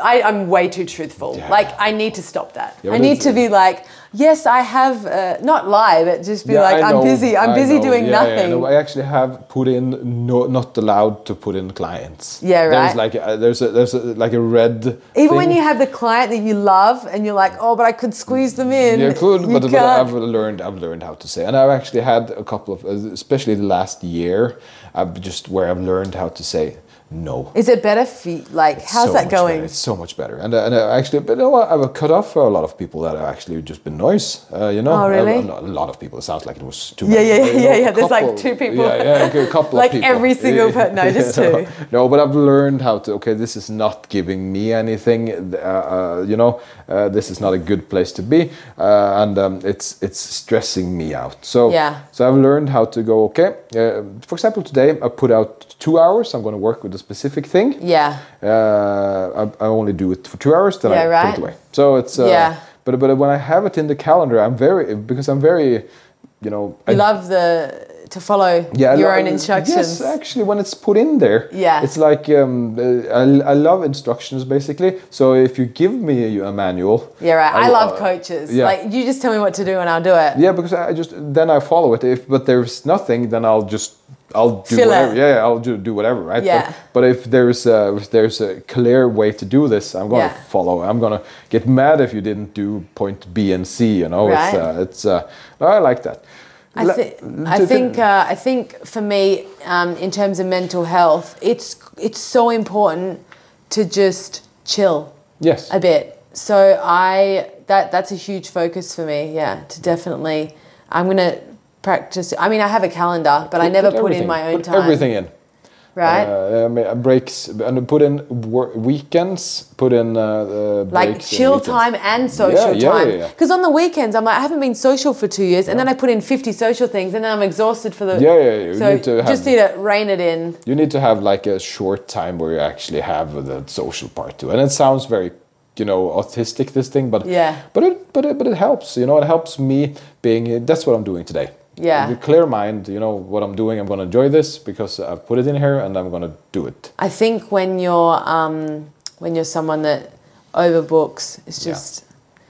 Speaker 3: I, I'm way too truthful.
Speaker 1: Yeah.
Speaker 3: Like, I need to stop that.
Speaker 1: Yeah,
Speaker 3: I
Speaker 1: but
Speaker 3: need
Speaker 1: it's-
Speaker 3: to be like, "Yes, I have," uh, not lie, but just be
Speaker 1: Yeah,
Speaker 3: like,
Speaker 1: I
Speaker 3: "I'm
Speaker 1: know,
Speaker 3: busy. I'm
Speaker 1: I
Speaker 3: busy
Speaker 1: know.
Speaker 3: doing
Speaker 1: Yeah,
Speaker 3: nothing."
Speaker 1: Yeah, no, I actually have put in no, not allowed to put in clients.
Speaker 3: Yeah,
Speaker 1: There's
Speaker 3: right.
Speaker 1: like a, there's a, there's a, like a red.
Speaker 3: Even
Speaker 1: thing.
Speaker 3: when you have the client that you love and you're like, "Oh, but I could squeeze them in."
Speaker 1: yeah, cool,
Speaker 3: <laughs> you
Speaker 1: but, but
Speaker 3: can't.
Speaker 1: I've learned I've learned how to say, and I've actually had a couple of, especially the last year, I've just where I've learned how to say no.
Speaker 3: Is it better for you? like? how's
Speaker 1: so
Speaker 3: that
Speaker 1: much better.
Speaker 3: going?
Speaker 1: It's so much better. And, uh, and uh, actually, but you know what? I've cut off for a lot of people that have actually just been noise. Uh, you know,
Speaker 3: Oh, really?
Speaker 1: a, a lot of people. It sounds like it was too.
Speaker 3: Yeah,
Speaker 1: many,
Speaker 3: yeah,
Speaker 1: but, you
Speaker 3: yeah,
Speaker 1: know,
Speaker 3: yeah,
Speaker 1: a
Speaker 3: there's like
Speaker 1: couple-
Speaker 3: two people.
Speaker 1: Yeah, yeah, okay, a couple
Speaker 3: Like
Speaker 1: of people.
Speaker 3: every single per- no, just two.
Speaker 1: <laughs> No, but I've learned how to. Okay, this is not giving me anything. Uh, uh, you know, uh, this is not a good place to be, uh, and um, it's it's stressing me out. So
Speaker 3: Yeah.
Speaker 1: so I've learned how to go. Okay, uh, for example, today I put out two hours. I'm going to work with a specific thing
Speaker 3: yeah.
Speaker 1: uh, I, I only do it for two hours, then I
Speaker 3: Yeah, right.
Speaker 1: put it away. So it's uh,
Speaker 3: Yeah.
Speaker 1: But but when I have it in the calendar, I'm very because I'm very, you know, I,
Speaker 3: You love the to follow
Speaker 1: I
Speaker 3: your
Speaker 1: lo-
Speaker 3: own
Speaker 1: Yes,
Speaker 3: instructions.
Speaker 1: actually, when it's put in there,
Speaker 3: Yeah.
Speaker 1: it's like um, uh, I, I love instructions basically. So if you give me a, a manual,
Speaker 3: yeah, right. I, love
Speaker 1: uh,
Speaker 3: coaches.
Speaker 1: yeah.
Speaker 3: Like you just tell me what to do and I'll do it.
Speaker 1: Yeah, because I just then I follow it. If but there's nothing, then I'll just I'll do
Speaker 3: Fill
Speaker 1: whatever.
Speaker 3: it.
Speaker 1: Yeah, I'll do, do whatever, right?
Speaker 3: Yeah.
Speaker 1: But, but if there's a, if there's a clear way to do this, I'm gonna
Speaker 3: Yeah.
Speaker 1: follow. I'm gonna get mad if you didn't do point B and C. You know,
Speaker 3: Right.
Speaker 1: it's uh, it's uh, no, I like that.
Speaker 3: I,
Speaker 1: Le-
Speaker 3: thi-
Speaker 1: to
Speaker 3: I
Speaker 1: fin-
Speaker 3: think uh, I think for me, um, in terms of mental health, it's it's so important to just chill
Speaker 1: yes.
Speaker 3: a bit. So I that that's a huge focus for me. Yeah, to definitely, I'm gonna practice. I mean, I have a calendar, but I never put, in
Speaker 1: everything-
Speaker 3: my own
Speaker 1: put
Speaker 3: time.
Speaker 1: Everything in.
Speaker 3: right?
Speaker 1: Uh, I mean, breaks and put in wor- weekends. Put in uh, uh,
Speaker 3: like
Speaker 1: breaks and
Speaker 3: chill
Speaker 1: weekends.
Speaker 3: time and social
Speaker 1: Yeah, yeah,
Speaker 3: time.
Speaker 1: yeah, yeah.
Speaker 3: Because on the weekends, I'm like, I haven't been social for two years, and then I put in 50 social things, and then I'm exhausted for the.
Speaker 1: Yeah, yeah, yeah, you
Speaker 3: So
Speaker 1: need to have-
Speaker 3: just need to rein it in.
Speaker 1: you need to have like a short time where you actually have the social part too and it sounds very you know autistic this thing but
Speaker 3: Yeah.
Speaker 1: but it but it, but it helps you know it helps me being that's what i'm doing today
Speaker 3: Yeah.
Speaker 1: With a clear mind you know what i'm doing i'm going to enjoy this because i've put it in here and i'm going to do it
Speaker 3: I think when you're um, when you're someone that overbooks, it's
Speaker 1: Yeah.
Speaker 3: just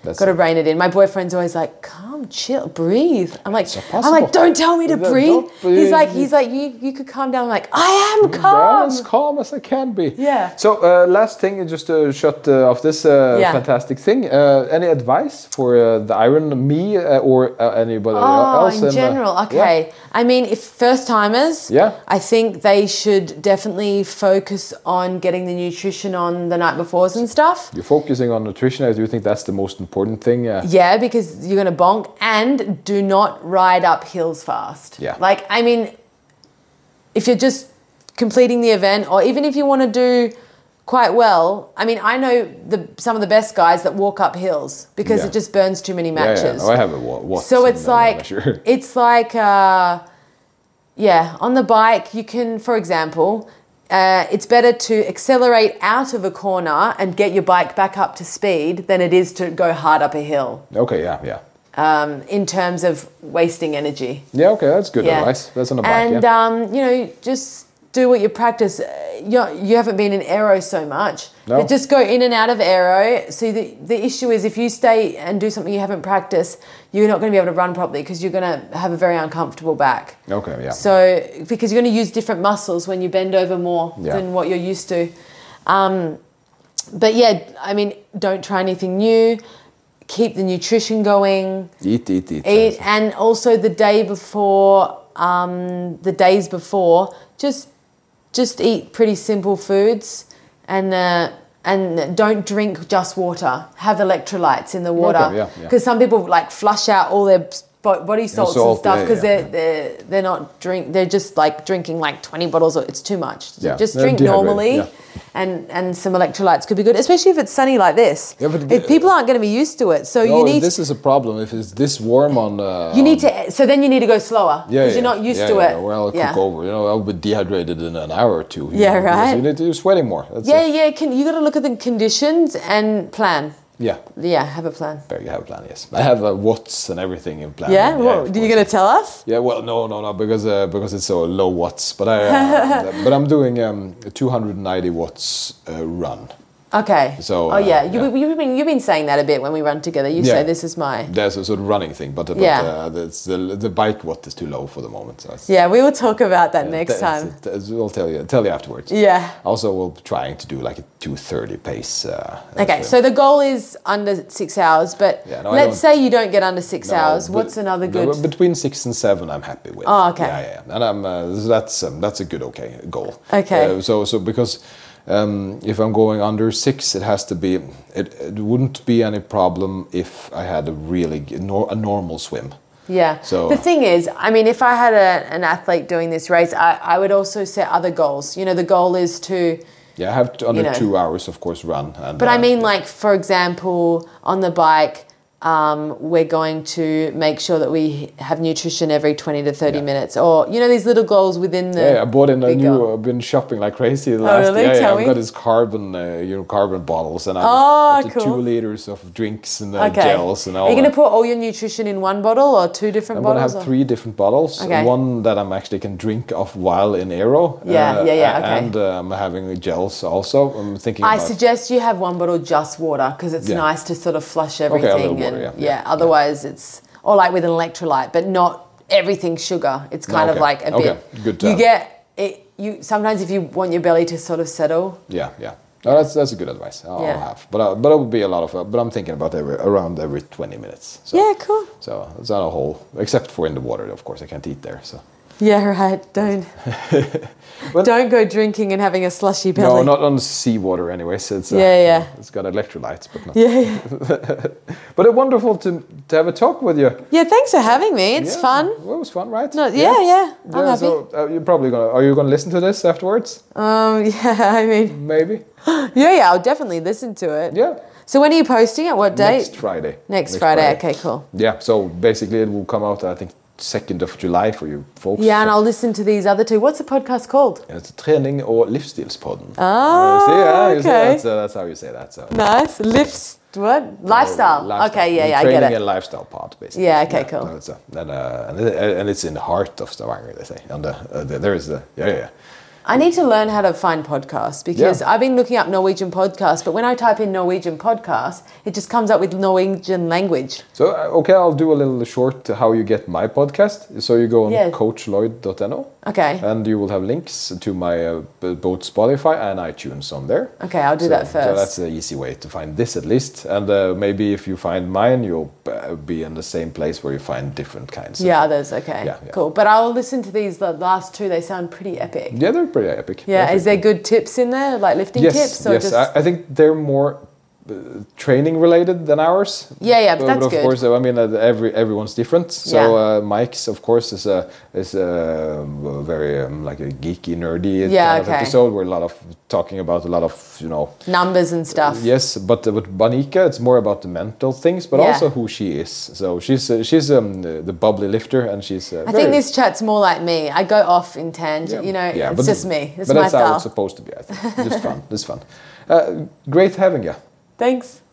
Speaker 1: That's
Speaker 3: got to
Speaker 1: it.
Speaker 3: rein it in. My boyfriend's always like, calm calm, chill, breathe. I'm like,
Speaker 1: not
Speaker 3: I'm like,
Speaker 1: possible.
Speaker 3: don't tell me to
Speaker 1: Don't
Speaker 3: breathe. He's
Speaker 1: breathe.
Speaker 3: like, he's like, you, you could calm down. I'm like, I am
Speaker 1: Yeah,
Speaker 3: calm.
Speaker 1: as calm as I can be.
Speaker 3: Yeah.
Speaker 1: So uh, last thing, just to shut uh, off this uh,
Speaker 3: Yeah.
Speaker 1: fantastic thing. Uh, any advice for uh, the Iron Me uh, or uh, anybody
Speaker 3: Oh,
Speaker 1: else?
Speaker 3: in
Speaker 1: uh,
Speaker 3: general,
Speaker 1: yeah.
Speaker 3: okay. I mean, if first timers,
Speaker 1: Yeah.
Speaker 3: I think they should definitely focus on getting the nutrition on the night befores and stuff.
Speaker 1: You're focusing on nutrition. I do think that's the most important thing. Uh,
Speaker 3: Yeah, because you're gonna bonk, and do not ride up hills fast.
Speaker 1: Yeah.
Speaker 3: Like, I mean, if you're just completing the event, or even if you want to do quite well, I mean, I know the some of the best guys that walk up hills because
Speaker 1: Yeah.
Speaker 3: it just burns too many
Speaker 1: yeah, Oh,
Speaker 3: matches.
Speaker 1: yeah. No, I have a wa- watch.
Speaker 3: So
Speaker 1: and
Speaker 3: it's
Speaker 1: I'm not
Speaker 3: like
Speaker 1: <laughs> sure.
Speaker 3: it's like uh, yeah, on the bike you can, for example, uh, it's better to accelerate out of a corner and get your bike back up to speed than it is to go hard up a hill
Speaker 1: Okay. Yeah. Yeah.
Speaker 3: um, in terms of wasting energy.
Speaker 1: Yeah. Okay. That's good
Speaker 3: Yeah.
Speaker 1: advice. That's on the bike.
Speaker 3: And
Speaker 1: yeah.
Speaker 3: um, you know, just do what you practice. Uh, You're, you haven't been in aero so much,
Speaker 1: No.
Speaker 3: but just go in and out of aero. So the the issue is if you stay and do something you haven't practiced, you're not going to be able to run properly because you're going to have a very uncomfortable back.
Speaker 1: Okay. Yeah.
Speaker 3: So because you're going to use different muscles when you bend over more
Speaker 1: Yeah.
Speaker 3: than what you're used to. Um, but yeah, I mean, don't try anything new. Keep the nutrition going
Speaker 1: eat. Eat. Eat.
Speaker 3: eat and also the day before um, the days before just just eat pretty simple foods and uh, and don't drink just water have electrolytes in the water
Speaker 1: yeah, yeah.
Speaker 3: some people like flush out all their bo- body salts and
Speaker 1: salt,
Speaker 3: stuff
Speaker 1: yeah,
Speaker 3: because
Speaker 1: yeah,
Speaker 3: they're, they're they're not drink they're just like drinking like 20 bottles or it's too much
Speaker 1: Yeah,
Speaker 3: just
Speaker 1: they're
Speaker 3: drink
Speaker 1: dehydrated,
Speaker 3: normally
Speaker 1: yeah.
Speaker 3: and and some electrolytes could be good especially if it's sunny like this
Speaker 1: Yeah, but-
Speaker 3: if people aren't going to be used to it so
Speaker 1: No,
Speaker 3: you need
Speaker 1: this is a problem. If it's this warm on, uh,
Speaker 3: you need to, so then you need to go slower because
Speaker 1: yeah,
Speaker 3: you're
Speaker 1: yeah,
Speaker 3: not used
Speaker 1: yeah,
Speaker 3: to
Speaker 1: yeah,
Speaker 3: it.
Speaker 1: Well, I'll cook
Speaker 3: yeah.
Speaker 1: over. You know, I'll be dehydrated in an hour or two. you
Speaker 3: Yeah,
Speaker 1: know, because
Speaker 3: right.
Speaker 1: You need to, you're sweating more. That's
Speaker 3: Yeah,
Speaker 1: it.
Speaker 3: yeah. Can, you got to look at the conditions and plan.
Speaker 1: yeah.
Speaker 3: Yeah, have a plan.
Speaker 1: There you have a plan. Yes, I have uh, watts and everything in plan.
Speaker 3: Yeah,
Speaker 1: of
Speaker 3: what, are you
Speaker 1: course.
Speaker 3: gonna tell us?
Speaker 1: Yeah, well, no, no, no, because uh, because it's so low watts. But I, uh,
Speaker 3: <laughs>
Speaker 1: but I'm doing um, a 290 watts uh, run.
Speaker 3: Okay.
Speaker 1: So,
Speaker 3: oh yeah,
Speaker 1: uh,
Speaker 3: you, You, have been you've been saying that a bit when we run together. You
Speaker 1: Yeah.
Speaker 3: say this is my.
Speaker 1: That's a sort of running thing, but, but
Speaker 3: Yeah.
Speaker 1: uh, that's the the bike watt is too low for the moment. So it's-
Speaker 3: Yeah, we will talk about that next
Speaker 1: that's-
Speaker 3: time.
Speaker 1: that's- I'll tell you, tell you afterwards.
Speaker 3: Yeah.
Speaker 1: Also, we'll be trying to do like a 230 pace. Uh,
Speaker 3: Okay,
Speaker 1: as a-
Speaker 3: so the goal is under six hours, but
Speaker 1: Yeah, no, I
Speaker 3: let's
Speaker 1: don't-
Speaker 3: say you don't get under six
Speaker 1: No,
Speaker 3: hours.
Speaker 1: but-
Speaker 3: What's another
Speaker 1: no,
Speaker 3: good?
Speaker 1: but between six and seven, I'm happy with.
Speaker 3: Oh, okay.
Speaker 1: Yeah, yeah, yeah. and I'm uh, so that's um, that's a good okay goal.
Speaker 3: Okay.
Speaker 1: Uh, so so because um, if I'm going under six, it has to be. It, it wouldn't be any problem if I had a really g- nor, a normal swim.
Speaker 3: Yeah.
Speaker 1: So-
Speaker 3: the thing is, I mean, if I had a, an athlete doing this race, I, I would also set other goals. You know, the goal is to,
Speaker 1: Yeah, I have to, under
Speaker 3: know.
Speaker 1: two hours, of course, run. And,
Speaker 3: but I
Speaker 1: uh,
Speaker 3: mean, like for example, on the bike, um, we're going to make sure that we have nutrition every twenty to thirty
Speaker 1: Yeah.
Speaker 3: minutes, or you know, these little goals within the.
Speaker 1: Yeah, I bought in a
Speaker 3: big
Speaker 1: new.
Speaker 3: goal. Oh,
Speaker 1: I've been shopping like crazy the last.
Speaker 3: really?
Speaker 1: Yeah, yeah,
Speaker 3: Tell
Speaker 1: I've
Speaker 3: me.
Speaker 1: got these carbon, uh, you know, carbon bottles, and I've
Speaker 3: Oh,
Speaker 1: up to two
Speaker 3: cool.
Speaker 1: liters of drinks and uh,
Speaker 3: Okay.
Speaker 1: gels and all.
Speaker 3: Are you
Speaker 1: that.
Speaker 3: going to put all your nutrition in one bottle or two different
Speaker 1: I'm gonna
Speaker 3: bottles?
Speaker 1: have
Speaker 3: or-
Speaker 1: three different bottles.
Speaker 3: Okay.
Speaker 1: One that I'm actually can drink off while in aero.
Speaker 3: Yeah, yeah, yeah, okay.
Speaker 1: And uh, I'm having gels also. I'm thinking.
Speaker 3: I
Speaker 1: about,
Speaker 3: suggest you have one bottle just water because it's
Speaker 1: Yeah.
Speaker 3: nice to sort of flush
Speaker 1: little
Speaker 3: everything.
Speaker 1: water,
Speaker 3: and,
Speaker 1: yeah, yeah, yeah.
Speaker 3: otherwise it's or like with an electrolyte, but not everything sugar. It's kind
Speaker 1: okay,
Speaker 3: of like a
Speaker 1: okay,
Speaker 3: bit.
Speaker 1: good to
Speaker 3: you
Speaker 1: have.
Speaker 3: get it. You sometimes if you want your belly to sort of settle.
Speaker 1: Yeah, yeah. No, that's that's a good advice. I'll, I'll
Speaker 3: Yeah.
Speaker 1: have, but uh, but it would be a lot of. Uh, but I'm thinking about every around every 20 minutes. So,
Speaker 3: Yeah, cool.
Speaker 1: So it's not a whole, except for in the water, of course. I can't eat there. So
Speaker 3: Yeah, right.
Speaker 1: <laughs>
Speaker 3: Don't
Speaker 1: But-
Speaker 3: don't go drinking and having a slushy
Speaker 1: no,
Speaker 3: belly.
Speaker 1: not on seawater. Anyways, it's uh,
Speaker 3: Yeah, yeah.
Speaker 1: It's got electrolytes, but not.
Speaker 3: <laughs> yeah, yeah.
Speaker 1: But it's wonderful to to have a talk with you.
Speaker 3: Yeah, Thanks for having me. It's
Speaker 1: Yeah,
Speaker 3: fun.
Speaker 1: Well, it was fun, right?
Speaker 3: No, yeah, yeah. I'm happy.
Speaker 1: So uh, you're probably gonna. Are you gonna listen to this afterwards?
Speaker 3: Um, <laughs> yeah. I mean,
Speaker 1: Maybe.
Speaker 3: yeah, yeah. I'll definitely listen to it.
Speaker 1: Yeah.
Speaker 3: So when are you posting it? What date?
Speaker 1: Next Friday.
Speaker 3: Next Friday. Okay, cool.
Speaker 1: Yeah. So basically, it will come out. I think second of July for you folks.
Speaker 3: Yeah, and
Speaker 1: So-
Speaker 3: I'll listen to these other two. What's the podcast called?
Speaker 1: It's training or livsstilspodden.
Speaker 3: Ah,
Speaker 1: Uh, see, yeah, you see,
Speaker 3: okay.
Speaker 1: that's, uh, that's how you say that. So.
Speaker 3: Nice. Lifts. What? Lifestyle. Okay, yeah, yeah, I
Speaker 1: Training
Speaker 3: get it.
Speaker 1: and lifestyle part, basically.
Speaker 3: Yeah, okay, cool.
Speaker 1: that's, uh, and, uh, and, it- and it's in the heart of Stavanger, they say. And uh, uh, there is the yeah, yeah, yeah.
Speaker 3: I need to learn how to find podcasts because
Speaker 1: Yeah.
Speaker 3: I've been looking up Norwegian podcasts, but when I type in Norwegian podcasts, it just comes up with Norwegian language.
Speaker 1: So uh, okay, I'll do a little short uh, how you get my podcast. So you go on
Speaker 3: Yeah.
Speaker 1: coachloyd.no.
Speaker 3: Okay.
Speaker 1: And you will have links to my uh, b- both Spotify and iTunes on there.
Speaker 3: Okay, I'll do
Speaker 1: So-
Speaker 3: that
Speaker 1: So
Speaker 3: first.
Speaker 1: that's the easy way to find this at least. And uh, maybe if you find mine, you'll uh, be in the same place where you find different kinds. of-
Speaker 3: yeah, others. Okay,
Speaker 1: Yeah, yeah.
Speaker 3: cool. But I'll listen to these the last two. They sound pretty epic.
Speaker 1: Yeah, they're pretty epic.
Speaker 3: Yeah,
Speaker 1: Perfect.
Speaker 3: is there good tips in there, like lifting
Speaker 1: yes,
Speaker 3: tips, or
Speaker 1: yes.
Speaker 3: just
Speaker 1: I, I think they're more uh, training related than ours.
Speaker 3: Yeah, yeah, but that's
Speaker 1: of
Speaker 3: good.
Speaker 1: course, I mean, uh, every everyone's different. So
Speaker 3: Yeah.
Speaker 1: uh, Mike's, of course, is a is a very um, like a geeky, nerdy
Speaker 3: Yeah,
Speaker 1: kind of
Speaker 3: okay.
Speaker 1: episode where a lot of talking about a lot of you know
Speaker 3: numbers and stuff?
Speaker 1: Yes, but uh, with Banika, it's more about the mental things, but
Speaker 3: Yeah.
Speaker 1: also who she is. So she's uh, she's um, the, the bubbly lifter, and she's. Uh,
Speaker 3: I think this chat's more like me. I go off in tangent. You know, it's just me. It's
Speaker 1: but
Speaker 3: my
Speaker 1: that's how
Speaker 3: style.
Speaker 1: it's supposed to be. I think. It's fun. It's fun. Uh, great having you.
Speaker 3: Thanks.